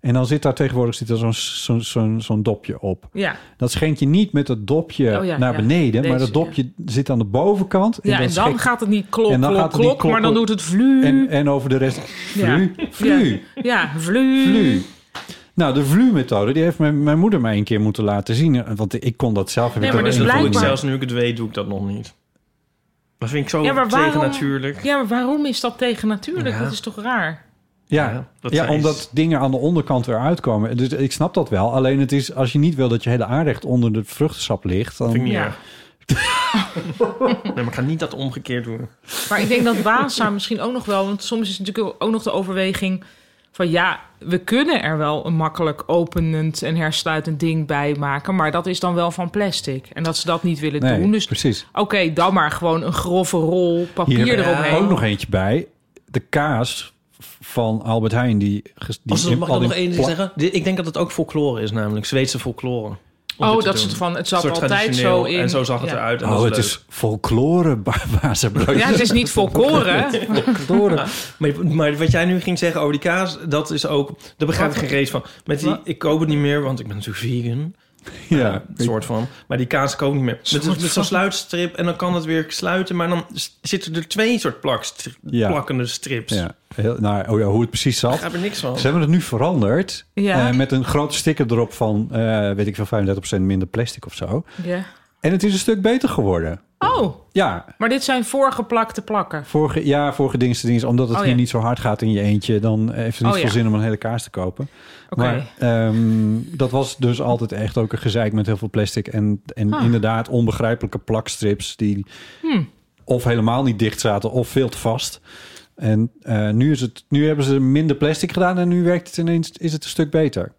[SPEAKER 1] En dan zit daar tegenwoordig zit er zo'n zo'n zo'n zo'n dopje op.
[SPEAKER 2] Ja,
[SPEAKER 1] Dat schenk je niet met dat dopje
[SPEAKER 2] Oh ja,
[SPEAKER 1] naar
[SPEAKER 2] ja.
[SPEAKER 1] beneden. maar
[SPEAKER 2] Deze,
[SPEAKER 1] dat dopje zit aan de bovenkant.
[SPEAKER 2] ja en dan
[SPEAKER 1] schenk-
[SPEAKER 2] gaat het niet klok,
[SPEAKER 1] en dan gaat
[SPEAKER 2] klok,
[SPEAKER 1] het niet
[SPEAKER 2] klok,
[SPEAKER 1] klok,
[SPEAKER 2] maar dan
[SPEAKER 1] klok.
[SPEAKER 2] doet het vlu.
[SPEAKER 1] en, en over de rest... Vlu, vlu,
[SPEAKER 2] Ja, vlu.
[SPEAKER 1] vlu. Nou, de vlu-methode, die heeft mijn, mijn moeder mij een keer moeten laten zien. Want ik kon dat zelf. heb
[SPEAKER 2] Nee,
[SPEAKER 1] ik
[SPEAKER 2] maar
[SPEAKER 1] dat
[SPEAKER 2] dus
[SPEAKER 3] En
[SPEAKER 1] nooit
[SPEAKER 3] dat doe ik
[SPEAKER 2] blijkbaar-
[SPEAKER 3] zelfs nu ik het weet, doe ik dat nog niet. Dat vind ik zo
[SPEAKER 2] Ja, maar waarom-
[SPEAKER 3] tegen natuurlijk.
[SPEAKER 2] Ja, maar waarom is dat tegennatuurlijk?
[SPEAKER 3] Ja.
[SPEAKER 2] Dat is toch raar?
[SPEAKER 1] Ja,
[SPEAKER 3] Ja, dat
[SPEAKER 1] ja
[SPEAKER 3] zij is-
[SPEAKER 1] omdat dingen aan de onderkant weer uitkomen. Dus ik snap dat wel. Alleen het is, als je niet wil dat je hele aardrecht onder de vruchtensap ligt...
[SPEAKER 3] Dat vind ik
[SPEAKER 1] dan
[SPEAKER 3] niet
[SPEAKER 2] Ja.
[SPEAKER 3] erg. nee, maar ik ga niet dat omgekeerd doen.
[SPEAKER 2] Maar ik denk dat Waza misschien ook nog wel... want soms is natuurlijk ook nog de overweging van... ja, we kunnen er wel een makkelijk openend en hersluitend ding bij maken... maar dat is dan wel van plastic. En dat ze dat niet willen
[SPEAKER 1] Nee,
[SPEAKER 2] doen. Dus
[SPEAKER 1] precies.
[SPEAKER 2] oké, dan maar gewoon een grove rol papier
[SPEAKER 1] Hier heb ik
[SPEAKER 2] eromheen.
[SPEAKER 1] ook nog eentje bij. De kaas van Albert Heijn, die... ges- die
[SPEAKER 3] Als,
[SPEAKER 1] in-
[SPEAKER 3] mag ik
[SPEAKER 1] al
[SPEAKER 3] dat nog
[SPEAKER 1] in
[SPEAKER 3] één ding
[SPEAKER 1] pla-
[SPEAKER 3] zeggen? Dit- Ik denk dat het ook folklore is namelijk. Zweedse folklore. om dit
[SPEAKER 2] oh, dat
[SPEAKER 3] te doen.
[SPEAKER 2] ze het van het
[SPEAKER 3] Een
[SPEAKER 2] zat er
[SPEAKER 3] soort
[SPEAKER 2] altijd zo
[SPEAKER 3] traditioneel,
[SPEAKER 2] in.
[SPEAKER 3] En zo zag het
[SPEAKER 2] Ja.
[SPEAKER 3] eruit. En dat
[SPEAKER 1] Oh,
[SPEAKER 3] is
[SPEAKER 1] het
[SPEAKER 3] leuk.
[SPEAKER 1] is folklore bazenbroodjes.
[SPEAKER 2] Ja, het is niet volkoren.
[SPEAKER 1] folklore.
[SPEAKER 3] Maar, maar wat jij nu ging zeggen over die kaas, dat is ook... Daar begrijp ik geen reet van. Met die, ik koop het niet meer, want ik ben natuurlijk vegan.
[SPEAKER 1] Ja,
[SPEAKER 3] Een soort van. Maar die kaas koop ik niet meer. Met, met zo'n sluitstrip en dan kan het weer sluiten. Maar dan s- zitten er twee soort plakstri-
[SPEAKER 1] Ja.
[SPEAKER 3] plakkende strips.
[SPEAKER 1] ja. Heel, nou, oh ja, hoe het precies
[SPEAKER 3] Ik
[SPEAKER 1] zat.
[SPEAKER 3] begrijp er niks van.
[SPEAKER 1] Ze hebben het nu veranderd.
[SPEAKER 2] Ja.
[SPEAKER 1] eh, met een grote sticker erop van, eh, weet ik veel, 35% minder plastic of zo.
[SPEAKER 2] ja.
[SPEAKER 1] En het is een stuk beter geworden.
[SPEAKER 2] Oh,
[SPEAKER 1] Ja,
[SPEAKER 2] maar dit zijn voorgeplakte plakken.
[SPEAKER 1] Vorige, ja, vorige dinsdag, dinsdag, omdat het
[SPEAKER 2] Oh,
[SPEAKER 1] hier
[SPEAKER 2] ja.
[SPEAKER 1] niet zo hard gaat in je eentje, dan heeft het niet
[SPEAKER 2] Oh,
[SPEAKER 1] veel
[SPEAKER 2] ja.
[SPEAKER 1] zin om een hele kaas te kopen.
[SPEAKER 2] Oké.
[SPEAKER 1] Maar ehm, dat was dus altijd echt ook een gezeik met heel veel plastic en, en
[SPEAKER 2] Ah. Hmm.
[SPEAKER 1] inderdaad onbegrijpelijke plakstrips die of helemaal niet dicht zaten of veel te vast. En eh, nu, is het, nu hebben ze minder plastic gedaan en nu werkt het ineens, is het een stuk beter.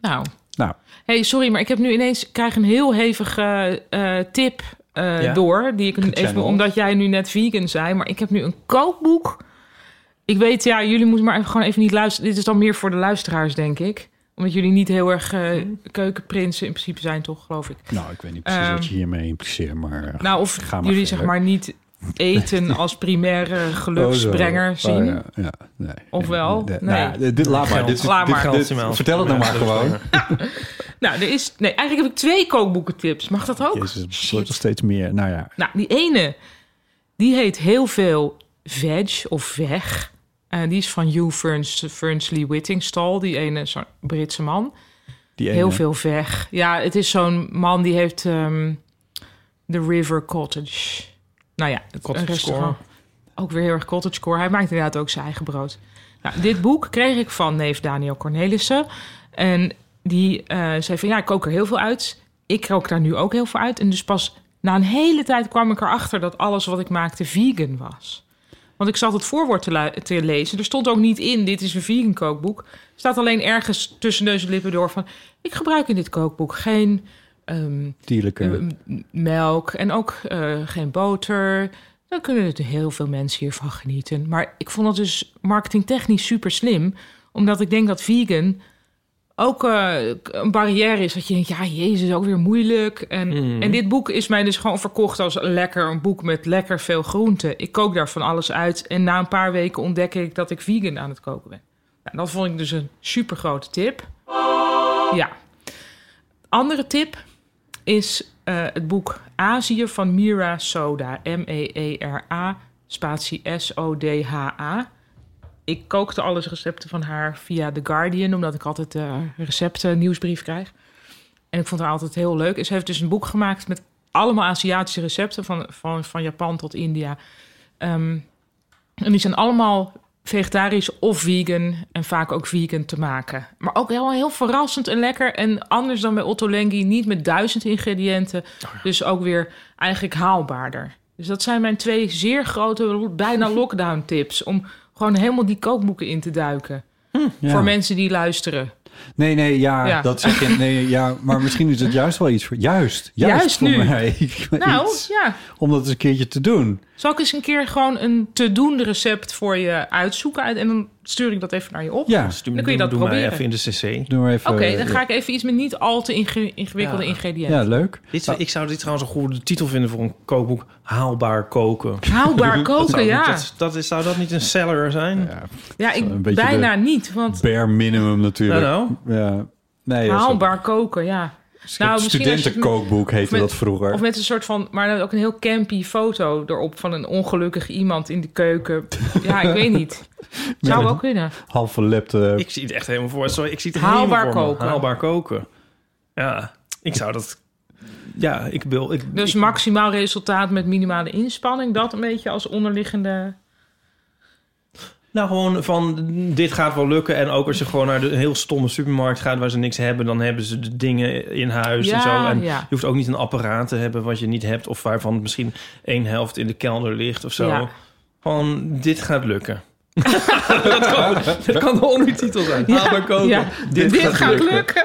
[SPEAKER 2] Nou,
[SPEAKER 1] Nou,
[SPEAKER 2] hey, sorry, maar ik heb nu ineens ik krijg een heel hevige eh, tip eh,
[SPEAKER 3] Ja.
[SPEAKER 2] door. Die ik even,
[SPEAKER 1] channel.
[SPEAKER 2] omdat jij nu net vegan zei, maar ik heb nu een kookboek. Ik weet, ja, jullie moeten maar even, gewoon even niet luisteren. Dit is dan meer voor de luisteraars, denk ik. Omdat jullie niet heel erg eh,
[SPEAKER 1] Hmm.
[SPEAKER 2] keukenprinsen in principe zijn, toch, geloof ik.
[SPEAKER 1] nou ik weet niet precies
[SPEAKER 2] Ehm,
[SPEAKER 1] wat je hiermee impliceert, maar... eh,
[SPEAKER 2] Nou, of
[SPEAKER 1] Ga maar
[SPEAKER 2] jullie zeg
[SPEAKER 1] verder.
[SPEAKER 2] maar niet eten als primaire geluksbrenger
[SPEAKER 1] Oh, zo.
[SPEAKER 2] zien.
[SPEAKER 1] Oh, ja, ja, nee.
[SPEAKER 2] Of wel?
[SPEAKER 1] Nee.
[SPEAKER 2] Nee.
[SPEAKER 1] Nou, dit- dit, laat maar.
[SPEAKER 3] Geld.
[SPEAKER 1] Dit, dit-
[SPEAKER 2] Laat
[SPEAKER 1] dit-
[SPEAKER 2] maar.
[SPEAKER 1] dit-
[SPEAKER 3] Geld, Simon.
[SPEAKER 1] vertel het nou maar
[SPEAKER 3] Ja, dat is
[SPEAKER 1] gewoon.
[SPEAKER 3] waar.
[SPEAKER 2] Nou, er is... Nee, eigenlijk heb ik twee kookboekentips. Mag dat ook?
[SPEAKER 1] Jezus, het
[SPEAKER 2] Shit.
[SPEAKER 1] wordt nog steeds meer. Nou ja,
[SPEAKER 2] Nou, die ene, die heet heel veel Veg of Veg. Eh, die is van Hugh Ferns, Fernsley Whittingstall, die ene zo'n Britse man.
[SPEAKER 1] die ene.
[SPEAKER 2] Heel veel Veg. Ja, het is zo'n man die heeft ehm The River Cottage. Nou ja, het, een
[SPEAKER 3] Cottage
[SPEAKER 2] restaurant. Ook weer heel erg cottagecore. Hij maakt inderdaad ook zijn eigen brood. Nou, dit boek kreeg ik van neef Daniel Cornelissen. En die eh, zei van, ja, ik kook er heel veel uit. Ik kook daar nu ook heel veel uit. En dus pas na een hele tijd kwam ik erachter... dat alles wat ik maakte vegan was. Want ik zat het voorwoord te, lu- te lezen. Er stond ook niet in, dit is een vegan kookboek. Er staat alleen ergens tussen neus en lippen door van... ik gebruik in dit kookboek geen... ehm,
[SPEAKER 1] Dierlijke.
[SPEAKER 2] M- m- melk en ook eh, geen boter. Dan kunnen er heel veel mensen hiervan genieten. Maar ik vond dat dus marketingtechnisch super slim. Omdat ik denk dat vegan ook eh, k- een barrière is. Dat je denkt, ja, jezus, ook weer moeilijk. En, en dit boek is mij dus gewoon verkocht als lekker. Een boek met lekker veel groenten. Ik kook daar van alles uit. En na een paar weken ontdek ik dat ik vegan aan het koken ben. Nou, dat vond ik dus een super grote tip. Ja. Andere tip is eh, het boek Azië van Mira Soda. E M-E-E-R-A, spatie S-O-D-H-A. Ik kookte alle recepten van haar via The Guardian, omdat ik altijd eh recepten nieuwsbrief krijg. En ik vond haar altijd heel leuk. En Ze heeft dus een boek gemaakt met allemaal Aziatische recepten, van, van, van Japan tot India. Ehm, en die zijn allemaal vegetarisch of vegan en vaak ook vegan te maken. Maar ook heel, heel verrassend en lekker. En anders dan bij Otto Lengi, niet met duizend ingrediënten.
[SPEAKER 1] Oh
[SPEAKER 2] Dus ook weer eigenlijk haalbaarder. Dus dat zijn mijn twee zeer grote, bijna lockdown tips. Om gewoon helemaal die kookboeken in te duiken.
[SPEAKER 1] Ja.
[SPEAKER 2] Voor mensen die luisteren.
[SPEAKER 1] Nee, nee, ja,
[SPEAKER 2] Ja.
[SPEAKER 1] dat zeg je. Nee, ja, maar misschien is het juist wel iets voor... Juist, juist,
[SPEAKER 2] Juist
[SPEAKER 1] voor
[SPEAKER 2] nu.
[SPEAKER 1] mij. Ik weet
[SPEAKER 2] Nou,
[SPEAKER 1] iets.
[SPEAKER 2] ja.
[SPEAKER 1] Om dat eens een keertje te doen.
[SPEAKER 2] Zal ik eens een keer gewoon een te doen recept voor je uitzoeken? uit- En dan stuur ik dat even naar je op.
[SPEAKER 1] Ja,
[SPEAKER 3] Dus doe-
[SPEAKER 2] Dan kun je dat
[SPEAKER 3] doe maar
[SPEAKER 2] proberen.
[SPEAKER 3] even in de cc.
[SPEAKER 1] doen we even... eh,
[SPEAKER 2] Oké, dan ga ik even iets met niet al te inge- ingewikkelde
[SPEAKER 3] eh, Ja.
[SPEAKER 2] ingrediënten.
[SPEAKER 1] Ja, leuk.
[SPEAKER 3] Dit,
[SPEAKER 2] Nou.
[SPEAKER 3] ik zou dit trouwens een goede titel vinden voor een kookboek. Haalbaar koken.
[SPEAKER 2] Haalbaar koken,
[SPEAKER 3] Zou,
[SPEAKER 2] ja.
[SPEAKER 3] dat, dat is, zou dat niet een seller zijn? Nou,
[SPEAKER 2] Ja,
[SPEAKER 1] Een
[SPEAKER 2] ik
[SPEAKER 1] beetje
[SPEAKER 2] bijna
[SPEAKER 1] de-
[SPEAKER 2] niet, want
[SPEAKER 1] Bare minimum natuurlijk.
[SPEAKER 3] Nou,
[SPEAKER 1] Ja. Nee, ja, zo-
[SPEAKER 2] haalbaar koken,
[SPEAKER 1] een
[SPEAKER 2] ja. Nou, misschien als je-
[SPEAKER 1] studentenkookboek heette
[SPEAKER 2] met-
[SPEAKER 1] dat vroeger.
[SPEAKER 2] Of met een soort van, maar dan ook een heel campy foto erop van een ongelukkig iemand in de keuken. Ja, ik weet niet. Zou
[SPEAKER 1] Ja.
[SPEAKER 2] wel kunnen.
[SPEAKER 1] Half verlepte...
[SPEAKER 3] Ik zie het echt helemaal voor. Sorry, ik zie het
[SPEAKER 2] Haalbaar
[SPEAKER 3] helemaal voor me.
[SPEAKER 2] koken.
[SPEAKER 3] Haalbaar koken. Ja, ik zou dat. Ja, ik wil. Ik,
[SPEAKER 2] Dus
[SPEAKER 3] ik-
[SPEAKER 2] maximaal resultaat met minimale inspanning. Dat een beetje als onderliggende...
[SPEAKER 3] nou, gewoon van dit gaat wel lukken. En ook als je gewoon naar de heel stomme supermarkt gaat waar ze niks hebben, dan hebben ze de dingen in huis en
[SPEAKER 2] Ja,
[SPEAKER 3] zo. En
[SPEAKER 2] ja.
[SPEAKER 3] je hoeft ook niet een apparaat te hebben wat je niet hebt, of waarvan misschien één helft in de kelder ligt of zo.
[SPEAKER 2] Ja.
[SPEAKER 3] Gewoon dit gaat lukken. dat, kan, dat kan de ondertitel zijn. Haalbaar koken.
[SPEAKER 2] Ja,
[SPEAKER 3] Dit, gaat, lukken.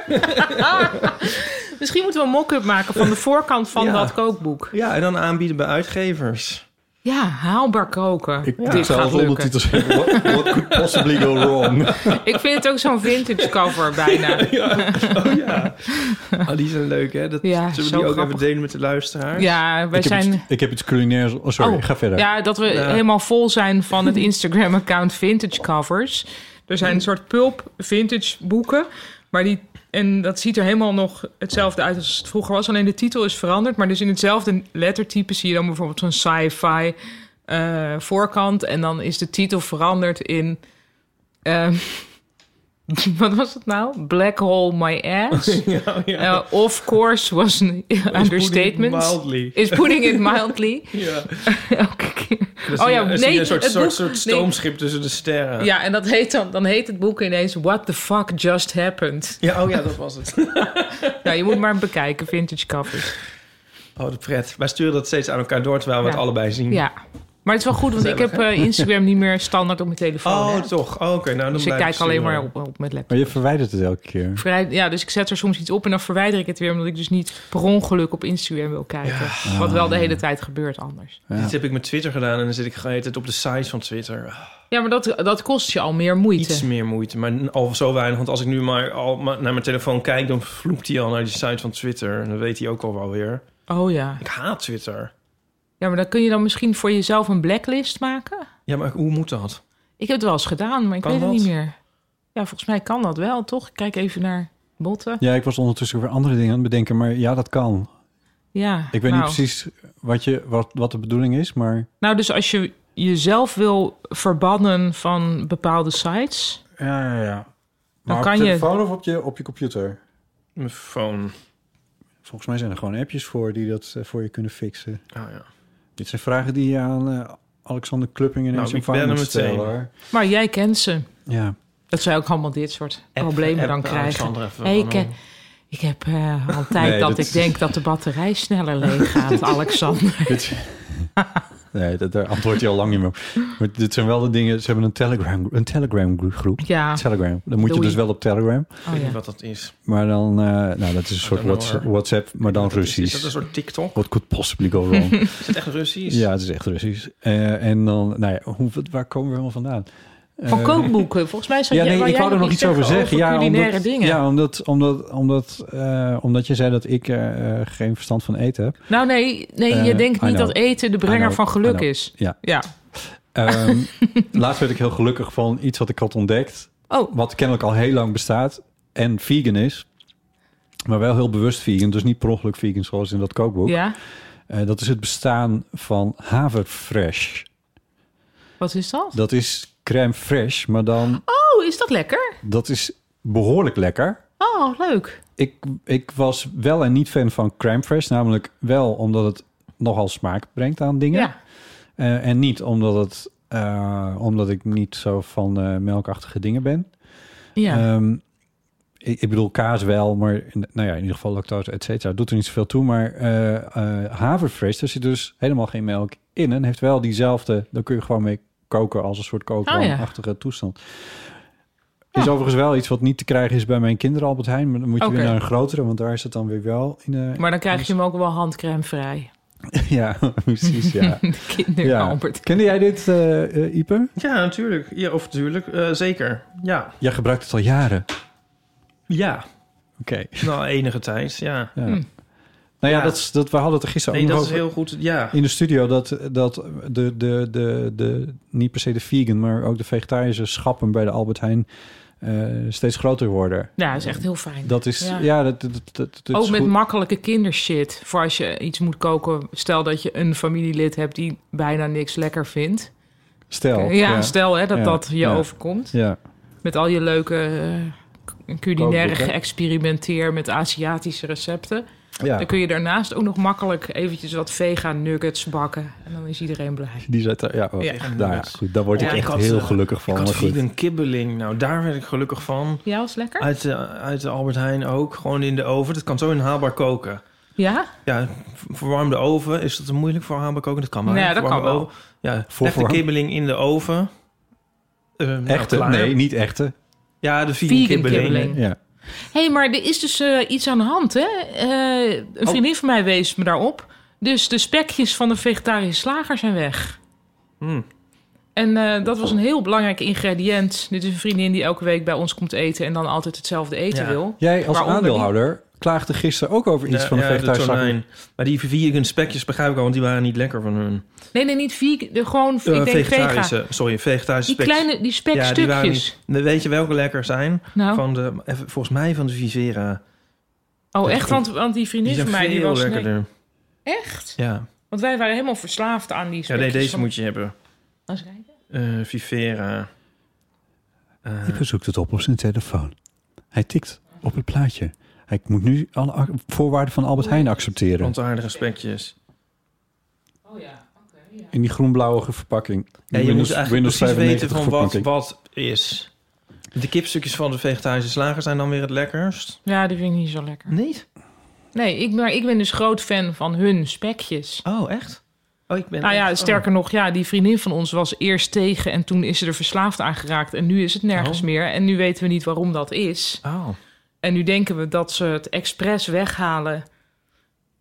[SPEAKER 2] Misschien moeten we een mock-up maken van de voorkant van
[SPEAKER 3] Ja.
[SPEAKER 2] dat kookboek.
[SPEAKER 3] Ja, en dan aanbieden bij uitgevers.
[SPEAKER 2] Ja, haalbaar koken.
[SPEAKER 1] Ik
[SPEAKER 2] Dit gaat
[SPEAKER 1] zelfs
[SPEAKER 2] lukken.
[SPEAKER 1] ondertitels hebben. What, what could possibly go wrong?
[SPEAKER 2] Ik vind het ook zo'n vintage cover bijna.
[SPEAKER 3] Ah, die zijn leuk, hè? Dat,
[SPEAKER 2] Ja,
[SPEAKER 3] zullen we
[SPEAKER 2] zo
[SPEAKER 3] die ook
[SPEAKER 2] grappig.
[SPEAKER 3] even delen met de luisteraar?
[SPEAKER 2] Ja, wij
[SPEAKER 1] ik, heb
[SPEAKER 2] zijn...
[SPEAKER 1] iets, ik heb iets culinairs. Oh, sorry,
[SPEAKER 2] Oh,
[SPEAKER 1] ga verder.
[SPEAKER 2] Ja, dat we helemaal vol zijn van het Instagram-account Vintage Covers. Er zijn een soort pulp vintage boeken. Maar die, en dat ziet er helemaal nog hetzelfde uit als het vroeger was. Alleen de titel is veranderd. Maar dus in hetzelfde lettertype zie je dan bijvoorbeeld zo'n sci-fi eh, voorkant. En dan is de titel veranderd in... ehm, wat was het nou? Black Hole My Ass. Eh, of course was een understatement.
[SPEAKER 3] Mildly.
[SPEAKER 2] Is putting it mildly.
[SPEAKER 3] Ja.
[SPEAKER 2] Elke keer.
[SPEAKER 3] Dan
[SPEAKER 2] Oh
[SPEAKER 3] zie
[SPEAKER 2] ja,
[SPEAKER 3] je- dan zie je
[SPEAKER 2] nee,
[SPEAKER 3] een soort,
[SPEAKER 2] het
[SPEAKER 3] soort,
[SPEAKER 2] boek-
[SPEAKER 3] soort
[SPEAKER 2] nee.
[SPEAKER 3] stoomschip tussen de sterren.
[SPEAKER 2] Ja, en dat heet dan, dan heet het boek ineens What the fuck just happened.
[SPEAKER 3] Ja, oh ja, dat was het.
[SPEAKER 2] Nou, je moet maar bekijken, vintage covers.
[SPEAKER 3] Oh, de pret. Wij sturen dat steeds aan elkaar door, terwijl we
[SPEAKER 2] Ja.
[SPEAKER 3] het allebei zien.
[SPEAKER 2] Ja, maar het is wel goed, want ik heb eh, Instagram niet meer standaard op mijn telefoon.
[SPEAKER 3] Oh,
[SPEAKER 2] hè.
[SPEAKER 3] toch. Oh, Oké, nou dan
[SPEAKER 2] dus ik
[SPEAKER 3] blijf
[SPEAKER 2] kijk alleen maar
[SPEAKER 3] sturen.
[SPEAKER 2] op, op mijn laptop.
[SPEAKER 1] Maar je verwijdert het elke keer.
[SPEAKER 2] Vrij- Ja, dus ik zet er soms iets op en dan verwijder ik het weer... omdat ik dus niet per ongeluk op Instagram wil kijken. Wat wel de hele tijd gebeurt anders.
[SPEAKER 3] Dit heb ik met Twitter gedaan en dan zit ik het op de site van Twitter. Ah,
[SPEAKER 2] Ja, maar dat, dat kost je al meer moeite.
[SPEAKER 3] Iets meer moeite, maar al zo weinig. Want als ik nu maar al maar naar mijn telefoon kijk, dan vloekt hij al naar die site van Twitter. En dan weet hij ook al wel weer.
[SPEAKER 2] Oh ja.
[SPEAKER 3] Ik haat Twitter.
[SPEAKER 2] Ja, maar dan kun je dan misschien voor jezelf een blacklist maken...
[SPEAKER 3] Ja, maar hoe moet dat?
[SPEAKER 2] Ik heb het wel eens gedaan, maar ik
[SPEAKER 3] Kan
[SPEAKER 2] weet het
[SPEAKER 3] dat?
[SPEAKER 2] niet meer. Ja, volgens mij kan dat wel, toch? Ik kijk even naar botten.
[SPEAKER 1] Ja, ik was ondertussen weer andere dingen aan het bedenken. Maar ja, dat kan.
[SPEAKER 2] Ja,
[SPEAKER 1] Ik weet
[SPEAKER 2] nou.
[SPEAKER 1] niet precies wat, je, wat, wat de bedoeling is, maar...
[SPEAKER 2] Nou, dus als je jezelf wil verbannen van bepaalde sites...
[SPEAKER 1] Ja, ja, ja.
[SPEAKER 2] Dan op kan je- telefoon
[SPEAKER 1] of op je, op je computer?
[SPEAKER 3] Mijn phone.
[SPEAKER 1] Volgens mij zijn er gewoon appjes voor die dat eh, voor je kunnen fixen.
[SPEAKER 3] Ah ja.
[SPEAKER 1] Dit zijn vragen die je aan eh, Alexander Klupping en
[SPEAKER 3] Nou,
[SPEAKER 1] zijn
[SPEAKER 3] ik ben
[SPEAKER 1] vader
[SPEAKER 3] er
[SPEAKER 1] moet
[SPEAKER 3] meteen.
[SPEAKER 1] stellen. hoor.
[SPEAKER 2] Maar jij kent ze.
[SPEAKER 1] Ja.
[SPEAKER 2] Dat zij ook allemaal dit soort problemen dan krijgen. Hey, ik, eh, ik heb eh, al een tijd
[SPEAKER 1] Nee,
[SPEAKER 2] dat
[SPEAKER 1] dat-
[SPEAKER 2] ik denk dat de batterij sneller leeg gaat, Alexander.
[SPEAKER 1] Dit- nee, dat, daar antwoordt hij al lang niet meer op. Maar dit zijn wel de dingen... Ze hebben een Telegram, een telegram gro- groep.
[SPEAKER 2] Ja,
[SPEAKER 1] Telegram. Dan moet je
[SPEAKER 2] Doei.
[SPEAKER 1] dus wel op Telegram.
[SPEAKER 3] Ik
[SPEAKER 2] oh
[SPEAKER 3] weet niet
[SPEAKER 2] ja.
[SPEAKER 3] wat dat is.
[SPEAKER 1] Maar dan... eh, nou, dat is een soort
[SPEAKER 3] don't know,
[SPEAKER 1] Whats-
[SPEAKER 3] hoor.
[SPEAKER 1] WhatsApp, maar dan
[SPEAKER 3] Wat dat is. Is dat
[SPEAKER 1] Russisch.
[SPEAKER 3] een soort TikTok?
[SPEAKER 1] What could possibly go wrong?
[SPEAKER 3] Is het echt Russisch?
[SPEAKER 1] Ja, het is echt Russisch. Eh, en dan, nou ja, hoe, wat- waar komen we helemaal vandaan?
[SPEAKER 2] Van
[SPEAKER 1] Eh,
[SPEAKER 2] kookboeken. Volgens mij zou
[SPEAKER 1] Ja,
[SPEAKER 2] jij,
[SPEAKER 1] nee,
[SPEAKER 2] wou
[SPEAKER 1] ik
[SPEAKER 2] jij
[SPEAKER 1] wou er nog iets over zeggen.
[SPEAKER 2] over
[SPEAKER 1] Ja,
[SPEAKER 2] culinaire
[SPEAKER 1] omdat,
[SPEAKER 2] dingen.
[SPEAKER 1] ja, omdat, omdat, omdat, eh, omdat je zei dat ik eh, eh, geen verstand van eten heb.
[SPEAKER 2] Nou nee, nee
[SPEAKER 1] Eh,
[SPEAKER 2] je denkt
[SPEAKER 1] I
[SPEAKER 2] niet
[SPEAKER 1] know.
[SPEAKER 2] dat eten de
[SPEAKER 1] I
[SPEAKER 2] brenger
[SPEAKER 1] know,
[SPEAKER 2] van
[SPEAKER 1] I
[SPEAKER 2] geluk
[SPEAKER 1] know.
[SPEAKER 2] is.
[SPEAKER 1] Ja.
[SPEAKER 2] Ja.
[SPEAKER 1] Ehm, laatst werd ik heel gelukkig van iets wat ik had ontdekt.
[SPEAKER 2] Oh,
[SPEAKER 1] Wat kennelijk al heel lang bestaat. En vegan is. Maar wel heel bewust vegan. Dus niet per ongeluk vegan zoals in dat kookboek.
[SPEAKER 2] ja.
[SPEAKER 1] Eh, dat is het bestaan van haverfresh.
[SPEAKER 2] Wat is dat?
[SPEAKER 1] Dat is crème fraîche. Maar dan,
[SPEAKER 2] Oh, is dat lekker?
[SPEAKER 1] dat is behoorlijk lekker.
[SPEAKER 2] Oh, leuk.
[SPEAKER 1] ik, ik was wel en niet fan van crème fresh. Namelijk wel omdat het nogal smaak brengt aan dingen.
[SPEAKER 2] Ja.
[SPEAKER 1] Eh, en niet omdat, het, eh, omdat ik niet zo van eh, melkachtige dingen ben.
[SPEAKER 2] Ja.
[SPEAKER 1] Ehm, ik, ik bedoel kaas wel, maar in- nou ja, in ieder geval lactose, et cetera. Doet er niet zoveel toe. Maar eh eh, haverfresh, daar zit dus helemaal geen melk in. En heeft wel diezelfde, daar kun je gewoon mee koken als een soort kookwanachtige
[SPEAKER 2] Oh,
[SPEAKER 1] toestand. Is overigens wel iets wat niet te krijgen is bij mijn kinderen Albert Heijn. Maar dan moet je
[SPEAKER 2] Oké.
[SPEAKER 1] weer naar een grotere, want daar is het dan weer wel in. eh,
[SPEAKER 2] maar dan krijg je hem ook wel handcremevrij.
[SPEAKER 1] ja, precies, ja.
[SPEAKER 2] Kinder
[SPEAKER 1] ja.
[SPEAKER 2] Albert.
[SPEAKER 1] Kende jij dit, eh eh, Ipe?
[SPEAKER 3] Ja, natuurlijk. Ja, of natuurlijk. Eh, zeker. Ja.
[SPEAKER 1] Jij gebruikt het al jaren. Oké.
[SPEAKER 3] Ja. Nou, enige tijd. Ja.
[SPEAKER 2] Hm.
[SPEAKER 1] Ja. Nou ja,
[SPEAKER 3] Ja.
[SPEAKER 1] Dat, is- dat, we hadden het er gisteren
[SPEAKER 3] Nee,
[SPEAKER 1] ook
[SPEAKER 3] dat
[SPEAKER 1] nog
[SPEAKER 3] is
[SPEAKER 1] over
[SPEAKER 3] heel goed. Ja.
[SPEAKER 1] in de studio. Dat, dat de, de, de, de, niet per se de vegan, maar ook de vegetarische schappen bij de Albert Heijn eh, steeds groter worden.
[SPEAKER 2] Ja, dat is echt heel fijn.
[SPEAKER 1] Dat is, ja,
[SPEAKER 2] Ja.
[SPEAKER 1] dat, dat, dat, dat is
[SPEAKER 2] ook met
[SPEAKER 1] goed.
[SPEAKER 2] makkelijke kindershit. Voor als je iets moet koken. Stel dat je een familielid hebt die bijna niks lekker vindt. Eh,
[SPEAKER 1] Stel.
[SPEAKER 2] ja, stel hè, dat
[SPEAKER 1] Ja.
[SPEAKER 2] dat je
[SPEAKER 1] Ja.
[SPEAKER 2] overkomt.
[SPEAKER 1] Ja.
[SPEAKER 2] Met al je leuke eh, cu- culinaire
[SPEAKER 1] Kookboeken.
[SPEAKER 2] geëxperimenteer met Aziatische recepten.
[SPEAKER 1] ja.
[SPEAKER 2] Dan kun je daarnaast ook nog makkelijk eventjes wat vegan nuggets bakken. En dan is iedereen blij.
[SPEAKER 1] Die zet er, ja, oh,
[SPEAKER 2] Ja.
[SPEAKER 1] nou ja, goed, daar word ik
[SPEAKER 3] Ja,
[SPEAKER 1] echt
[SPEAKER 3] ik had,
[SPEAKER 1] heel
[SPEAKER 3] eh,
[SPEAKER 1] gelukkig van.
[SPEAKER 3] ik had
[SPEAKER 1] maar goed.
[SPEAKER 3] vegan kibbeling. Nou, daar werd ik gelukkig van.
[SPEAKER 2] Ja, was lekker?
[SPEAKER 3] Uit de, uit de Albert Heijn ook. Gewoon in de oven. Dat kan zo in haalbaar koken.
[SPEAKER 2] Ja?
[SPEAKER 3] Ja, v- verwarmde oven. Is dat te moeilijk voor haalbaar koken? Dat kan maar.
[SPEAKER 2] Nee, dat
[SPEAKER 3] Verwarmde
[SPEAKER 2] kan wel.
[SPEAKER 3] oven. Ja,
[SPEAKER 1] Voor-
[SPEAKER 3] leg de
[SPEAKER 1] voor-
[SPEAKER 3] kibbeling in de oven. Eh, nou,
[SPEAKER 1] Echte?
[SPEAKER 3] klaar.
[SPEAKER 1] nee, niet echte.
[SPEAKER 3] Ja, de vegan,
[SPEAKER 2] Vegan
[SPEAKER 3] kibbeling.
[SPEAKER 2] kibbeling.
[SPEAKER 1] Ja.
[SPEAKER 3] Oh.
[SPEAKER 2] Hé, hey, maar er is dus eh, iets aan de hand, hè? Eh, een vriendin van mij wees me daarop. Dus de spekjes van de vegetarische slager zijn weg.
[SPEAKER 3] Hmm.
[SPEAKER 2] En eh, dat was een heel belangrijk ingrediënt. Dit is een vriendin die elke week bij ons komt eten en dan altijd hetzelfde eten
[SPEAKER 3] Ja.
[SPEAKER 2] wil.
[SPEAKER 1] Jij als
[SPEAKER 2] Waaronder die-
[SPEAKER 1] aandeelhouder klaagde gisteren ook over iets
[SPEAKER 3] Ja,
[SPEAKER 1] van de
[SPEAKER 3] ja,
[SPEAKER 1] vegetarische slager.
[SPEAKER 3] tonijn. Maar die vegan spekjes begrijp ik al, want die waren niet lekker van hun.
[SPEAKER 2] Nee, nee, niet vegan. de- Gewoon ik
[SPEAKER 3] Eh,
[SPEAKER 2] denk
[SPEAKER 3] vegetarische,
[SPEAKER 2] vega.
[SPEAKER 3] sorry, vegetarische
[SPEAKER 2] Die
[SPEAKER 3] spekjes.
[SPEAKER 2] kleine, die
[SPEAKER 3] ja, die waren
[SPEAKER 2] spekstukjes.
[SPEAKER 3] niet. Weet je welke lekker zijn?
[SPEAKER 2] nou,
[SPEAKER 3] Van de, even- volgens mij van de Vivera.
[SPEAKER 2] oh echt, want, want die vriendin
[SPEAKER 3] Die zijn
[SPEAKER 2] van mij die
[SPEAKER 3] veel
[SPEAKER 2] was... nee,
[SPEAKER 3] lekkerder.
[SPEAKER 2] echt?
[SPEAKER 3] Ja,
[SPEAKER 2] Want wij waren helemaal verslaafd aan die
[SPEAKER 3] ja
[SPEAKER 2] spekjes.
[SPEAKER 3] nee, deze
[SPEAKER 2] van-
[SPEAKER 3] moet je hebben.
[SPEAKER 2] Laat eens kijken.
[SPEAKER 3] Eh, Vivera. Eh,
[SPEAKER 1] Hij zoekt het op op zijn telefoon. Hij tikt op het plaatje. Hij moet nu alle ac- voorwaarden van Albert Heijn accepteren.
[SPEAKER 3] plantaardige spekjes.
[SPEAKER 2] Oh ja, oké. ja.
[SPEAKER 1] In die groenblauwe verpakking.
[SPEAKER 3] Ja, je moet eigenlijk precies weten van wat, wat is. De kipstukjes van de vegetarische slager zijn dan weer het lekkerst.
[SPEAKER 2] Ja, die vind ik niet zo lekker.
[SPEAKER 3] Niet?
[SPEAKER 2] Nee, ik, maar ik ben dus groot fan van hun spekjes.
[SPEAKER 3] Oh, echt? Oh, ik ben
[SPEAKER 2] Nou ja,
[SPEAKER 3] oh.
[SPEAKER 2] sterker nog, ja, die vriendin van ons was eerst tegen en toen is ze er verslaafd aan geraakt. En nu is het nergens
[SPEAKER 3] Oh.
[SPEAKER 2] meer. En nu weten we niet waarom dat is.
[SPEAKER 3] Oh.
[SPEAKER 2] En nu denken we dat ze het expres weghalen.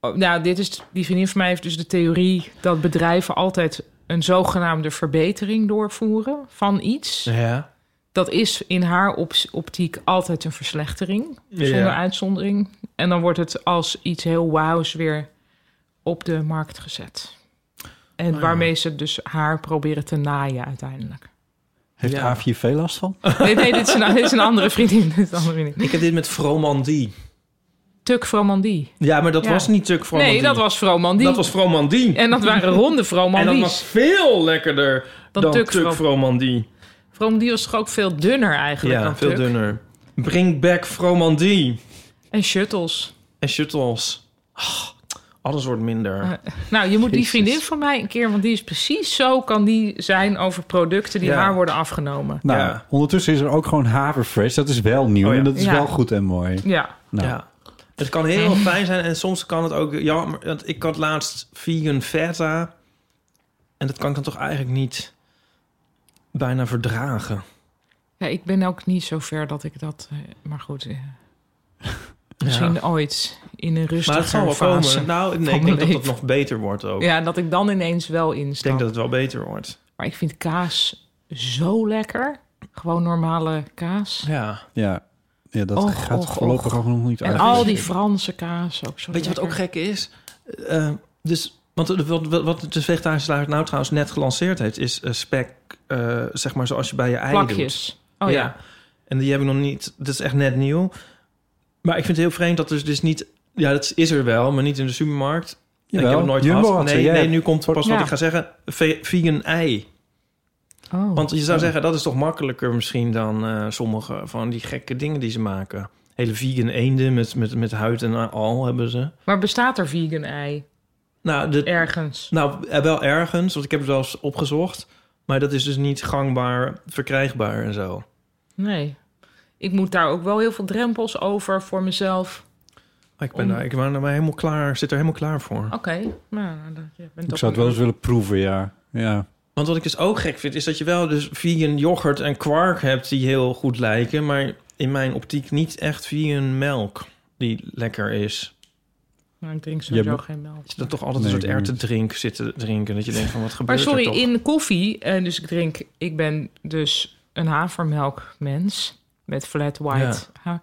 [SPEAKER 2] Oh, nou, dit is, die vriendin van mij heeft dus de theorie dat bedrijven altijd een zogenaamde verbetering doorvoeren van iets.
[SPEAKER 3] Ja.
[SPEAKER 2] Dat is in haar ops- optiek altijd een verslechtering.
[SPEAKER 3] Ja.
[SPEAKER 2] zonder uitzondering. En dan wordt het als iets heel wauws weer op de markt gezet. En
[SPEAKER 3] Ah, ja.
[SPEAKER 2] waarmee ze dus haar proberen te naaien uiteindelijk.
[SPEAKER 1] Heeft
[SPEAKER 3] Ja.
[SPEAKER 1] A4 veel last van?
[SPEAKER 2] Nee, nee dit, is een, dit is een andere vriendin. Dit is een andere vriendin.
[SPEAKER 3] Ik heb dit met Fromandie.
[SPEAKER 2] Tuk Fromandie.
[SPEAKER 3] Ja, maar dat
[SPEAKER 2] Ja.
[SPEAKER 3] was niet Tuk Fromandie.
[SPEAKER 2] Nee, dat was Fromandie.
[SPEAKER 3] Dat was Fromandie.
[SPEAKER 2] En dat waren ronde
[SPEAKER 3] En dat
[SPEAKER 2] Fromandies.
[SPEAKER 3] was veel lekkerder
[SPEAKER 2] Dan
[SPEAKER 3] dan,
[SPEAKER 2] Tuk
[SPEAKER 3] Tuk,
[SPEAKER 2] Fro-
[SPEAKER 3] Fromandie.
[SPEAKER 2] Fromandie was toch ook veel dunner eigenlijk
[SPEAKER 3] Ja,
[SPEAKER 2] dan
[SPEAKER 3] veel
[SPEAKER 2] Tuk.
[SPEAKER 3] dunner. Bring back Fromandie.
[SPEAKER 2] En shuttles.
[SPEAKER 3] En shuttles. Ah, alles wordt minder.
[SPEAKER 2] Eh, Nou, je moet die
[SPEAKER 1] Jezus.
[SPEAKER 2] vriendin van mij een keer... want die is precies zo, kan die zijn over producten die
[SPEAKER 3] Ja.
[SPEAKER 2] haar worden afgenomen.
[SPEAKER 1] Nou,
[SPEAKER 3] Ja.
[SPEAKER 1] ondertussen is er ook gewoon haverfresh. Dat is wel nieuw
[SPEAKER 3] Oh ja.
[SPEAKER 1] en dat is
[SPEAKER 2] Ja.
[SPEAKER 1] wel goed en mooi.
[SPEAKER 2] Ja,
[SPEAKER 1] Nou.
[SPEAKER 3] Ja. Het kan heel fijn zijn en soms kan het ook jammer. Want ik had laatst vegan feta. En dat kan ik dan toch eigenlijk niet bijna verdragen.
[SPEAKER 2] Ja, ik ben ook niet zo ver dat ik dat... eh, Maar goed, eh, misschien ooit in een
[SPEAKER 3] Maar
[SPEAKER 2] rustige
[SPEAKER 3] het zal wel
[SPEAKER 2] fase.
[SPEAKER 3] komen. Nou,
[SPEAKER 2] van
[SPEAKER 3] nee, ik denk
[SPEAKER 2] mijn
[SPEAKER 3] dat het
[SPEAKER 2] leven.
[SPEAKER 3] nog beter wordt ook.
[SPEAKER 2] Ja, dat ik dan ineens wel
[SPEAKER 3] Ik
[SPEAKER 2] instap.
[SPEAKER 3] denk dat het wel beter wordt.
[SPEAKER 2] Maar ik vind kaas zo lekker. Gewoon normale kaas.
[SPEAKER 3] Ja.
[SPEAKER 1] Ja, ja dat
[SPEAKER 2] Och,
[SPEAKER 1] gaat
[SPEAKER 2] och,
[SPEAKER 1] voorlopig
[SPEAKER 2] och.
[SPEAKER 1] ook nog niet
[SPEAKER 2] En
[SPEAKER 1] uit.
[SPEAKER 2] al die Franse kaas ook zo
[SPEAKER 3] Weet je wat ook
[SPEAKER 2] lekker.
[SPEAKER 3] gek is? Eh, dus, want de- wat, wat, wat de vegetarische slager nou trouwens net gelanceerd heeft... is eh, spek, eh, zeg maar zoals je bij je ei doet.
[SPEAKER 2] Plakjes. Oh ja.
[SPEAKER 3] En die heb ik nog niet. Dat is echt net nieuw. Maar ik vind het heel vreemd dat dus, dus niet. Ja, dat is er wel, maar niet in de supermarkt.
[SPEAKER 1] Jawel,
[SPEAKER 3] ik heb het nooit
[SPEAKER 1] Jumbo
[SPEAKER 3] gehad.
[SPEAKER 1] had ze,
[SPEAKER 3] Nee,
[SPEAKER 1] jij
[SPEAKER 3] nee,
[SPEAKER 1] hebt-
[SPEAKER 3] nu komt pas
[SPEAKER 2] Ja.
[SPEAKER 3] wat ik ga zeggen. Ve- Vegan ei.
[SPEAKER 2] Oh.
[SPEAKER 3] Want je zou zeggen, dat is toch makkelijker misschien dan eh, sommige van die gekke dingen die ze maken. Hele vegan eenden met, met, met huid en al hebben ze.
[SPEAKER 2] Maar bestaat er vegan ei
[SPEAKER 3] Nou, de,
[SPEAKER 2] ergens?
[SPEAKER 3] nou, eh, wel ergens, want ik heb het wel eens opgezocht. Maar dat is dus niet gangbaar, verkrijgbaar en zo.
[SPEAKER 2] Nee. Ik moet daar ook wel heel veel drempels over voor mezelf.
[SPEAKER 3] Maar Ik ben,
[SPEAKER 2] Om-
[SPEAKER 3] daar, ik ben er maar helemaal klaar, zit er helemaal klaar voor.
[SPEAKER 2] Oké, nou, dat- je bent
[SPEAKER 1] Ik zou
[SPEAKER 2] ook een-
[SPEAKER 1] het wel eens willen proeven, ja. ja.
[SPEAKER 3] Want wat ik dus ook gek vind, is dat je wel dus vegan yoghurt en kwark hebt die heel goed lijken, maar in mijn optiek niet echt vegan melk die lekker is.
[SPEAKER 2] Nou, ik drink sowieso
[SPEAKER 1] hebt-
[SPEAKER 2] geen melk.
[SPEAKER 3] Dat je dan toch altijd
[SPEAKER 1] Nee,
[SPEAKER 3] een
[SPEAKER 1] ik
[SPEAKER 3] soort ertendrink zit te drinken, dat je denkt van wat gebeurt
[SPEAKER 2] Maar sorry,
[SPEAKER 3] er toch?
[SPEAKER 2] in koffie, eh, dus ik drink, ik ben dus een havermelkmens met flat white. Ha-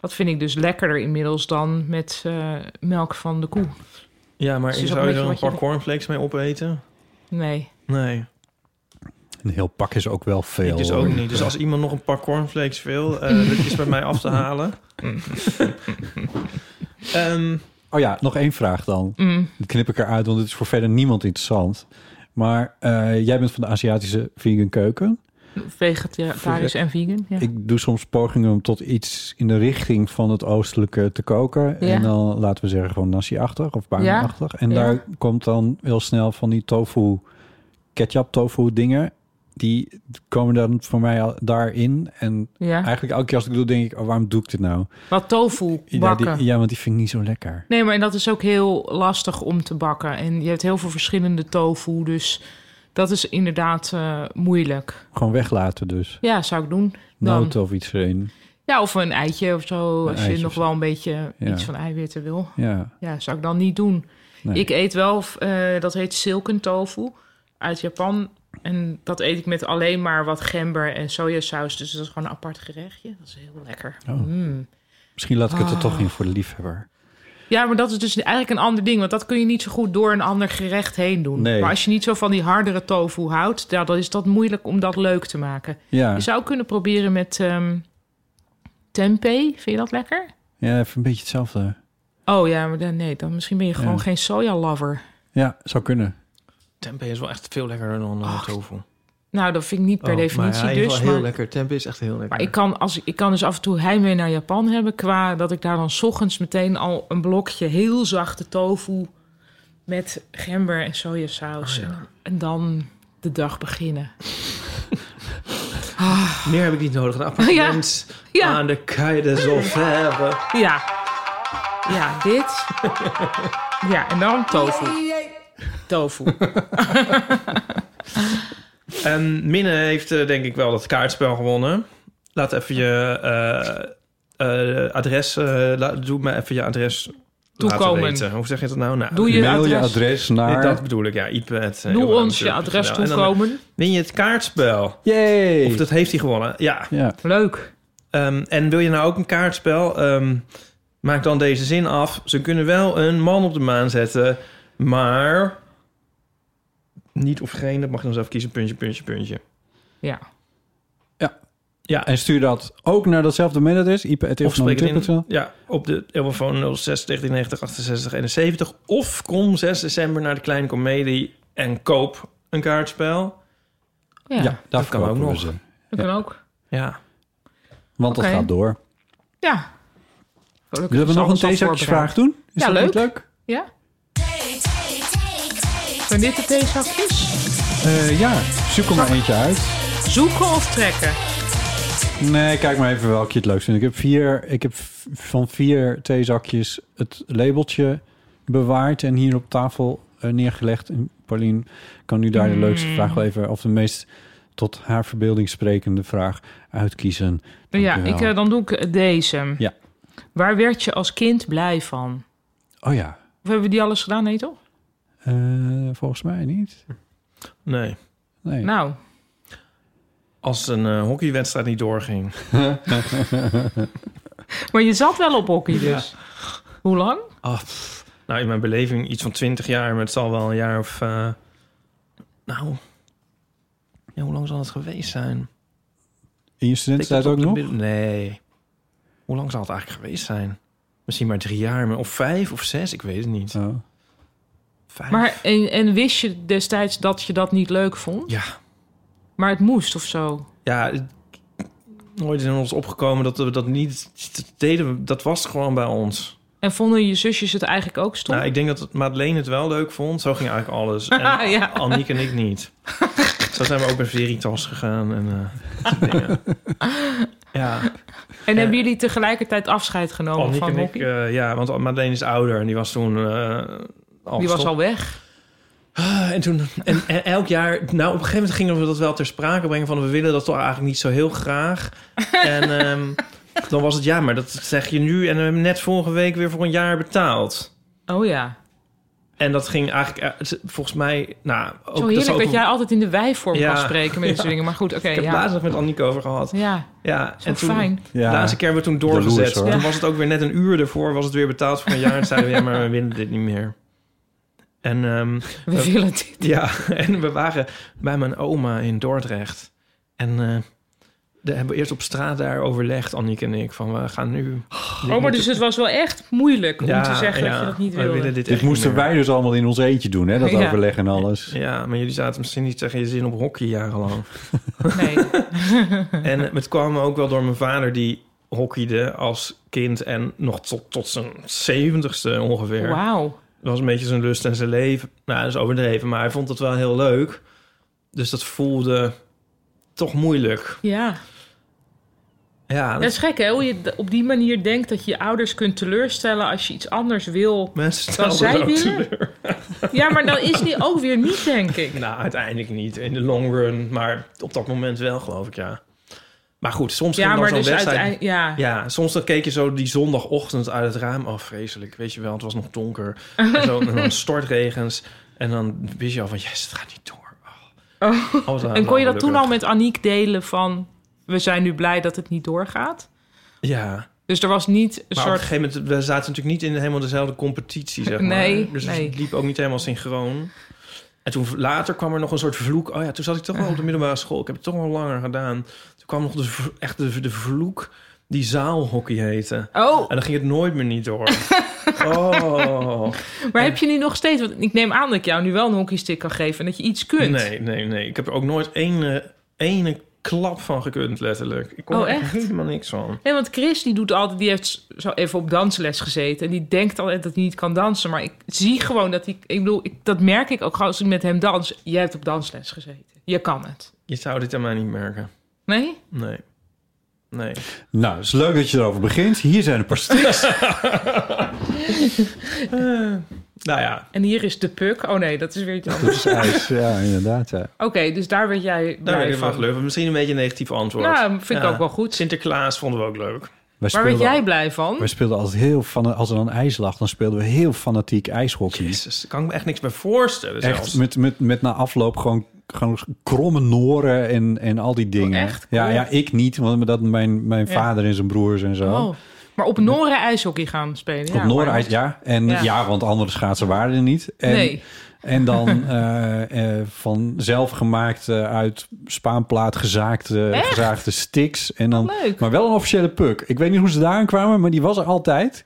[SPEAKER 2] Dat vind ik dus lekkerder inmiddels dan met eh, melk van de koe.
[SPEAKER 3] Ja, maar
[SPEAKER 2] Het is ook
[SPEAKER 3] zou
[SPEAKER 2] een
[SPEAKER 3] je er
[SPEAKER 2] beetje
[SPEAKER 3] een paar
[SPEAKER 2] wat
[SPEAKER 3] cornflakes mee opeten?
[SPEAKER 2] Nee.
[SPEAKER 3] Nee,
[SPEAKER 1] Een heel pak is ook wel veel.
[SPEAKER 3] ik dus ook
[SPEAKER 1] hoor.
[SPEAKER 3] niet. Dus als iemand nog een paar cornflakes wil,
[SPEAKER 2] Mm.
[SPEAKER 3] eh, dat is bij mij af te halen. Ehm,
[SPEAKER 1] Oh ja, nog één vraag dan.
[SPEAKER 2] Mm.
[SPEAKER 1] Dat knip ik eruit, want het is voor verder niemand interessant. Maar eh, jij bent van de Aziatische vegan keuken.
[SPEAKER 2] Vegetarisch en vegan. Ja.
[SPEAKER 1] Ik doe soms pogingen om tot iets in de richting van het oostelijke te koken.
[SPEAKER 2] Ja.
[SPEAKER 1] En dan laten we zeggen gewoon nasi-achtig of bami-achtig. En
[SPEAKER 2] Ja.
[SPEAKER 1] daar komt dan heel snel van die tofu, ketchup tofu dingen. Die komen dan voor mij al daarin. En
[SPEAKER 2] ja.
[SPEAKER 1] eigenlijk elke keer als ik doe, denk ik, oh, waarom doe ik dit nou?
[SPEAKER 2] Wat tofu
[SPEAKER 1] Ja,
[SPEAKER 2] bakken.
[SPEAKER 1] die, ja, want die vind ik niet zo lekker.
[SPEAKER 2] Nee, maar en dat is ook heel lastig om te bakken. En je hebt heel veel verschillende tofu, dus dat is inderdaad eh, moeilijk.
[SPEAKER 1] Gewoon weglaten dus.
[SPEAKER 2] Ja, zou ik doen. Dan.
[SPEAKER 1] Noten of iets erin.
[SPEAKER 2] Ja, of een eitje of zo,
[SPEAKER 1] Een
[SPEAKER 2] als je
[SPEAKER 1] eitje
[SPEAKER 2] nog
[SPEAKER 1] of zo.
[SPEAKER 2] wel een beetje
[SPEAKER 1] Ja.
[SPEAKER 2] iets van eiwitten wil.
[SPEAKER 1] Ja.
[SPEAKER 2] Ja, zou ik dan niet doen.
[SPEAKER 1] Nee.
[SPEAKER 2] Ik eet wel, eh, dat heet silken tofu uit Japan. En dat eet ik met alleen maar wat gember en sojasaus. Dus dat is gewoon een apart gerechtje. Dat is heel lekker.
[SPEAKER 1] Oh.
[SPEAKER 2] Mm.
[SPEAKER 1] Misschien laat ik het er
[SPEAKER 2] Ah.
[SPEAKER 1] toch in voor de liefhebber.
[SPEAKER 2] Ja, maar dat is dus eigenlijk een ander ding. Want dat kun je niet zo goed door een ander gerecht heen doen.
[SPEAKER 1] Nee.
[SPEAKER 2] Maar als je niet zo van die hardere tofu houdt... ja, dan is dat moeilijk om dat leuk te maken.
[SPEAKER 1] Ja,
[SPEAKER 2] Je zou kunnen proberen met ehm, tempeh. Vind je dat lekker?
[SPEAKER 1] ja even een beetje hetzelfde.
[SPEAKER 2] Oh ja, maar dan, nee, dan misschien ben je gewoon
[SPEAKER 1] Ja.
[SPEAKER 2] geen soja-lover.
[SPEAKER 1] Ja, zou kunnen.
[SPEAKER 3] Tempeh is wel echt veel lekkerder dan eh, tofu.
[SPEAKER 2] Nou, dat vind ik niet per
[SPEAKER 3] Oh,
[SPEAKER 2] definitie
[SPEAKER 3] maar hij is
[SPEAKER 2] dus.
[SPEAKER 3] wel heel
[SPEAKER 2] maar,
[SPEAKER 3] lekker. Tempeh is echt heel lekker.
[SPEAKER 2] maar ik, kan, als, ik kan dus af en toe heimwee naar Japan hebben... qua dat ik daar dan 's ochtends meteen al een blokje heel zachte tofu... met gember en sojasaus.
[SPEAKER 1] Oh,
[SPEAKER 2] en, en dan de dag beginnen.
[SPEAKER 3] Meer heb ik niet nodig. Een appartement
[SPEAKER 2] Ja.
[SPEAKER 3] aan de Kaides of Heaven.
[SPEAKER 2] Ah, Ja. Ja, dit. Ja, en dan tofu. Tofu.
[SPEAKER 3] En Minne heeft eh, denk ik wel dat kaartspel gewonnen. Laat even je eh, eh, adres... eh, la- doe me even je adres
[SPEAKER 2] Toekomen.
[SPEAKER 3] laten weten. Hoe zeg je dat nou? nou
[SPEAKER 2] Doe je
[SPEAKER 1] Mail je
[SPEAKER 2] adres.
[SPEAKER 1] adres
[SPEAKER 3] Nee,
[SPEAKER 1] naar...
[SPEAKER 3] dat bedoel ik, ja. iPad. eh,
[SPEAKER 2] Doe
[SPEAKER 3] Johan
[SPEAKER 2] ons je
[SPEAKER 3] Turk.
[SPEAKER 2] adres
[SPEAKER 3] En dan
[SPEAKER 2] toekomen.
[SPEAKER 3] Win je het kaartspel.
[SPEAKER 1] Yay!
[SPEAKER 3] Of dat heeft hij gewonnen. Ja.
[SPEAKER 1] Ja,
[SPEAKER 2] Leuk.
[SPEAKER 3] Ehm, en wil je nou ook een kaartspel? Ehm, maak dan deze zin af. Ze kunnen wel een man op de maan zetten, maar niet of geen. Dat mag je dan zelf kiezen. Puntje, puntje, puntje.
[SPEAKER 2] Ja.
[SPEAKER 3] Ja,
[SPEAKER 1] en stuur dat ook naar datzelfde mailadres,
[SPEAKER 3] of spreek het in.
[SPEAKER 1] ip.nl.
[SPEAKER 3] Ja, op de telefoon 06 1990 68 71. Of kom 6 december naar de Kleine Comedie en koop een kaartspel.
[SPEAKER 2] Ja,
[SPEAKER 1] Ja, daar
[SPEAKER 3] kan
[SPEAKER 1] kan ook
[SPEAKER 3] ook
[SPEAKER 1] nog.
[SPEAKER 3] nog.
[SPEAKER 1] Ze.
[SPEAKER 2] dat kan ook.
[SPEAKER 3] Ja.
[SPEAKER 1] Want
[SPEAKER 2] Oké.
[SPEAKER 1] dat gaat door.
[SPEAKER 2] Ja. Gelukkig
[SPEAKER 1] Willen we
[SPEAKER 2] is
[SPEAKER 1] nog een
[SPEAKER 2] alles al
[SPEAKER 1] theezakjesvraag
[SPEAKER 2] voorbereid.
[SPEAKER 1] doen? Is
[SPEAKER 2] Ja,
[SPEAKER 1] dat niet
[SPEAKER 2] leuk.
[SPEAKER 1] leuk?
[SPEAKER 2] Ja? Zijn dit de theezakjes?
[SPEAKER 1] Eh, ja, zoek er maar eentje uit.
[SPEAKER 2] Zoeken of trekken?
[SPEAKER 1] Nee, kijk maar even welke je het leuk vindt. Ik heb, vier, ik heb v- van vier theezakjes het labeltje bewaard en hier op tafel eh, neergelegd. En Paulien kan nu daar de leukste vraag wel even, of de meest tot haar verbeelding sprekende vraag uitkiezen.
[SPEAKER 2] Ja,
[SPEAKER 1] Dankjewel.
[SPEAKER 2] ik, eh, dan doe ik eh, deze.
[SPEAKER 1] Ja.
[SPEAKER 2] Waar werd je als kind blij van?
[SPEAKER 1] Oh ja,
[SPEAKER 2] Of hebben we die alles gedaan? Nee, toch?
[SPEAKER 1] eh, volgens mij niet.
[SPEAKER 3] Nee.
[SPEAKER 1] Nee.
[SPEAKER 2] Nou,
[SPEAKER 3] Als een eh, hockeywedstrijd niet doorging.
[SPEAKER 2] maar je zat wel op hockey dus. Hoe lang?
[SPEAKER 3] Ah, pff. nou, in mijn beleving iets van 20 jaar, maar het zal wel een jaar of. eh, nou. Ja, hoe lang zal het geweest zijn?
[SPEAKER 1] In je
[SPEAKER 3] Tikt het
[SPEAKER 1] studententijd ook
[SPEAKER 3] op de
[SPEAKER 1] nog?
[SPEAKER 3] middel- Nee. Hoe lang zal het eigenlijk geweest zijn? Misschien maar drie jaar, maar- of vijf of zes, ik weet het niet.
[SPEAKER 1] Oh.
[SPEAKER 3] Vijf.
[SPEAKER 2] Maar, en, en wist je destijds dat je dat niet leuk vond?
[SPEAKER 3] Ja.
[SPEAKER 2] Maar het moest of zo?
[SPEAKER 3] Ja, het- nooit in ons opgekomen dat we dat niet dat deden. we- Dat was gewoon bij ons.
[SPEAKER 2] En vonden je zusjes het eigenlijk ook stom?
[SPEAKER 3] Nou, ik denk dat Madeleine het wel leuk vond. Zo ging eigenlijk alles. En
[SPEAKER 2] Ja.
[SPEAKER 3] Anniek en ik niet. Zo zijn we ook met Veritas gegaan en eh, dat soort dingen. Ja,
[SPEAKER 2] en hebben jullie tegelijkertijd afscheid genomen
[SPEAKER 3] Anniek
[SPEAKER 2] Oh, van
[SPEAKER 3] eh, en ik,
[SPEAKER 2] hockey?
[SPEAKER 3] eh, ja, want Madeleine is ouder en die was toen eh, al
[SPEAKER 2] Die was
[SPEAKER 3] gestopt.
[SPEAKER 2] al weg.
[SPEAKER 3] Ah, En toen, en, en elk jaar, nou op een gegeven moment gingen we dat wel ter sprake brengen van we willen dat toch eigenlijk niet zo heel graag. En ehm, dan was het ja, maar dat zeg je nu en we hebben net vorige week weer voor een jaar betaald.
[SPEAKER 2] Oh ja.
[SPEAKER 3] En dat ging eigenlijk, eh, het- volgens mij, nou ook
[SPEAKER 2] Zo
[SPEAKER 3] dat is
[SPEAKER 2] heerlijk
[SPEAKER 3] ook-
[SPEAKER 2] dat, jij altijd in de wijvorm
[SPEAKER 3] Ja.
[SPEAKER 2] kan spreken met
[SPEAKER 3] Ja.
[SPEAKER 2] de dingen. Maar goed, oké.
[SPEAKER 3] Ik heb het
[SPEAKER 2] ja.
[SPEAKER 3] laatst nog met Annieke over gehad.
[SPEAKER 2] ja,
[SPEAKER 3] Ja,
[SPEAKER 2] zo
[SPEAKER 3] en toen,
[SPEAKER 2] fijn.
[SPEAKER 1] Ja.
[SPEAKER 3] De laatste keer hebben we toen doorgezet.
[SPEAKER 1] Jaloers, hoor.
[SPEAKER 3] Toen
[SPEAKER 2] Ja.
[SPEAKER 3] was het ook weer net een uur ervoor, was het weer betaald voor een jaar. En zeiden we, ja, maar we willen dit niet meer. En ehm,
[SPEAKER 2] We
[SPEAKER 3] Eh,
[SPEAKER 2] willen dit.
[SPEAKER 3] ja, en we waren bij mijn oma in Dordrecht. En eh, daar hebben we eerst op straat daar overlegd, Annieke en ik, van we gaan nu...
[SPEAKER 2] Oh, maar dus het was wel echt moeilijk om
[SPEAKER 3] Ja,
[SPEAKER 2] te zeggen dat
[SPEAKER 3] ja,
[SPEAKER 2] je dat niet
[SPEAKER 3] wij
[SPEAKER 2] wilde.
[SPEAKER 3] willen dit,
[SPEAKER 1] Dit
[SPEAKER 3] echt niet
[SPEAKER 1] moesten
[SPEAKER 3] meer.
[SPEAKER 1] wij dus allemaal in ons eentje doen, hè? Dat
[SPEAKER 2] Ja.
[SPEAKER 1] overleg en alles.
[SPEAKER 3] Ja, maar jullie zaten misschien niet tegen je zin op hockey jarenlang.
[SPEAKER 2] Nee.
[SPEAKER 3] En het kwam ook wel door mijn vader die hockeyde als kind en nog tot, tot zijn zeventigste ongeveer.
[SPEAKER 2] Wauw.
[SPEAKER 3] Dat was een beetje zijn lust en zijn leven. Nou, dat is overdreven, maar hij vond het wel heel leuk. Dus dat voelde toch moeilijk.
[SPEAKER 2] Ja.
[SPEAKER 3] Ja,
[SPEAKER 2] Dat is gek, hè? Hoe je d- op die manier denkt dat je je ouders kunt teleurstellen als je iets anders wil.
[SPEAKER 3] mensen
[SPEAKER 2] Dan
[SPEAKER 3] stelden
[SPEAKER 2] zij
[SPEAKER 3] ook
[SPEAKER 2] willen?
[SPEAKER 3] teleur.
[SPEAKER 2] Ja, maar dan is die ook weer niet, denk ik.
[SPEAKER 3] Nou, uiteindelijk niet in de long run, maar op dat moment wel, geloof ik, ja. Maar goed, soms ging
[SPEAKER 2] Ja,
[SPEAKER 3] dan
[SPEAKER 2] maar
[SPEAKER 3] zo'n
[SPEAKER 2] dus
[SPEAKER 3] wedstrijd...
[SPEAKER 2] uiteindelijk... Ja.
[SPEAKER 3] Ja, soms dan keek je zo die zondagochtend uit het raam af, vreselijk. Weet je wel, het was nog donker. En, zo, en dan stortregens. En dan wist je al van, yes, het gaat niet door. Oh.
[SPEAKER 2] Oh.
[SPEAKER 3] Alles aan-
[SPEAKER 2] En kon je dat
[SPEAKER 3] gelukkig.
[SPEAKER 2] toen al met Aniek delen van... we zijn nu blij dat het niet doorgaat?
[SPEAKER 3] Ja,
[SPEAKER 2] Dus er was niet een
[SPEAKER 3] maar op een
[SPEAKER 2] soort...
[SPEAKER 3] gegeven moment, we zaten natuurlijk niet in helemaal dezelfde competitie, zeg maar.
[SPEAKER 2] Nee,
[SPEAKER 3] dus
[SPEAKER 2] nee.
[SPEAKER 3] het liep ook niet helemaal synchroon. En toen later kwam er nog een soort vloek. Oh ja, toen zat ik toch wel op de middelbare school. Ik heb het toch wel langer gedaan. Toen kwam nog de, v- echt de, de vloek die zaalhockey heette.
[SPEAKER 2] Oh,
[SPEAKER 3] En dan ging het nooit meer niet door. oh.
[SPEAKER 2] maar heb je nu nog steeds... Want ik neem aan dat ik jou nu wel een hockeystick kan geven... en dat je iets kunt.
[SPEAKER 3] Nee, nee, nee. Ik heb er ook nooit ene, ene klap van gekund, letterlijk. Ik kon
[SPEAKER 2] Oh,
[SPEAKER 3] er
[SPEAKER 2] echt?
[SPEAKER 3] helemaal niks van.
[SPEAKER 2] Nee, want Chris die doet altijd, die heeft zo even op dansles gezeten. En die denkt altijd dat hij niet kan dansen. Maar ik zie gewoon dat hij, ik bedoel, ik, dat merk ik ook gewoon als ik met hem dans. Je hebt op dansles gezeten. Je kan het.
[SPEAKER 3] Je zou dit aan mij niet merken.
[SPEAKER 2] Nee?
[SPEAKER 3] Nee. Nee.
[SPEAKER 1] Nou, het is leuk dat je erover begint. Hier zijn een paar sticks.
[SPEAKER 3] Nou ja,
[SPEAKER 2] En hier is de puk. Oh nee, dat is weer iets
[SPEAKER 1] Dat
[SPEAKER 2] anders.
[SPEAKER 1] is ijs, ja, inderdaad. Ja.
[SPEAKER 2] Oké, dus daar werd jij
[SPEAKER 3] daar ben
[SPEAKER 2] blij
[SPEAKER 3] ik wel
[SPEAKER 2] van.
[SPEAKER 3] leuk. Misschien een beetje een negatief antwoord.
[SPEAKER 2] Nou, vind ik
[SPEAKER 3] Ja.
[SPEAKER 2] ook wel goed.
[SPEAKER 3] Sinterklaas vonden we ook leuk.
[SPEAKER 1] Wij
[SPEAKER 2] Waar werd
[SPEAKER 1] speelden-
[SPEAKER 2] jij blij van?
[SPEAKER 1] Wij speelden altijd heel van als er dan ijs lag, dan speelden we heel fanatiek ijshockey.
[SPEAKER 3] Jezus, daar kan ik me echt niks bij voorstellen
[SPEAKER 1] Echt
[SPEAKER 3] zelfs.
[SPEAKER 1] met, met, met na afloop gewoon, gewoon kromme noren en, en al die dingen.
[SPEAKER 2] Oh, echt?
[SPEAKER 1] Ja,
[SPEAKER 2] Cool.
[SPEAKER 1] ja, ik niet, want dat mijn, mijn
[SPEAKER 2] Ja.
[SPEAKER 1] vader en zijn broers en zo.
[SPEAKER 2] Oh. Maar op Noren ijshockey gaan spelen.
[SPEAKER 1] Op
[SPEAKER 2] ja,
[SPEAKER 1] Noordeis,
[SPEAKER 2] maar-
[SPEAKER 1] ja. En
[SPEAKER 2] Ja.
[SPEAKER 1] ja. want andere schaatsen waren er niet. En,
[SPEAKER 2] Nee.
[SPEAKER 1] en dan eh, eh, van zelfgemaakt eh, uit Spaanplaat gezaakte,
[SPEAKER 2] Echt?
[SPEAKER 1] gezaagde sticks. En dan,
[SPEAKER 2] Wat leuk.
[SPEAKER 1] Maar wel een officiële puk. Ik weet niet hoe ze daaraan kwamen, maar die was er altijd.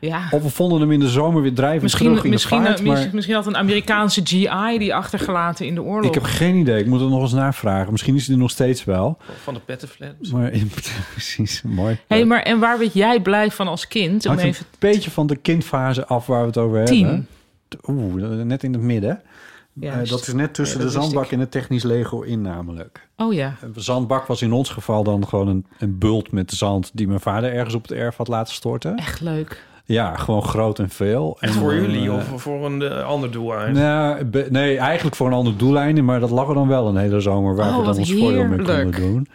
[SPEAKER 2] Ja.
[SPEAKER 1] Of we vonden hem in de zomer weer drijven terug
[SPEAKER 2] Misschien,
[SPEAKER 1] in
[SPEAKER 2] misschien, eh,
[SPEAKER 1] de vaart. maar
[SPEAKER 2] misschien, misschien had een Amerikaanse GI die achtergelaten in de oorlog.
[SPEAKER 1] ik heb geen idee. Ik moet er nog eens navragen. Misschien is hij er nog steeds wel.
[SPEAKER 3] Van de pettenflaps.
[SPEAKER 1] Maar precies, mooi.
[SPEAKER 2] Hé, hey, maar en waar werd jij blij van als kind? Om
[SPEAKER 1] Hangt
[SPEAKER 2] even...
[SPEAKER 1] een beetje van de kindfase af waar we het over
[SPEAKER 2] Tien.
[SPEAKER 1] hebben. Oeh, net in het midden. Eh, dat is net tussen
[SPEAKER 2] Ja, dat
[SPEAKER 1] de
[SPEAKER 2] wist
[SPEAKER 1] zandbak en het technisch Lego in namelijk.
[SPEAKER 2] Oh ja.
[SPEAKER 1] Een zandbak was in ons geval dan gewoon een, een bult met zand... die mijn vader ergens op het erf had laten storten.
[SPEAKER 2] Echt leuk.
[SPEAKER 1] Ja, gewoon groot en veel.
[SPEAKER 3] Echt
[SPEAKER 1] En,
[SPEAKER 3] voor
[SPEAKER 1] eh,
[SPEAKER 3] jullie of voor een eh, ander doelwijn.
[SPEAKER 1] Nou, be- nee, eigenlijk voor een ander doeleinde, maar dat lag er dan wel een hele zomer waar
[SPEAKER 2] Oh,
[SPEAKER 1] we
[SPEAKER 2] wat
[SPEAKER 1] dan ons voordeel mee konden
[SPEAKER 2] heerlijk.
[SPEAKER 1] doen.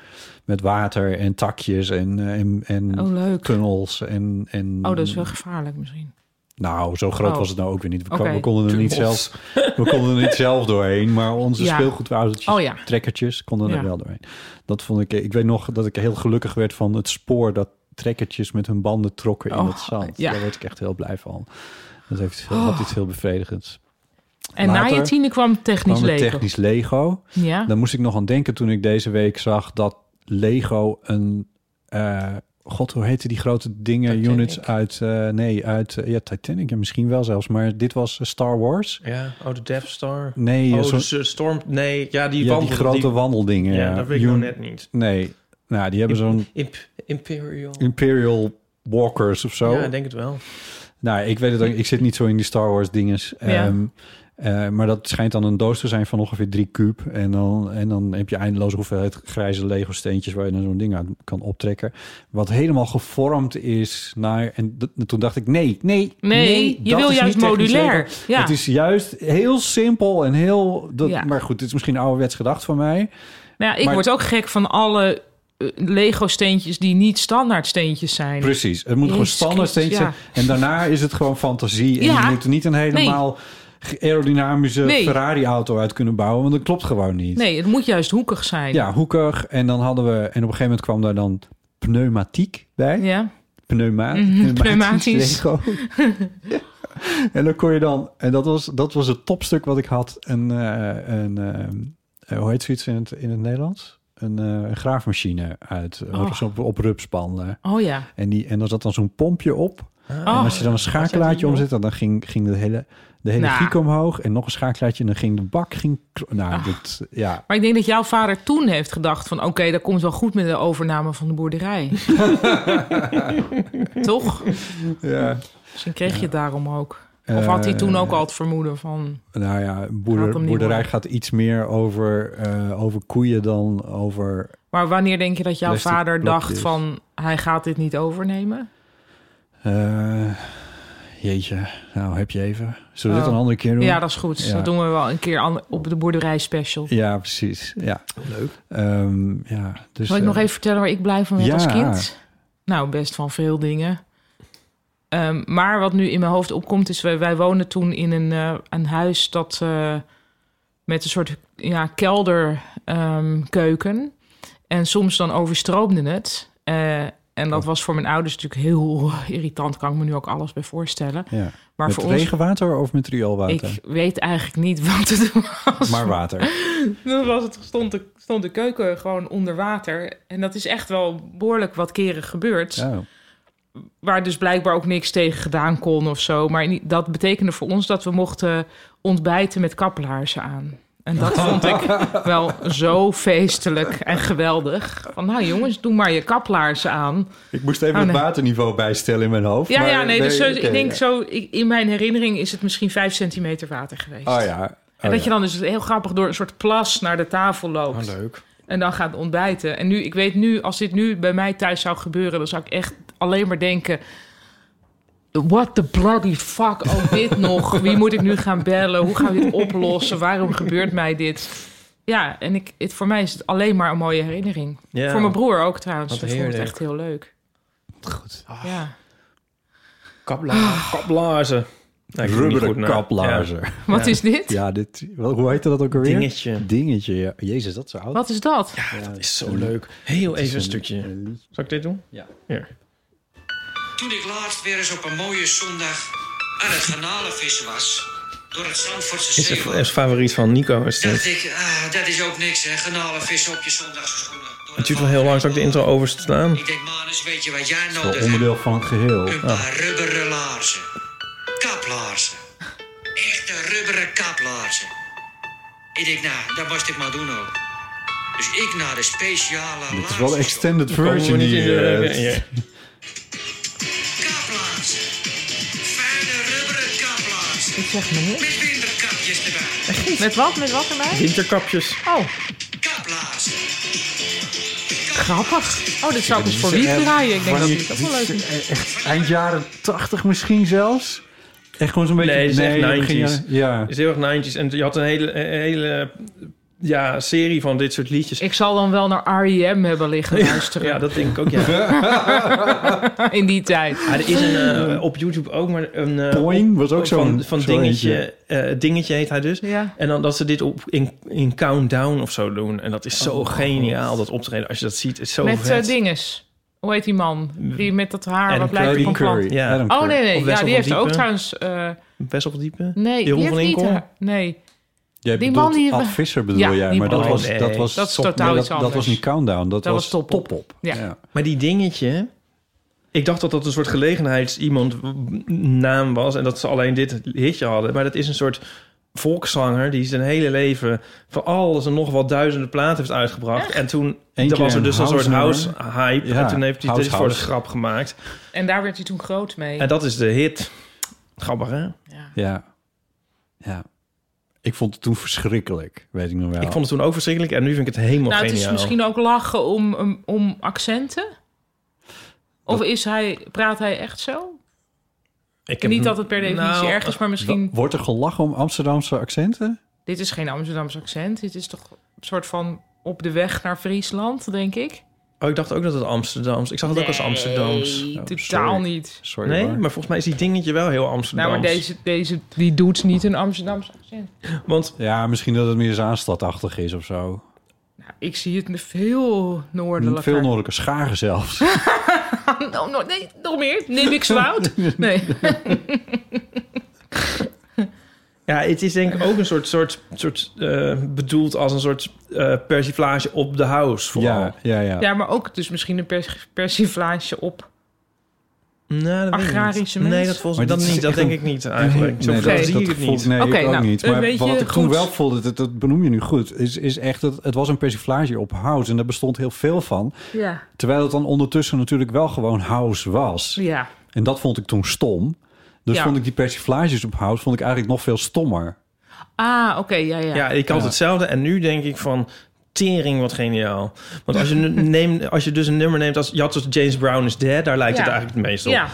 [SPEAKER 1] Met water en takjes en, eh, en, en
[SPEAKER 2] Oh, leuk.
[SPEAKER 1] tunnels. En, en,
[SPEAKER 2] Oh, dat is wel gevaarlijk misschien.
[SPEAKER 1] Nou, zo groot
[SPEAKER 2] Oh.
[SPEAKER 1] was het nou ook weer niet. We,
[SPEAKER 2] Oké.
[SPEAKER 1] kwamen- we konden er niet
[SPEAKER 3] Tunnels.
[SPEAKER 1] zelf, we konden er niet zelf doorheen, maar onze
[SPEAKER 2] Ja.
[SPEAKER 1] speelgoedautootjes,
[SPEAKER 2] Oh ja.
[SPEAKER 1] trekkertjes, konden
[SPEAKER 2] Ja.
[SPEAKER 1] er wel doorheen. Dat vond ik. Ik weet nog dat ik heel gelukkig werd van het spoor dat trekkertjes met hun banden trokken in
[SPEAKER 2] Oh,
[SPEAKER 1] het zand.
[SPEAKER 2] ja. Oh.
[SPEAKER 1] Daar werd ik echt heel blij van. Dat heeft, had iets heel bevredigends.
[SPEAKER 2] En na
[SPEAKER 1] Later
[SPEAKER 2] je tiende kwam technisch
[SPEAKER 1] Kwam het
[SPEAKER 2] leven.
[SPEAKER 1] technisch Lego.
[SPEAKER 3] Ah.
[SPEAKER 2] Ja.
[SPEAKER 1] Daar moest ik nog aan denken toen ik deze week zag dat Lego een. eh, God, hoe heette die grote dingen,
[SPEAKER 3] Titanic.
[SPEAKER 1] units uit... eh, nee, uit eh, ja, Titanic ja, misschien wel zelfs. Maar dit was eh, Star Wars.
[SPEAKER 3] Ja, oh, de Death Star.
[SPEAKER 1] Nee, eh,
[SPEAKER 3] oh,
[SPEAKER 1] zo'n-
[SPEAKER 3] de s- storm... Nee, ja, die
[SPEAKER 1] ja, die
[SPEAKER 3] wandelde-
[SPEAKER 1] grote
[SPEAKER 3] die-
[SPEAKER 1] wandeldingen.
[SPEAKER 3] Ja, dat weet ik nog
[SPEAKER 1] Un-
[SPEAKER 3] net niet.
[SPEAKER 1] Nee, nou, die hebben zo'n
[SPEAKER 3] Imp- Imperial.
[SPEAKER 1] Imperial Walkers of zo.
[SPEAKER 3] Ja, ik denk het wel.
[SPEAKER 1] Nou, ik weet het ook. Ik zit niet zo in die Star Wars dinges.
[SPEAKER 2] Ja.
[SPEAKER 1] Ehm, eh, maar dat schijnt dan een doos te zijn van ongeveer drie kuub. En dan, en dan heb je eindeloze hoeveelheid grijze Lego steentjes... waar je dan zo'n ding aan kan optrekken. Wat helemaal gevormd is naar... En d- toen dacht ik, nee, nee,
[SPEAKER 2] Nee, je
[SPEAKER 1] dat
[SPEAKER 2] wil
[SPEAKER 1] is
[SPEAKER 2] juist
[SPEAKER 1] niet technisch
[SPEAKER 2] modulair.
[SPEAKER 1] Lego.
[SPEAKER 2] Ja.
[SPEAKER 1] Het is juist heel simpel en heel... Dat,
[SPEAKER 2] Ja.
[SPEAKER 1] Maar goed, dit is misschien ouderwets gedacht van mij.
[SPEAKER 2] Nou ja, ik
[SPEAKER 1] maar-
[SPEAKER 2] word ook gek van alle eh, Lego-steentjes die niet standaard steentjes zijn.
[SPEAKER 1] Precies, het moet gewoon
[SPEAKER 2] Jezus
[SPEAKER 1] standaard steentjes
[SPEAKER 2] Christus,
[SPEAKER 1] zijn. En daarna is het gewoon fantasie. En
[SPEAKER 2] Ja.
[SPEAKER 1] je moet er niet een helemaal aerodynamische
[SPEAKER 2] Nee.
[SPEAKER 1] Ferrari-auto uit kunnen bouwen. Want dat klopt gewoon niet.
[SPEAKER 2] Nee, het moet juist hoekig zijn.
[SPEAKER 1] Ja, hoekig. En dan hadden we... En op een gegeven moment kwam daar dan pneumatiek bij.
[SPEAKER 2] Ja.
[SPEAKER 1] Pneuma
[SPEAKER 2] Mhm,
[SPEAKER 1] pneumatisch.
[SPEAKER 2] pneumatisch.
[SPEAKER 1] Lego. en dan kon je dan... En dat was, dat was het topstuk wat ik had. Een, eh, een eh, eh, hoe heet zoiets in het, in het Nederlands? Een, eh, een graafmachine uit, eh,
[SPEAKER 2] Oh.
[SPEAKER 1] op, op rupspan. eh.
[SPEAKER 2] Oh ja.
[SPEAKER 1] En, die, en dan zat dan zo'n pompje op. Ah. En
[SPEAKER 2] Oh.
[SPEAKER 1] als je dan een schakelaartje omzette, dan ging, ging de hele, de hele
[SPEAKER 2] Nou.
[SPEAKER 1] giek omhoog. En nog een schakelaartje en dan ging de bak... Ging, kro- nou,
[SPEAKER 2] Oh.
[SPEAKER 1] dat, ja.
[SPEAKER 2] Maar ik denk dat jouw vader toen heeft gedacht van... oké, dat komt wel goed met de overname van de boerderij. Toch?
[SPEAKER 1] ja.
[SPEAKER 2] Misschien kreeg je het daarom ook. Of
[SPEAKER 1] Eh,
[SPEAKER 2] had hij toen ook al het vermoeden van...
[SPEAKER 1] Nou ja,
[SPEAKER 2] Gaat
[SPEAKER 1] boerder,
[SPEAKER 2] hem niet
[SPEAKER 1] boerderij
[SPEAKER 2] worden.
[SPEAKER 1] gaat iets meer over, eh, over koeien dan over...
[SPEAKER 2] Maar wanneer denk je dat jouw
[SPEAKER 1] Plastic
[SPEAKER 2] vader dacht
[SPEAKER 1] blokjes.
[SPEAKER 2] van... hij gaat dit niet overnemen?
[SPEAKER 1] eh, Jeetje, nou heb je even. Zullen we dit
[SPEAKER 2] Oh.
[SPEAKER 1] een andere keer doen?
[SPEAKER 2] Ja, dat is goed.
[SPEAKER 1] Ja.
[SPEAKER 2] Dat doen we wel een keer an- op de boerderij special.
[SPEAKER 1] Ja, precies. Ja.
[SPEAKER 6] Leuk.
[SPEAKER 1] Ehm, ja dus,
[SPEAKER 2] Zal ik nog
[SPEAKER 1] eh,
[SPEAKER 2] even vertellen waar ik blij van werd
[SPEAKER 1] ja.
[SPEAKER 2] als kind? Nou, best van veel dingen. Ehm, maar wat nu in mijn hoofd opkomt is... wij, wij woonden toen in een, eh, een huis dat eh, met een soort ja, kelderkeuken... en soms dan overstroomde het. Eh, en
[SPEAKER 1] Oh.
[SPEAKER 2] dat was voor mijn ouders natuurlijk heel irritant. Kan ik me nu ook alles bij voorstellen.
[SPEAKER 1] Ja.
[SPEAKER 2] Maar
[SPEAKER 1] met
[SPEAKER 2] voor ons...
[SPEAKER 1] regenwater of met rioolwater?
[SPEAKER 2] Ik weet eigenlijk niet wat het was.
[SPEAKER 1] Maar water.
[SPEAKER 2] Dan was het, stond, de, stond de keuken gewoon onder water. En dat is echt wel behoorlijk wat keren gebeurd.
[SPEAKER 1] Ja.
[SPEAKER 2] Waar dus blijkbaar ook niks tegen gedaan kon of zo. Maar in- dat betekende voor ons dat we mochten ontbijten met kappelaarzen aan. En dat vond ik wel zo feestelijk en geweldig. Van nou jongens, doe maar je kaplaarzen aan.
[SPEAKER 1] Ik moest even
[SPEAKER 2] Oh, nee.
[SPEAKER 1] het waterniveau bijstellen in mijn hoofd.
[SPEAKER 2] Ja,
[SPEAKER 1] maar-
[SPEAKER 2] ja, nee, dus zo,
[SPEAKER 1] oké,
[SPEAKER 2] ik denk
[SPEAKER 1] ja.
[SPEAKER 2] zo... ik- in mijn herinnering is het misschien vijf centimeter water geweest.
[SPEAKER 1] Oh ja.
[SPEAKER 2] en
[SPEAKER 1] Oh,
[SPEAKER 2] dat
[SPEAKER 1] ja.
[SPEAKER 2] je dan dus heel grappig door een soort plas naar de tafel loopt.
[SPEAKER 3] Oh, leuk.
[SPEAKER 2] En dan gaat ontbijten. En nu, ik weet nu, als dit nu bij mij thuis zou gebeuren, dan zou ik echt alleen maar denken. What the bloody fuck, oh dit nog. Wie moet ik nu gaan bellen? Hoe gaan we dit oplossen? Waarom gebeurt mij dit? Ja, en ik, het, voor mij is het alleen maar een mooie herinnering.
[SPEAKER 3] Ja.
[SPEAKER 2] Voor mijn broer ook trouwens.
[SPEAKER 3] Wat
[SPEAKER 2] Ik vond het
[SPEAKER 3] heerlijk.
[SPEAKER 2] echt heel leuk.
[SPEAKER 1] Goed.
[SPEAKER 2] Ja.
[SPEAKER 3] Kapla- Ah, Kaplaarzen. Nou, ik kom er niet goed
[SPEAKER 1] Rubberen
[SPEAKER 3] naar.
[SPEAKER 1] kaplaarzen. Ja.
[SPEAKER 2] Wat is dit?
[SPEAKER 1] dit... wel, Hoe heette dat ook alweer?
[SPEAKER 3] Dingetje.
[SPEAKER 1] Dingetje, ja. Jezus, dat is zo oud.
[SPEAKER 2] Wat is dat?
[SPEAKER 3] Ja, dat is zo leuk. Heel even een stukje.
[SPEAKER 1] Een liedje.
[SPEAKER 3] Zal ik dit doen?
[SPEAKER 1] Ja.
[SPEAKER 3] Hier.
[SPEAKER 7] Toen ik laatst weer eens op een mooie zondag aan het garnalenvissen was, door het Zandvoortse
[SPEAKER 3] Is
[SPEAKER 7] Zeeland,
[SPEAKER 3] het favoriet van Nico. Is dit.
[SPEAKER 7] dacht ik, ah, dat is ook niks hè, garnalenvissen op je zondagse schoenen. Door
[SPEAKER 3] Het duurt wel heel lang, zal ik de intro overslaan?
[SPEAKER 7] Ik denk, Manus, weet je wat jij nou
[SPEAKER 1] Wel
[SPEAKER 7] nodig hebt?
[SPEAKER 1] onderdeel van het geheel.
[SPEAKER 7] Een paar rubberen laarzen. Kaplaarzen. Echte rubberen kaplaarzen. Ik denk, nou, dat moest ik maar doen ook. Dus ik naar de speciale laarzen.
[SPEAKER 1] Het is wel een extended
[SPEAKER 3] Komen
[SPEAKER 1] version
[SPEAKER 3] we niet in
[SPEAKER 1] die...
[SPEAKER 3] de...
[SPEAKER 1] eh,
[SPEAKER 3] hier.
[SPEAKER 7] Kaplaarzen. Fijne rubberen kaplaarzen.
[SPEAKER 2] Ik zeg me niks.
[SPEAKER 7] Met winterkapjes erbij.
[SPEAKER 2] Met wat? Met wat erbij?
[SPEAKER 3] Winterkapjes.
[SPEAKER 2] Oh,
[SPEAKER 7] Kaplaarzen.
[SPEAKER 2] grappig. Oh, dit zou ik dus voor wie draaien. Ik denk dat
[SPEAKER 1] wanneer-
[SPEAKER 2] dit ook wel leuk
[SPEAKER 1] dit
[SPEAKER 2] is.
[SPEAKER 1] is Echt eind jaren 80 misschien zelfs. Echt gewoon zo'n beetje...
[SPEAKER 3] Nee, het is echt
[SPEAKER 1] begin
[SPEAKER 3] 90s.
[SPEAKER 1] jaren- Ja.
[SPEAKER 3] Het is heel erg 90s. En je had een hele, een hele ja, serie van dit soort liedjes.
[SPEAKER 2] Ik zal dan wel naar R.E.M. hebben liggen luisteren
[SPEAKER 3] Ja, dat denk ik ook, ja.
[SPEAKER 2] in die tijd.
[SPEAKER 3] Maar er is een, eh, op YouTube ook maar een... eh,
[SPEAKER 1] Boing was ook zo'n...
[SPEAKER 3] van, van
[SPEAKER 1] zo'n eentje.
[SPEAKER 3] dingetje, eh, dingetje heet hij dus.
[SPEAKER 2] Ja.
[SPEAKER 3] En dan dat ze dit op, in, in Countdown of zo doen. En dat is zo
[SPEAKER 1] Oh,
[SPEAKER 3] geniaal, dat optreden. Als je dat ziet, is zo
[SPEAKER 2] met eh,
[SPEAKER 3] vet.
[SPEAKER 2] dinges. Hoe heet die man? Die met dat haar
[SPEAKER 3] Adam
[SPEAKER 2] wat lijkt
[SPEAKER 3] Curry.
[SPEAKER 2] op een plant.
[SPEAKER 3] Ja.
[SPEAKER 1] Adam
[SPEAKER 2] Oh nee,
[SPEAKER 1] Curry.
[SPEAKER 2] nee.
[SPEAKER 3] Of
[SPEAKER 2] Ja,
[SPEAKER 3] Wessel
[SPEAKER 2] die
[SPEAKER 3] van
[SPEAKER 2] heeft ook
[SPEAKER 3] Diepen.
[SPEAKER 2] trouwens... eh,
[SPEAKER 3] Best wel diepe.
[SPEAKER 2] nee, die
[SPEAKER 3] Jeroen
[SPEAKER 2] heeft
[SPEAKER 3] van
[SPEAKER 2] niet
[SPEAKER 3] Inkel?
[SPEAKER 2] haar- Nee.
[SPEAKER 1] Jij
[SPEAKER 2] Die
[SPEAKER 1] bedoelt
[SPEAKER 2] man die-
[SPEAKER 1] Ad Visser bedoel
[SPEAKER 2] Ja,
[SPEAKER 1] jij,
[SPEAKER 2] die
[SPEAKER 1] maar dat
[SPEAKER 2] man.
[SPEAKER 1] was,
[SPEAKER 3] Nee.
[SPEAKER 1] dat was...
[SPEAKER 2] Dat is
[SPEAKER 1] top-
[SPEAKER 2] totaal
[SPEAKER 1] nee,
[SPEAKER 2] iets
[SPEAKER 1] dat,
[SPEAKER 2] anders.
[SPEAKER 1] Dat was niet Countdown, dat,
[SPEAKER 2] Dat was
[SPEAKER 1] was
[SPEAKER 2] Top Op.
[SPEAKER 1] Top Op.
[SPEAKER 2] Ja.
[SPEAKER 3] Maar die dingetje... Ik dacht dat dat een soort gelegenheids-iemand-naam was... en dat ze alleen dit hitje hadden. Maar dat is een soort volkszanger die zijn hele leven... van alles en nog wat duizenden platen heeft uitgebracht. En toen
[SPEAKER 1] Eén
[SPEAKER 3] er
[SPEAKER 1] keer
[SPEAKER 3] was er
[SPEAKER 1] een
[SPEAKER 3] dus een soort
[SPEAKER 1] house
[SPEAKER 3] house-hype.
[SPEAKER 1] Ja,
[SPEAKER 3] en toen heeft hij
[SPEAKER 1] house
[SPEAKER 3] dit voor de
[SPEAKER 1] house.
[SPEAKER 3] grap gemaakt.
[SPEAKER 2] En daar werd hij toen groot mee.
[SPEAKER 3] En dat is de hit. Grappig, hè?
[SPEAKER 2] Ja.
[SPEAKER 1] Ja. Ja. Ik vond het toen verschrikkelijk, weet ik nog wel.
[SPEAKER 3] Ik vond het toen ook verschrikkelijk en nu vind ik het helemaal
[SPEAKER 2] Nou, het
[SPEAKER 3] geniaal.
[SPEAKER 2] is misschien ook lachen om, om, om accenten. Of is hij, praat hij echt zo?
[SPEAKER 3] ik
[SPEAKER 2] Niet dat het per definitie
[SPEAKER 3] nou,
[SPEAKER 2] erg is, maar misschien...
[SPEAKER 1] Wordt er gelachen om Amsterdamse accenten?
[SPEAKER 2] Dit is geen Amsterdamse accent. Dit is toch een soort van op de weg naar Friesland, denk ik?
[SPEAKER 3] Oh, ik dacht ook dat het Amsterdams... Ik zag het ook als Amsterdams.
[SPEAKER 2] Nee,
[SPEAKER 1] Oh,
[SPEAKER 2] totaal
[SPEAKER 1] sorry.
[SPEAKER 2] niet.
[SPEAKER 1] Sorry
[SPEAKER 3] Nee,
[SPEAKER 1] hoor.
[SPEAKER 3] maar volgens mij is die dingetje wel heel Amsterdams.
[SPEAKER 2] Nou, maar deze, deze die doet niet een Amsterdamse accent.
[SPEAKER 3] Want
[SPEAKER 1] Ja, misschien dat het meer Zaanstadachtig is of zo.
[SPEAKER 2] Nou, ik zie het veel noordelijker.
[SPEAKER 1] Veel noordelijke scharen zelfs.
[SPEAKER 2] Oh, no- nee, nog meer? Neem ik zwoud? Nee.
[SPEAKER 3] ja, het is denk ik ook een soort, soort, soort eh, bedoeld als een soort eh persiflage op de house. Vooral.
[SPEAKER 1] ja, ja, ja.
[SPEAKER 2] Ja, maar ook dus misschien een pers persiflage op.
[SPEAKER 3] Nou, dat weet ik
[SPEAKER 2] Agrarische
[SPEAKER 3] niet. Nee,
[SPEAKER 2] mensen?
[SPEAKER 3] dat, volgens,
[SPEAKER 1] Maar
[SPEAKER 3] dat,
[SPEAKER 1] dit is
[SPEAKER 3] niet, dat
[SPEAKER 1] echt
[SPEAKER 3] denk
[SPEAKER 1] een-
[SPEAKER 3] ik niet eigenlijk. Zo
[SPEAKER 1] Nee,
[SPEAKER 3] veel
[SPEAKER 2] dat-
[SPEAKER 3] zie
[SPEAKER 2] dat
[SPEAKER 3] ik het
[SPEAKER 1] vond-
[SPEAKER 3] niet.
[SPEAKER 1] Nee,
[SPEAKER 2] Oké,
[SPEAKER 1] ik ook
[SPEAKER 2] nou,
[SPEAKER 1] niet.
[SPEAKER 2] een
[SPEAKER 1] Maar
[SPEAKER 2] beetje
[SPEAKER 1] wat ik toen
[SPEAKER 2] goed.
[SPEAKER 1] wel vond, dat, dat benoem je nu goed... is, is echt dat het was een persiflage op house. En daar bestond heel veel van.
[SPEAKER 2] Ja.
[SPEAKER 1] Terwijl het dan ondertussen natuurlijk wel gewoon house was.
[SPEAKER 2] Ja.
[SPEAKER 1] En dat vond ik toen stom. Dus
[SPEAKER 2] Ja.
[SPEAKER 1] vond ik die persiflages op house vond ik eigenlijk nog veel stommer.
[SPEAKER 2] Ah, oké, ja, ja.
[SPEAKER 3] Ja, ik had hetzelfde en nu denk ik van... Tering, wat geniaal. Want als je, nu neemt, als je dus een nummer neemt als... Je had dus James Brown is Dead, daar lijkt
[SPEAKER 2] Ja.
[SPEAKER 3] het eigenlijk het meest op.
[SPEAKER 2] Ja.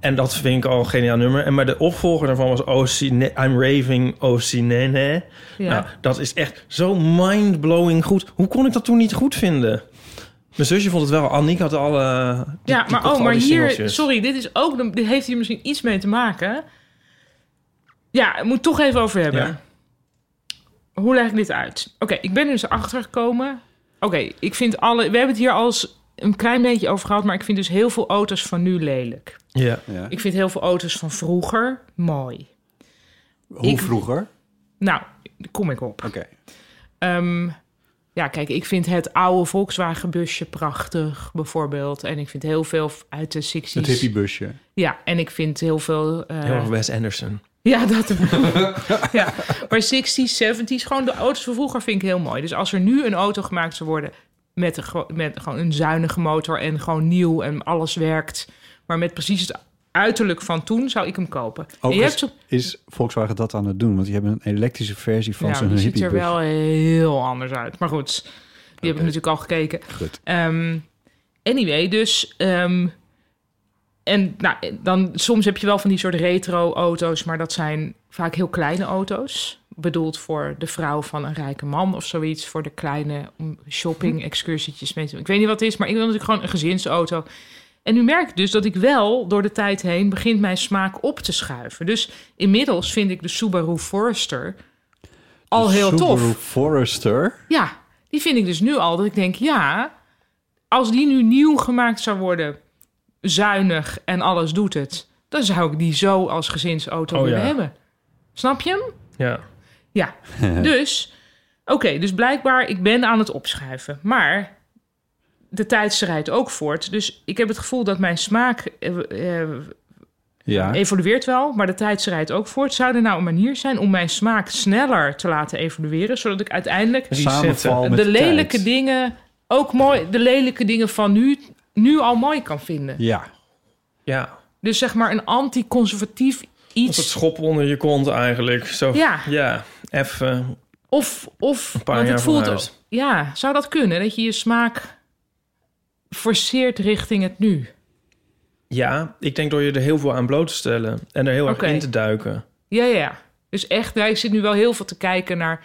[SPEAKER 3] En dat vind ik al een geniaal nummer. En maar de opvolger daarvan was OC, Ne- I'm Raving OC Nene.
[SPEAKER 2] Ja.
[SPEAKER 3] Nou, dat is echt zo mind-blowing goed. Hoe kon ik dat toen niet goed vinden? Mijn zusje vond het wel. Annick had alle... die-
[SPEAKER 2] ja,
[SPEAKER 3] die
[SPEAKER 2] maar
[SPEAKER 3] kocht
[SPEAKER 2] oh,
[SPEAKER 3] al
[SPEAKER 2] maar
[SPEAKER 3] die
[SPEAKER 2] hier,
[SPEAKER 3] singeltjes.
[SPEAKER 2] sorry, dit is ook, de- dit heeft hier misschien iets mee te maken. Ja, ik moet het toch even over hebben.
[SPEAKER 3] Ja.
[SPEAKER 2] Hoe leg ik dit uit? Oké, ik ben er dus achter gekomen. Oké, ik vind alle, we hebben het hier al eens een klein beetje over gehad, maar ik vind dus heel veel auto's van nu lelijk.
[SPEAKER 3] Ja.
[SPEAKER 1] Ja.
[SPEAKER 2] Ik vind heel veel auto's van vroeger mooi.
[SPEAKER 1] Hoe
[SPEAKER 2] ik-
[SPEAKER 1] vroeger? Oké.
[SPEAKER 2] Nou, daar kom ik op. Ehm, ja, kijk, ik vind het oude Volkswagen-busje prachtig, bijvoorbeeld. En ik vind heel veel uit de 60s.
[SPEAKER 1] Het hippiebusje.
[SPEAKER 2] Ja, en ik vind heel veel... eh,
[SPEAKER 3] Heel erg Wes Anderson.
[SPEAKER 2] ja, dat. ja. Maar 60s, 70s, gewoon de auto's van vroeger vind ik heel mooi. Dus als er nu een auto gemaakt zou worden met, een, gro- met gewoon een zuinige motor en gewoon nieuw en alles werkt, maar met precies het uiterlijk van toen, zou ik hem kopen. En
[SPEAKER 1] Ook
[SPEAKER 2] je hebt
[SPEAKER 1] is,
[SPEAKER 2] zo...
[SPEAKER 1] is Volkswagen dat aan het doen? Want die hebben een elektrische versie van
[SPEAKER 2] Ja,
[SPEAKER 1] zo'n
[SPEAKER 2] die ziet
[SPEAKER 1] hippiebus.
[SPEAKER 2] er wel heel anders uit. Maar goed, die heb
[SPEAKER 1] Oké.
[SPEAKER 2] ik natuurlijk al gekeken.
[SPEAKER 1] Goed.
[SPEAKER 2] Ehm, anyway, dus. ehm, en nou, dan, soms heb je wel van die soort retro-auto's, maar dat zijn vaak heel kleine auto's. Bedoeld voor de vrouw van een rijke man of zoiets. Voor de kleine mm, om
[SPEAKER 1] Mhm.
[SPEAKER 2] shopping-excursietjes mee te doen. Ik weet niet wat het is, maar ik wil natuurlijk gewoon een gezinsauto. En nu merk ik dus dat ik wel door de tijd heen begint mijn smaak op te schuiven. Dus inmiddels vind ik de Subaru Forester al
[SPEAKER 1] De
[SPEAKER 2] heel
[SPEAKER 1] Subaru
[SPEAKER 2] tof.
[SPEAKER 1] Forester.
[SPEAKER 2] Ja, die vind ik dus nu al. Dat ik denk, ja, als die nu nieuw gemaakt zou worden, zuinig en alles doet het, dan zou ik die zo als gezinsauto
[SPEAKER 3] Oh,
[SPEAKER 2] willen
[SPEAKER 3] ja.
[SPEAKER 2] hebben. Snap je hem?
[SPEAKER 3] Ja.
[SPEAKER 2] Ja. dus, oké, dus blijkbaar, ik ben aan het opschuiven. Maar de tijd schrijdt ook voort. Dus ik heb het gevoel dat mijn smaak eh, eh,
[SPEAKER 1] Ja.
[SPEAKER 2] evolueert wel, maar de tijd schrijdt ook voort. Zou er nou een manier zijn om mijn smaak sneller te laten evolueren, zodat ik uiteindelijk
[SPEAKER 1] Samenval
[SPEAKER 3] Resetten.
[SPEAKER 1] met
[SPEAKER 2] de lelijke
[SPEAKER 1] tijd.
[SPEAKER 2] dingen ook mooi, de lelijke dingen van nu, nu al mooi kan vinden.
[SPEAKER 1] Ja.
[SPEAKER 3] Ja.
[SPEAKER 2] Dus zeg maar een anti-conservatief
[SPEAKER 3] Als het
[SPEAKER 2] iets.
[SPEAKER 3] schop onder je kont eigenlijk. Zo,
[SPEAKER 2] Ja.
[SPEAKER 3] Ja. Even
[SPEAKER 2] Of, of
[SPEAKER 3] paar
[SPEAKER 2] want
[SPEAKER 3] jaar
[SPEAKER 2] het voelt
[SPEAKER 3] vooruit.
[SPEAKER 2] ook- Ja, zou dat kunnen? Dat je je smaak forceert richting het nu.
[SPEAKER 3] Ja, ik denk door je er heel veel aan bloot te stellen en er heel erg
[SPEAKER 2] Oké.
[SPEAKER 3] in te duiken.
[SPEAKER 2] Ja, ja, ja. Dus echt, nou, ik zit nu wel heel veel te kijken naar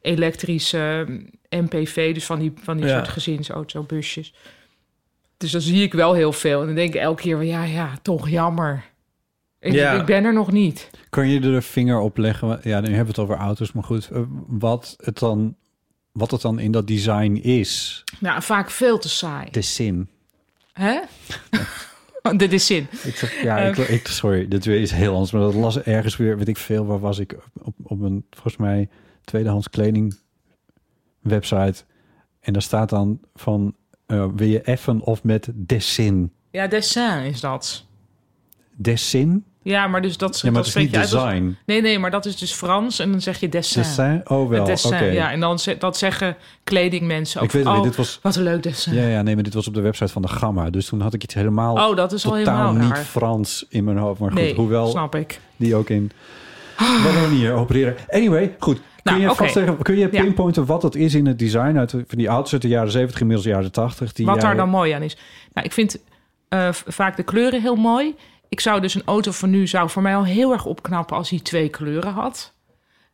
[SPEAKER 2] elektrische eh, MPV, dus van die, van die
[SPEAKER 3] Ja.
[SPEAKER 2] soort gezinsautobusjes. Dus dan zie ik wel heel veel. En dan denk ik elke keer, van, ja, ja, toch jammer. Ik,
[SPEAKER 3] Ja.
[SPEAKER 2] ik ben er nog niet.
[SPEAKER 1] Kun je er een vinger op leggen? Ja, nu hebben we het over auto's, maar goed. eh, Wat het dan, wat het dan in dat design is.
[SPEAKER 2] Nou, vaak veel te saai.
[SPEAKER 1] De zin.
[SPEAKER 2] Hè? Dit is zin.
[SPEAKER 1] Ik, zeg- ja, ik,
[SPEAKER 2] Ehm.
[SPEAKER 1] ik, sorry, dit weer is heel anders. Maar dat las ergens weer, weet ik veel, waar was ik? Op, op een, volgens mij, tweedehands kleding website. En daar staat dan van, eh, wil je effen of met desin?
[SPEAKER 2] Ja, dessin is dat.
[SPEAKER 1] Desin?
[SPEAKER 2] Ja, maar dus dat,
[SPEAKER 1] Ja, maar
[SPEAKER 2] dat
[SPEAKER 1] het is
[SPEAKER 2] spreek
[SPEAKER 1] niet
[SPEAKER 2] je uit als-
[SPEAKER 1] design.
[SPEAKER 2] Nee, nee, maar dat is dus Frans en dan zeg je dessin.
[SPEAKER 1] Desin? Oh wel,
[SPEAKER 2] Het
[SPEAKER 1] oké.
[SPEAKER 2] dessin, ja. En dan ze- dat zeggen kledingmensen ook.
[SPEAKER 1] Ik weet het
[SPEAKER 2] van,
[SPEAKER 1] niet,
[SPEAKER 2] oh,
[SPEAKER 1] dit was...
[SPEAKER 2] Wat een leuk dessin.
[SPEAKER 1] Ja, ja, nee, maar dit was op de website van de Gamma. Dus toen had ik iets helemaal...
[SPEAKER 2] Oh, dat is al helemaal
[SPEAKER 1] totaal niet
[SPEAKER 2] raar.
[SPEAKER 1] Frans in mijn hoofd. Maar goed,
[SPEAKER 2] Nee,
[SPEAKER 1] hoewel
[SPEAKER 2] snap ik.
[SPEAKER 1] die ook in... Wat een manier opereren. Anyway, goed. Kun
[SPEAKER 2] Nou,
[SPEAKER 1] je
[SPEAKER 2] oké.
[SPEAKER 1] vastleggen, kun je
[SPEAKER 2] Ja.
[SPEAKER 1] pinpointen wat dat is in het design uit de- van die auto's uit de jaren 70, inmiddels jaren 80? Die
[SPEAKER 2] Wat daar
[SPEAKER 1] jij-
[SPEAKER 2] dan mooi aan is. Nou, ik vind eh, v- vaak de kleuren heel mooi. Ik zou dus een auto van nu zou voor mij al heel erg opknappen als hij twee kleuren had.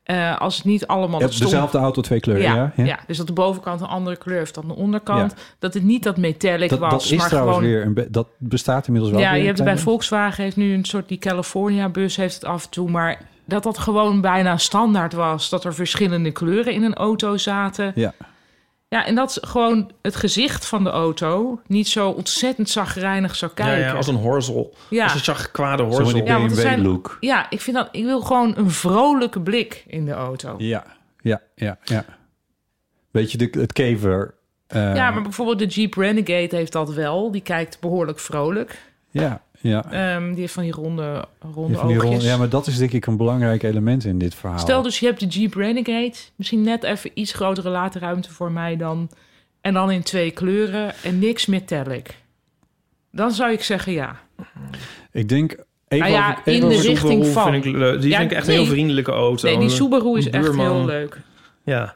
[SPEAKER 2] Eh, als het niet allemaal
[SPEAKER 1] Ja,
[SPEAKER 2] dat stom-
[SPEAKER 1] dezelfde auto, twee kleuren, ja?
[SPEAKER 2] Ja, ja. dus dat de bovenkant een andere kleur heeft dan de onderkant. Dat het niet dat metallic
[SPEAKER 1] Dat,
[SPEAKER 2] was,
[SPEAKER 1] dat is
[SPEAKER 2] maar
[SPEAKER 1] trouwens
[SPEAKER 2] gewoon...
[SPEAKER 1] weer... Een be- dat bestaat inmiddels wel
[SPEAKER 2] ja,
[SPEAKER 1] weer
[SPEAKER 2] je
[SPEAKER 1] een
[SPEAKER 2] hebt het
[SPEAKER 1] klein
[SPEAKER 2] bij Volkswagen heeft nu een soort die California bus heeft het af en toe, maar dat dat gewoon bijna standaard was dat er verschillende kleuren in een auto zaten.
[SPEAKER 1] Ja.
[SPEAKER 2] Ja, en dat gewoon het gezicht van de auto niet zo ontzettend zagrijnig zou
[SPEAKER 3] Ja,
[SPEAKER 2] kijken.
[SPEAKER 3] ja, als een horzel.
[SPEAKER 2] Ja.
[SPEAKER 3] Als een zachtgekwade
[SPEAKER 1] beetje. Zo
[SPEAKER 3] horzel.
[SPEAKER 1] van
[SPEAKER 2] Ja, want
[SPEAKER 1] die
[SPEAKER 2] het zijn-
[SPEAKER 1] BMW-look.
[SPEAKER 2] Ja, ik vind dat ik wil gewoon een vrolijke blik in de auto.
[SPEAKER 1] Ja, ja, ja, ja. Beetje de, het kever. eh,
[SPEAKER 2] Ja, maar bijvoorbeeld de Jeep Renegade heeft dat wel. Die kijkt behoorlijk vrolijk.
[SPEAKER 1] Ja, ja.
[SPEAKER 2] Ehm, die heeft van die ronde, ronde
[SPEAKER 1] Van die rol-
[SPEAKER 2] oogjes.
[SPEAKER 1] ja, maar dat is denk ik een belangrijk element in dit verhaal.
[SPEAKER 2] Stel dus, je hebt de Jeep Renegade. Misschien net even iets grotere laadruimte voor mij dan. En dan in twee kleuren en niks metallic. Dan zou ik zeggen ja.
[SPEAKER 1] Ik denk even
[SPEAKER 2] Nou ja,
[SPEAKER 1] over- even
[SPEAKER 2] in de
[SPEAKER 1] over-
[SPEAKER 2] richting van.
[SPEAKER 3] Vind ik leuk. Die
[SPEAKER 2] Ja,
[SPEAKER 3] vind ik echt
[SPEAKER 2] nee.
[SPEAKER 3] een heel vriendelijke auto.
[SPEAKER 1] Eh,
[SPEAKER 2] Nee, die Subaru is echt
[SPEAKER 3] buurman.
[SPEAKER 2] heel leuk.
[SPEAKER 3] Ja.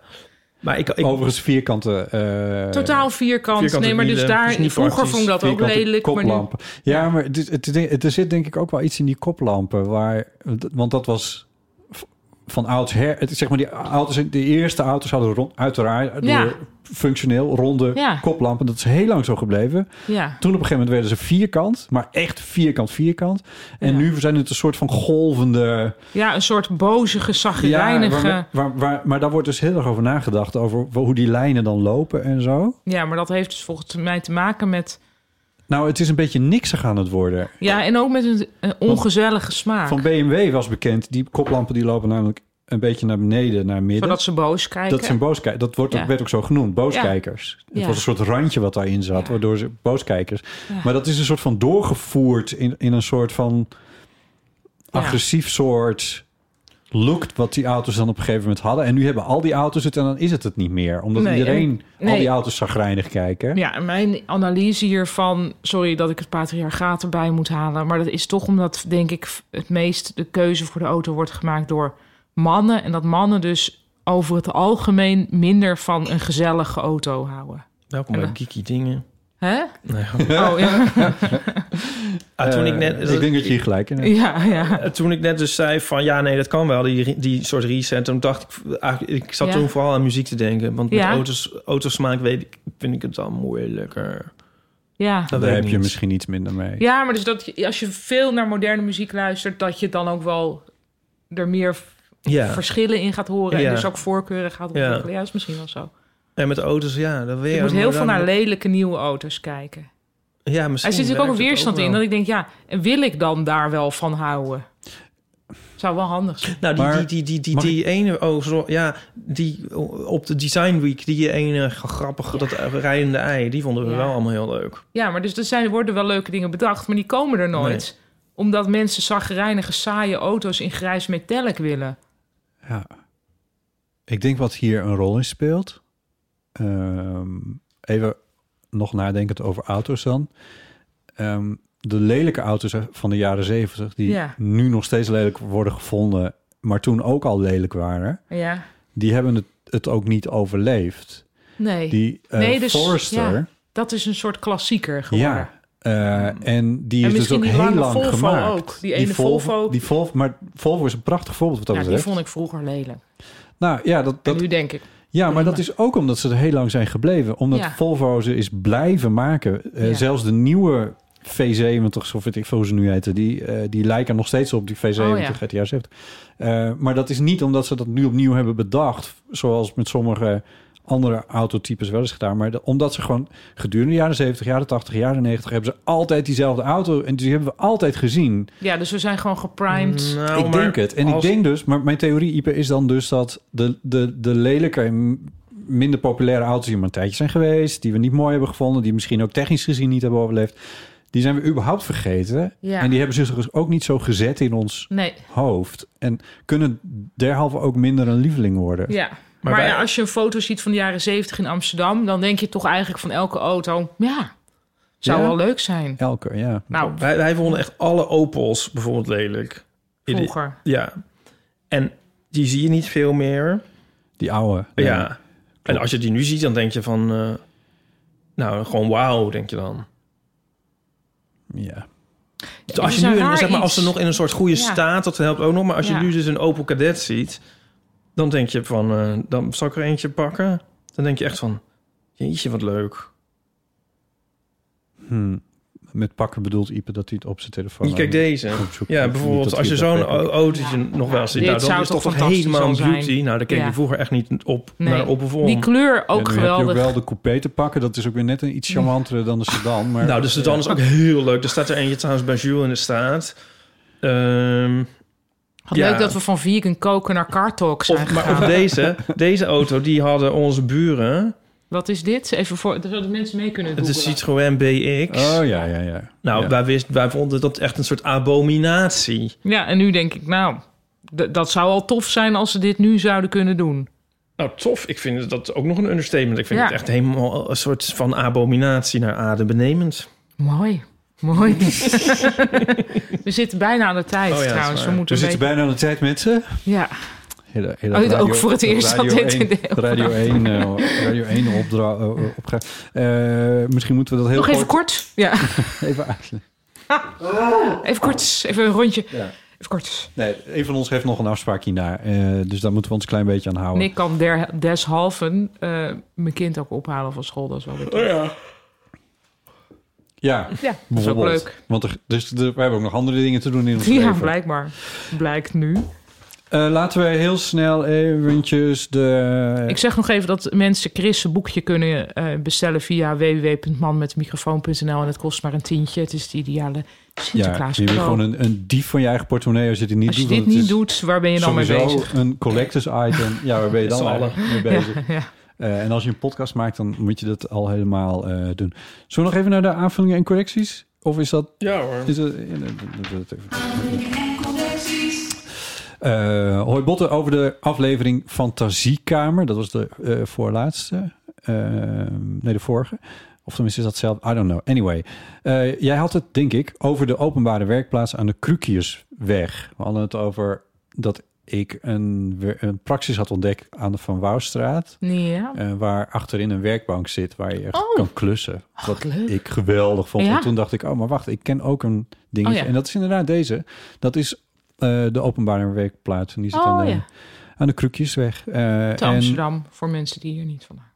[SPEAKER 3] Maar ik, ik,
[SPEAKER 1] Overigens vierkante... eh,
[SPEAKER 2] Totaal vierkant.
[SPEAKER 3] vierkante
[SPEAKER 2] nee, maar dus
[SPEAKER 3] wielen,
[SPEAKER 2] daar...
[SPEAKER 3] dus niet
[SPEAKER 2] vroeger
[SPEAKER 3] praktisch,
[SPEAKER 2] vond ik dat ook
[SPEAKER 1] vierkante
[SPEAKER 2] lelijk. Maar nu,
[SPEAKER 1] koplampen. Ja, maar het, is- het, is- het- er zit denk ik ook wel iets in die koplampen. Waar, want dat was v- van oudsher... Het, is zeg maar die, auto's, de eerste auto's hadden rond, uiteraard door
[SPEAKER 2] Ja.
[SPEAKER 1] functioneel ronde
[SPEAKER 2] Ja.
[SPEAKER 1] koplampen. Dat is heel lang zo gebleven.
[SPEAKER 2] ja.
[SPEAKER 1] Toen op een gegeven moment werden ze vierkant. Maar echt vierkant, vierkant. En
[SPEAKER 2] Ja.
[SPEAKER 1] nu zijn het een soort van golvende...
[SPEAKER 2] ja, een soort bozige,
[SPEAKER 1] waar,
[SPEAKER 2] zagrijnige...
[SPEAKER 1] waar, waar- maar daar wordt dus heel erg over nagedacht. Over hoe die lijnen dan lopen en zo.
[SPEAKER 2] Ja, maar dat heeft dus volgens mij te maken met...
[SPEAKER 1] Nou, het is een beetje niksig aan het worden.
[SPEAKER 2] Ja, en ook met een, een ongezellige smaak.
[SPEAKER 1] Van BMW was bekend, die koplampen die lopen namelijk een beetje naar beneden, naar midden.
[SPEAKER 2] Zodat ze boos kijken.
[SPEAKER 1] dat zijn booskijkers. Dat wordt,
[SPEAKER 2] Ja.
[SPEAKER 1] ook werd ook zo genoemd, booskijkers.
[SPEAKER 2] Ja.
[SPEAKER 1] Het was een soort randje wat daarin zat,
[SPEAKER 2] Ja.
[SPEAKER 1] waardoor ze booskijkers.
[SPEAKER 2] Ja.
[SPEAKER 1] Maar dat is een soort van doorgevoerd in, in een soort van
[SPEAKER 2] Ja.
[SPEAKER 1] agressief soort look wat die auto's dan op een gegeven moment hadden. En nu hebben al die auto's het en dan is het het niet meer. Omdat
[SPEAKER 2] Nee,
[SPEAKER 1] iedereen al
[SPEAKER 2] en- nee.
[SPEAKER 1] die auto's zagrijnig kijken.
[SPEAKER 2] Ja, en mijn analyse hiervan... Sorry dat ik het patriarchaat erbij moet halen... maar dat is toch omdat, denk ik, het meest de keuze voor de auto wordt gemaakt door mannen. En dat mannen dus over het algemeen minder van een gezellige auto houden.
[SPEAKER 3] welkom bij
[SPEAKER 2] En-
[SPEAKER 3] Geeky Dingen.
[SPEAKER 2] Hè?
[SPEAKER 3] Nou ja.
[SPEAKER 2] Oh, ja.
[SPEAKER 3] Ah, toen
[SPEAKER 1] Eh,
[SPEAKER 3] ik net...
[SPEAKER 1] ik denk dat je hier gelijk in hebt.
[SPEAKER 2] ja, ja.
[SPEAKER 3] Eh, Toen ik net dus zei van ja, nee, dat kan wel, die, die soort reset. Toen dacht ik, eigenlijk, ik zat
[SPEAKER 2] Ja.
[SPEAKER 3] toen vooral aan muziek te denken. Want met
[SPEAKER 2] Ja.
[SPEAKER 3] auto's, autosmaak weet ik, vind ik het dan moeilijker.
[SPEAKER 2] ja.
[SPEAKER 3] Dat
[SPEAKER 1] Daar
[SPEAKER 3] weet ik
[SPEAKER 1] heb je
[SPEAKER 3] niet.
[SPEAKER 1] misschien iets minder mee.
[SPEAKER 2] Ja, maar dus dat je- als je veel naar moderne muziek luistert, dat je dan ook wel er meer v-
[SPEAKER 3] Ja,
[SPEAKER 2] verschillen in gaat horen.
[SPEAKER 3] Ja.
[SPEAKER 2] En dus ook voorkeuren gaat
[SPEAKER 3] Ja.
[SPEAKER 2] ontwikkelen. Ja, dat is misschien wel zo.
[SPEAKER 3] en met auto's, ja, dat weer.
[SPEAKER 2] je moet heel
[SPEAKER 3] maar
[SPEAKER 2] veel
[SPEAKER 3] dan-
[SPEAKER 2] naar lelijke nieuwe auto's kijken.
[SPEAKER 3] Ja, misschien.
[SPEAKER 2] Er zit natuurlijk ook een
[SPEAKER 3] werkt het
[SPEAKER 2] weerstand
[SPEAKER 3] wel.
[SPEAKER 2] in. Dat ik denk, ja, en wil ik dan daar wel van houden? Zou wel handig zijn.
[SPEAKER 3] Nou, die,
[SPEAKER 1] Maar-
[SPEAKER 3] die, die, die, die,
[SPEAKER 1] mag
[SPEAKER 3] die ene, oh, zo, ja, die op de Design Week, die ene grappige, dat rijdende ei, die vonden we
[SPEAKER 2] Ja.
[SPEAKER 3] wel allemaal heel leuk.
[SPEAKER 2] Ja, maar dus er zijn, worden wel leuke dingen bedacht, maar die komen er nooit. Omdat mensen zagrijnige, saaie auto's in grijs metallic willen.
[SPEAKER 1] Ja. Ik denk wat hier een rol in speelt. ehm, even nog nadenkend over auto's dan. Ehm, de lelijke auto's van de jaren zeventig, die
[SPEAKER 2] Ja.
[SPEAKER 1] nu nog steeds lelijk worden gevonden, maar toen ook al lelijk waren,
[SPEAKER 2] Ja,
[SPEAKER 1] die hebben het, het ook niet overleefd.
[SPEAKER 2] nee.
[SPEAKER 1] Die eh,
[SPEAKER 2] Nee, dus-
[SPEAKER 1] Forester,
[SPEAKER 2] Dat is een soort klassieker
[SPEAKER 1] ja.
[SPEAKER 2] geworden. Nou,
[SPEAKER 1] eh, en die is
[SPEAKER 2] En
[SPEAKER 1] dus
[SPEAKER 2] misschien
[SPEAKER 1] ook
[SPEAKER 2] die
[SPEAKER 1] heel
[SPEAKER 2] lange
[SPEAKER 1] lang
[SPEAKER 2] Volvo
[SPEAKER 1] gemaakt.
[SPEAKER 2] ook. Die ene Volvo.
[SPEAKER 1] Die Volvo, maar Volvo is een prachtig voorbeeld wat dat
[SPEAKER 2] Ja, die
[SPEAKER 1] betreft.
[SPEAKER 2] vond ik vroeger lelijk.
[SPEAKER 1] Nou ja, dat, dat,
[SPEAKER 2] En nu denk ik,
[SPEAKER 1] Ja, maar dat is ook omdat ze er heel lang zijn gebleven. Omdat
[SPEAKER 2] Ja.
[SPEAKER 1] Volvo ze is blijven maken. Eh,
[SPEAKER 2] Ja.
[SPEAKER 1] Zelfs de nieuwe V70's, of weet ik veel hoe ze nu heten... die, eh, die lijken nog steeds op die V70
[SPEAKER 2] Oh, ja.
[SPEAKER 1] uit de jaren 70. Eh, maar dat is niet omdat ze dat nu opnieuw hebben bedacht... zoals met sommige andere autotypes wel eens gedaan. Maar de- omdat ze gewoon gedurende de jaren 70, jaren 80, jaren 90... hebben ze altijd diezelfde auto en die hebben we altijd gezien.
[SPEAKER 2] ja, dus we zijn gewoon geprimed.
[SPEAKER 3] Nou,
[SPEAKER 1] ik
[SPEAKER 3] maar
[SPEAKER 1] denk het. En
[SPEAKER 3] als-
[SPEAKER 1] ik denk dus, maar mijn theorie, Ipe, is dan dus dat de, de, de lelijke en m- minder populaire auto's die maar een tijdje zijn geweest, die we niet mooi hebben gevonden, die misschien ook technisch gezien niet hebben overleefd, die zijn we überhaupt vergeten.
[SPEAKER 2] Ja.
[SPEAKER 1] En die hebben zich dus ook niet zo gezet in ons
[SPEAKER 2] Nee,
[SPEAKER 1] hoofd. En kunnen derhalve ook minder een lieveling worden.
[SPEAKER 2] ja. Maar,
[SPEAKER 3] wij-
[SPEAKER 2] ja, als je een foto ziet van de jaren zeventig in Amsterdam... dan denk je toch eigenlijk van elke auto... ja, zou
[SPEAKER 1] Ja?
[SPEAKER 2] wel leuk zijn.
[SPEAKER 1] Elke, ja.
[SPEAKER 2] Nou,
[SPEAKER 3] Wij, wij vonden echt alle Opels bijvoorbeeld lelijk. In de-
[SPEAKER 2] vroeger.
[SPEAKER 3] Ja. En die zie je niet veel meer.
[SPEAKER 1] Die oude. Nee.
[SPEAKER 3] ja. En als je die nu ziet, dan denk je van... eh, nou, gewoon wauw, denk je dan.
[SPEAKER 1] ja.
[SPEAKER 3] Dus als,
[SPEAKER 2] is
[SPEAKER 3] je
[SPEAKER 2] een
[SPEAKER 3] nu,
[SPEAKER 2] raar
[SPEAKER 3] een- zeg maar, als ze
[SPEAKER 2] iets.
[SPEAKER 3] nog in een soort goede
[SPEAKER 2] Ja.
[SPEAKER 3] staat, dat helpt ook nog. Maar als je
[SPEAKER 2] Ja.
[SPEAKER 3] nu dus een Opel Cadet ziet, dan denk je van... eh, dan zal ik er eentje pakken. Dan denk je echt van... Jeetje, wat leuk.
[SPEAKER 1] Hm. Met pakken bedoelt Ipe dat hij het op zijn telefoon...
[SPEAKER 3] Niet kijk deze. Ja, bijvoorbeeld als je zo'n au- autootje nog wel ziet,
[SPEAKER 2] Dit
[SPEAKER 3] nou, dan
[SPEAKER 2] zou
[SPEAKER 3] is
[SPEAKER 2] toch
[SPEAKER 3] toch toch
[SPEAKER 2] fantastisch
[SPEAKER 3] helemaal
[SPEAKER 2] al
[SPEAKER 3] een
[SPEAKER 2] zijn?
[SPEAKER 3] beauty. Nou, daar keek
[SPEAKER 2] Ja.
[SPEAKER 3] je vroeger echt niet op
[SPEAKER 2] Nee.
[SPEAKER 3] naar Opel Volm.
[SPEAKER 2] Die kleur ook
[SPEAKER 1] ja, nu Heb
[SPEAKER 2] geweldig.
[SPEAKER 1] je ook wel de coupé te pakken. Dat is ook weer net een iets charmantere dan de sedan. Maar
[SPEAKER 3] Nou, de sedan is ook heel leuk. Er staat er eentje trouwens bij Jules in de staat. Ehm,
[SPEAKER 2] Wat
[SPEAKER 3] Ja.
[SPEAKER 2] leuk dat we van vegan koken naar car talk zijn
[SPEAKER 3] of, maar
[SPEAKER 2] gegaan.
[SPEAKER 3] of deze, deze auto, die hadden onze buren.
[SPEAKER 2] Wat is dit? Even voor... Zodat mensen mee kunnen
[SPEAKER 3] Het
[SPEAKER 2] googlen.
[SPEAKER 3] is Citroën BX.
[SPEAKER 1] Oh ja, ja, ja.
[SPEAKER 3] Nou,
[SPEAKER 1] ja.
[SPEAKER 3] Wij, wisten, wij vonden dat echt een soort abominatie.
[SPEAKER 2] Ja, en nu denk ik, nou... d- dat zou al tof zijn als ze dit nu zouden kunnen doen.
[SPEAKER 3] Nou, tof. Ik vind dat ook nog een understatement. Ik vind
[SPEAKER 2] Ja.
[SPEAKER 3] het echt helemaal een soort van abominatie naar adembenemend.
[SPEAKER 2] Mooi. Mooi. we zitten bijna aan de tijd
[SPEAKER 3] Oh ja, dat is
[SPEAKER 2] trouwens. We
[SPEAKER 3] waar.
[SPEAKER 2] moeten
[SPEAKER 1] We
[SPEAKER 2] een
[SPEAKER 1] zitten bijna aan de tijd, mensen.
[SPEAKER 2] beetje- Ja.
[SPEAKER 1] Hele, hele
[SPEAKER 2] Oh, dit ook voor het eerst
[SPEAKER 1] radio
[SPEAKER 2] dat dit
[SPEAKER 1] 1
[SPEAKER 2] in de-
[SPEAKER 1] Radio 1, eh, radio 1 opdra- eh, opga- Eh, misschien moeten we dat heel
[SPEAKER 2] Nog even kort. Ja.
[SPEAKER 1] even uitleggen.
[SPEAKER 2] Even kort. Even een rondje.
[SPEAKER 1] Ja.
[SPEAKER 2] Even kort.
[SPEAKER 1] Nee, een van ons heeft nog een afspraak hierna. eh, dus daar moeten we ons een klein beetje aan
[SPEAKER 3] Oh.
[SPEAKER 1] houden.
[SPEAKER 2] En ik kan der, deshalve eh, mijn kind ook ophalen van school. Dat is wel weer tof.
[SPEAKER 3] ja.
[SPEAKER 1] Ja,
[SPEAKER 2] Ja, dat is ook
[SPEAKER 1] bijvoorbeeld.
[SPEAKER 2] leuk.
[SPEAKER 1] Want er, dus er- we hebben ook nog andere dingen te doen in ons
[SPEAKER 2] Ja,
[SPEAKER 1] leven.
[SPEAKER 2] blijkbaar. Blijkt nu.
[SPEAKER 1] Eh, laten we heel snel eventjes de...
[SPEAKER 2] Ik zeg nog even dat mensen Chris' een boekje kunnen eh, bestellen via www.manmetmicrofoon.nl. En het kost maar een tientje. Het is het ideale
[SPEAKER 1] ja,
[SPEAKER 2] Sinterklaas
[SPEAKER 1] je bent gewoon een, een dief van je eigen portemonnee als je dit niet
[SPEAKER 2] Als je
[SPEAKER 1] doet.
[SPEAKER 2] dit
[SPEAKER 1] want het
[SPEAKER 2] niet
[SPEAKER 1] is
[SPEAKER 2] doet, waar ben je dan mee
[SPEAKER 1] sowieso
[SPEAKER 2] bezig?
[SPEAKER 1] een collectors item. Ja, waar ben je dan
[SPEAKER 3] Met z'n
[SPEAKER 1] eigenlijk mee bezig?
[SPEAKER 2] Ja, ja.
[SPEAKER 1] Eh, en als je een podcast maakt, dan moet je dat al helemaal eh, doen. Zullen we nog even naar de aanvullingen en correcties? Of is dat...
[SPEAKER 3] Ja hoor.
[SPEAKER 1] Is dat, ja, nee, dat- dat- dat- Eh, hoi Botten over de aflevering Fantasiekamer. Dat was de eh, voorlaatste. Eh, nee, de vorige. Of tenminste is dat zelf. I don't know. Anyway. Eh, jij had het, denk ik, over de openbare werkplaats aan de Krukiersweg. We hadden het over dat ik een, wer- een praxis had ontdekt aan de Van Wouwstraat.
[SPEAKER 2] Ja.
[SPEAKER 1] eh, waar achterin een werkbank zit waar je
[SPEAKER 2] Oh.
[SPEAKER 1] kan klussen. Wat
[SPEAKER 2] leuk.
[SPEAKER 1] ik geweldig vond.
[SPEAKER 2] Ja?
[SPEAKER 1] En toen dacht ik, oh, maar wacht, ik ken ook een dingetje.
[SPEAKER 2] Oh, ja.
[SPEAKER 1] En dat is inderdaad deze. Dat is eh, de openbare werkplaats. En die zit
[SPEAKER 2] Oh,
[SPEAKER 1] aan, de,
[SPEAKER 2] ja.
[SPEAKER 1] aan de Krukjesweg. Eh,
[SPEAKER 2] Te
[SPEAKER 1] en-
[SPEAKER 2] Amsterdam, voor mensen die hier niet vandaan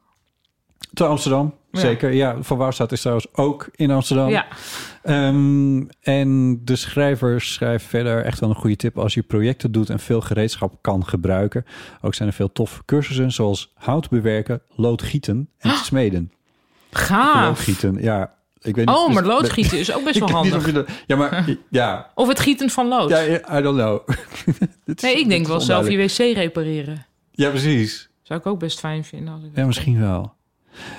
[SPEAKER 1] te Amsterdam,
[SPEAKER 2] Ja.
[SPEAKER 1] zeker. Ja, Van Wouwstraat is trouwens ook in Amsterdam.
[SPEAKER 2] komen. Ja,
[SPEAKER 1] Ehm, en de schrijver schrijft verder echt wel een goede tip als je projecten doet en veel gereedschap kan gebruiken. Ook zijn er veel toffe cursussen zoals hout bewerken, loodgieten en
[SPEAKER 2] Oh.
[SPEAKER 1] smeden.
[SPEAKER 2] gaaf.
[SPEAKER 1] Loodgieten, ja. Ik weet
[SPEAKER 2] Ah. Oh,
[SPEAKER 1] dus-
[SPEAKER 2] maar loodgieten is ook best wel
[SPEAKER 1] Ik weet niet
[SPEAKER 2] handig.
[SPEAKER 1] of je dat- ja, maar ja,
[SPEAKER 2] Of het gieten van lood.
[SPEAKER 1] ja, I don't know. Dit is-
[SPEAKER 2] nee, ik
[SPEAKER 1] dit
[SPEAKER 2] denk
[SPEAKER 1] is
[SPEAKER 2] wel zelf je
[SPEAKER 1] onduidelijk.
[SPEAKER 2] wc repareren.
[SPEAKER 1] Ja, precies.
[SPEAKER 2] Zou ik ook best fijn vinden. Als ik dat
[SPEAKER 1] Ja, misschien wel.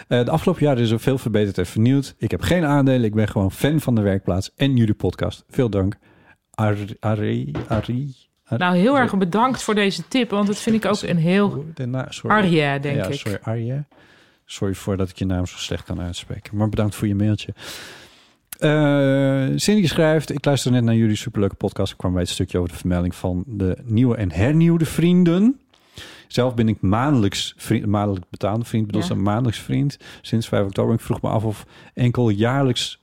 [SPEAKER 1] Eh, de afgelopen jaren is er veel verbeterd en vernieuwd. Ik heb geen aandelen. Ik ben gewoon fan van de werkplaats en jullie podcast. Veel dank. Ari, Ari, Ari.
[SPEAKER 2] kon. Nou, heel erg bedankt voor deze tip, want dat vind ik ook een heel...
[SPEAKER 1] De na- sorry.
[SPEAKER 2] Arja, Oh, denk
[SPEAKER 1] ja,
[SPEAKER 2] ik.
[SPEAKER 1] sorry, Arja. Sorry voor dat ik je naam zo slecht kan uitspreken. Maar bedankt voor je mailtje. Eh Cindy schrijft... Ik luister net naar jullie superleuke podcast. Ik kwam bij het stukje over de vermelding van de nieuwe en hernieuwde vrienden. Zelf ben ik maandelijks, vriend, maandelijk betaald vriend. bedoel,
[SPEAKER 2] Ja.
[SPEAKER 1] een maandelijks vriend sinds 5 oktober. Ik vroeg me af of enkel jaarlijks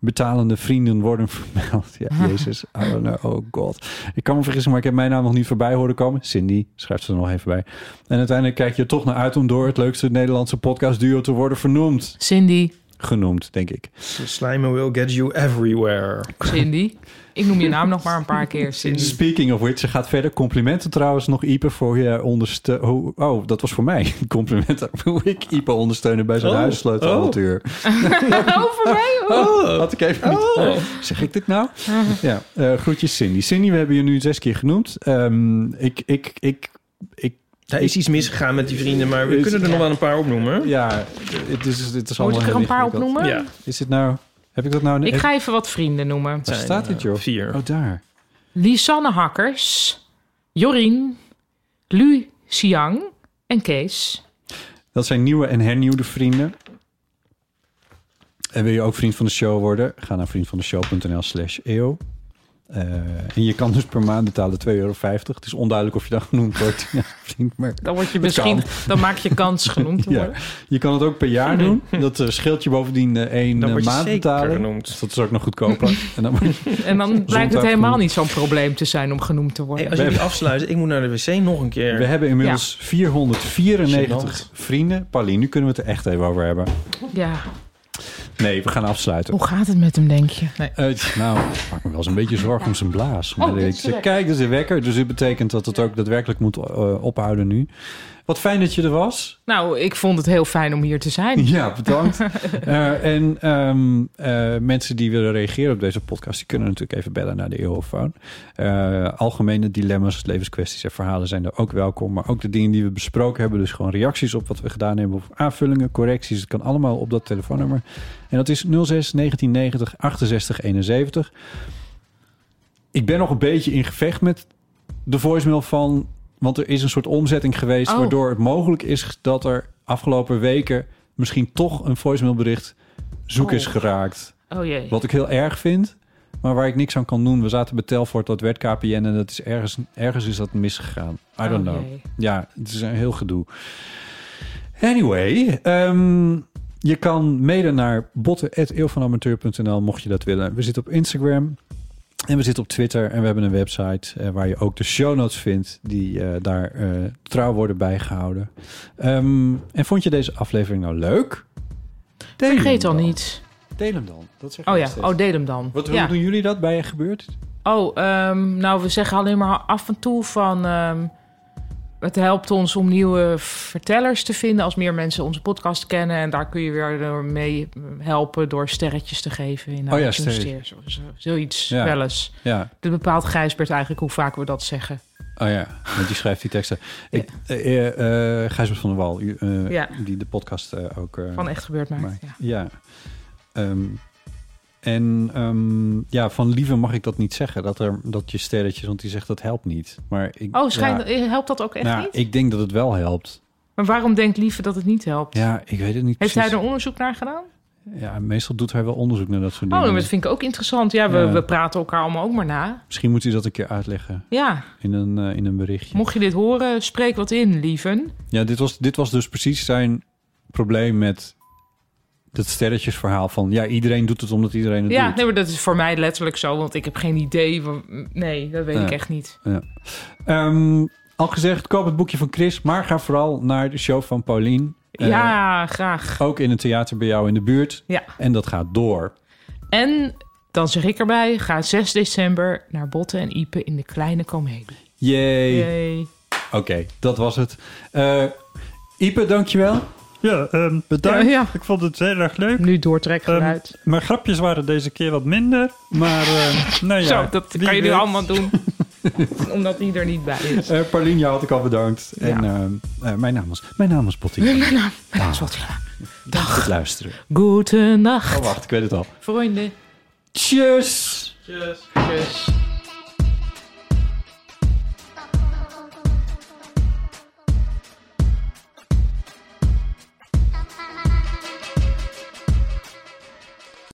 [SPEAKER 1] betalende vrienden worden vermeld. Ja, Jezus. I don't know. Oh god. Ik kan me vergissen, maar ik heb mijn naam nog niet voorbij horen komen. Cindy schrijft ze er nog even bij. En uiteindelijk kijk je er toch naar uit om door het leukste Nederlandse podcastduo te worden vernoemd.
[SPEAKER 2] Cindy,
[SPEAKER 1] Genoemd, denk ik.
[SPEAKER 3] Slijmen will get you everywhere.
[SPEAKER 2] Cindy. Ik noem je naam nog maar een paar keer, Cindy.
[SPEAKER 1] Speaking of which, ze gaat verder. Complimenten trouwens nog, Ipe, voor je onderste. Oh, oh, dat was voor mij. Complimenten hoe ik Ipe ondersteunen bij zijn
[SPEAKER 3] Oh,
[SPEAKER 1] huissleutelavontuur.
[SPEAKER 2] Over mij? Oh.
[SPEAKER 1] Had ik even niet.
[SPEAKER 3] Oh.
[SPEAKER 1] Zeg ik dit nou? Ja, eh, groetjes Cindy. Cindy, we hebben je nu zes keer genoemd. Ehm, ik, ik, ik, ik,
[SPEAKER 3] Daar is iets misgegaan met die vrienden, maar we
[SPEAKER 1] Is-
[SPEAKER 3] kunnen er nog wel een paar opnoemen.
[SPEAKER 1] ja, het is, het is
[SPEAKER 2] Moet
[SPEAKER 1] allemaal
[SPEAKER 2] ik er
[SPEAKER 1] heel
[SPEAKER 2] een paar
[SPEAKER 1] ingewikkeld.
[SPEAKER 2] opnoemen?
[SPEAKER 3] Ja.
[SPEAKER 1] Is dit nou, heb ik dat nou?
[SPEAKER 2] Ik ga eh, even wat vrienden noemen.
[SPEAKER 1] Waar staat dit, joh?
[SPEAKER 3] Vier.
[SPEAKER 1] Oh, daar.
[SPEAKER 2] Lisanne Hakkers, Jorien, Lu Xiang en Kees.
[SPEAKER 1] Dat zijn nieuwe en hernieuwde vrienden. En wil je ook vriend van de show worden? Ga naar vriendvandeshow.nl slash eeuw. Eh, en je kan dus per maand betalen 2,50 euro. Het is onduidelijk of je dat genoemd wordt. Ja, vriend, maar
[SPEAKER 2] Dan word je
[SPEAKER 1] Dat
[SPEAKER 2] misschien... Dan maak je kans genoemd te
[SPEAKER 1] Ja.
[SPEAKER 2] worden.
[SPEAKER 1] Je kan het ook per jaar doen. Dat eh, scheelt je bovendien eh, één
[SPEAKER 3] Dan
[SPEAKER 1] eh,
[SPEAKER 3] word je
[SPEAKER 1] maand
[SPEAKER 3] zeker
[SPEAKER 1] betalen.
[SPEAKER 3] genoemd.
[SPEAKER 1] Dus dat is ook nog goedkoper. en dan word je-
[SPEAKER 2] En dan blijkt het
[SPEAKER 1] Zondag
[SPEAKER 2] helemaal
[SPEAKER 1] genoemd.
[SPEAKER 2] niet zo'n probleem te zijn om genoemd te worden.
[SPEAKER 3] Hey, als jullie afsluiten, ik moet naar de wc nog een keer.
[SPEAKER 1] We hebben inmiddels 494
[SPEAKER 3] Gênant.
[SPEAKER 1] vrienden. Paulien, nu kunnen we het er echt even over hebben.
[SPEAKER 2] Ja,
[SPEAKER 1] Nee, we gaan afsluiten.
[SPEAKER 2] hoe gaat het met hem, denk je? Nee.
[SPEAKER 1] Eh, nou, ik maak me wel eens een beetje zorgen om zijn blaas. Maar
[SPEAKER 2] dit is
[SPEAKER 1] ik
[SPEAKER 2] de
[SPEAKER 1] zeg,
[SPEAKER 2] wekker.
[SPEAKER 1] kijk, dat is een wekker. Dus dit betekent dat het ook daadwerkelijk moet eh, ophouden nu. Wat fijn dat je er was.
[SPEAKER 2] Nou, ik vond het heel fijn om hier te zijn.
[SPEAKER 1] Ja, bedankt. Eh, en ehm, eh, mensen die willen reageren op deze podcast, die kunnen natuurlijk even bellen naar de Eeuwofoon. Eh algemene dilemma's, levenskwesties en verhalen zijn er ook welkom. Maar ook de dingen die we besproken hebben, dus gewoon reacties op wat we gedaan hebben, of aanvullingen, correcties, het kan allemaal op dat telefoonnummer. En dat is 06 1990 68 71. Ik ben nog een beetje in gevecht met de voicemail van. Want er is een soort omzetting geweest.
[SPEAKER 2] Oh.
[SPEAKER 1] Waardoor het mogelijk is dat er afgelopen weken. misschien toch een voicemailbericht zoek
[SPEAKER 2] Oh.
[SPEAKER 1] is geraakt.
[SPEAKER 2] Oh jee.
[SPEAKER 1] Wat ik heel erg vind. Maar waar ik niks aan kan doen. We zaten bij Telfort, dat werd KPN en dat is ergens, ergens is dat misgegaan. I don't
[SPEAKER 2] Oh,
[SPEAKER 1] know.
[SPEAKER 2] jee.
[SPEAKER 1] Ja, het is een heel gedoe. Anyway, ehm, je kan mailen naar botten.eeuwvanamateur.nl mocht je dat willen. We zitten op Instagram en we zitten op Twitter en we hebben een website eh, waar je ook de show notes vindt die eh, daar eh, trouw worden bijgehouden. Ehm, en vond je deze aflevering nou leuk? Deel hem
[SPEAKER 2] Vergeet dan niet.
[SPEAKER 1] Deel hem dan. Dat zeg ik
[SPEAKER 2] Oh ja,
[SPEAKER 1] nog steeds.
[SPEAKER 2] oh, deel hem dan.
[SPEAKER 1] Wat
[SPEAKER 2] ja.
[SPEAKER 1] doen jullie dat bij je gebeurt?
[SPEAKER 2] Oh, ehm, nou, we zeggen alleen maar af en toe van... ehm, het helpt ons om nieuwe vertellers te vinden... als meer mensen onze podcast kennen. En daar kun je weer door mee helpen door sterretjes te geven. In Dus
[SPEAKER 1] Oh ja,
[SPEAKER 2] iTunes
[SPEAKER 1] sterretjes.
[SPEAKER 2] Stores of zo. eh, Zoiets,
[SPEAKER 1] Ja.
[SPEAKER 2] wel eens.
[SPEAKER 1] Ja.
[SPEAKER 2] Dat bepaalt Gijsbert eigenlijk hoe vaak we dat zeggen.
[SPEAKER 1] Oh ja, want die schrijft die teksten. Ik, eh, eh, eh, Gijsbert van der Wal, u, eh,
[SPEAKER 2] Ja.
[SPEAKER 1] die de podcast eh, ook... eh,
[SPEAKER 2] Van Echt Gebeurd Maakt,
[SPEAKER 1] maakt.
[SPEAKER 2] ja.
[SPEAKER 1] Ja. Ehm, en ehm, ja, van lieve mag ik dat niet zeggen, dat, er, dat je sterretjes, want die zegt dat helpt niet. Maar ik,
[SPEAKER 2] Oh, schijnt,
[SPEAKER 1] ja,
[SPEAKER 2] helpt dat ook echt
[SPEAKER 1] nou,
[SPEAKER 2] niet?
[SPEAKER 1] Ik denk dat het wel helpt.
[SPEAKER 2] Maar waarom denkt Lieve dat het niet helpt?
[SPEAKER 1] Ja, ik weet het niet
[SPEAKER 2] Heeft hij
[SPEAKER 1] precies.
[SPEAKER 2] er onderzoek naar gedaan?
[SPEAKER 1] Ja, meestal doet hij wel onderzoek naar dat soort
[SPEAKER 2] Oh,
[SPEAKER 1] dingen.
[SPEAKER 2] dat vind ik ook interessant. Ja, we,
[SPEAKER 1] Ja.
[SPEAKER 2] we praten elkaar allemaal ook maar na.
[SPEAKER 1] Misschien moet hij dat een keer uitleggen
[SPEAKER 2] Ja,
[SPEAKER 1] in een, eh, in een berichtje.
[SPEAKER 2] mocht je dit horen, spreek wat in, lieven.
[SPEAKER 1] Ja, dit was, dit was dus precies zijn probleem met dat sterretjesverhaal van... ja, iedereen doet het omdat iedereen het
[SPEAKER 2] Ja,
[SPEAKER 1] doet.
[SPEAKER 2] nee, maar dat is voor mij letterlijk zo, want ik heb geen idee. Van, nee, dat weet
[SPEAKER 1] Ja.
[SPEAKER 2] ik echt niet.
[SPEAKER 1] Ja. Ehm, al gezegd, koop het boekje van Chris... maar ga vooral naar de show van Paulien. Eh,
[SPEAKER 2] ja, graag.
[SPEAKER 1] Ook in het theater bij jou in de buurt.
[SPEAKER 2] Ja.
[SPEAKER 1] En dat gaat door.
[SPEAKER 2] En dan zeg ik erbij, ga 6 december naar Botten en Ipe in de Kleine Comedie.
[SPEAKER 1] Yay.
[SPEAKER 2] Yay.
[SPEAKER 1] Oké, dat was het. Eh Ipe, dankjewel.
[SPEAKER 8] Ja, ehm, bedankt.
[SPEAKER 2] Ja, ja.
[SPEAKER 8] Ik vond het heel erg leuk.
[SPEAKER 2] Nu doortrekgeluid.
[SPEAKER 8] Ehm, mijn grapjes waren deze keer wat minder. Maar ehm nou ja,
[SPEAKER 2] Zo, dat
[SPEAKER 8] wie
[SPEAKER 2] kan je nu
[SPEAKER 8] weet.
[SPEAKER 2] allemaal doen. Omdat die er niet bij is.
[SPEAKER 1] Eh Paulien, jou had ik al bedankt. En eh, eh, mijn naam is, mijn naam is Botti. Mijn naam,
[SPEAKER 2] is Botti.
[SPEAKER 1] Dag. Goed luisteren.
[SPEAKER 2] Goedenacht,
[SPEAKER 1] Oh, wacht, ik weet het al.
[SPEAKER 2] vrienden.
[SPEAKER 1] Tjus!
[SPEAKER 3] Tjus.
[SPEAKER 2] Tjus.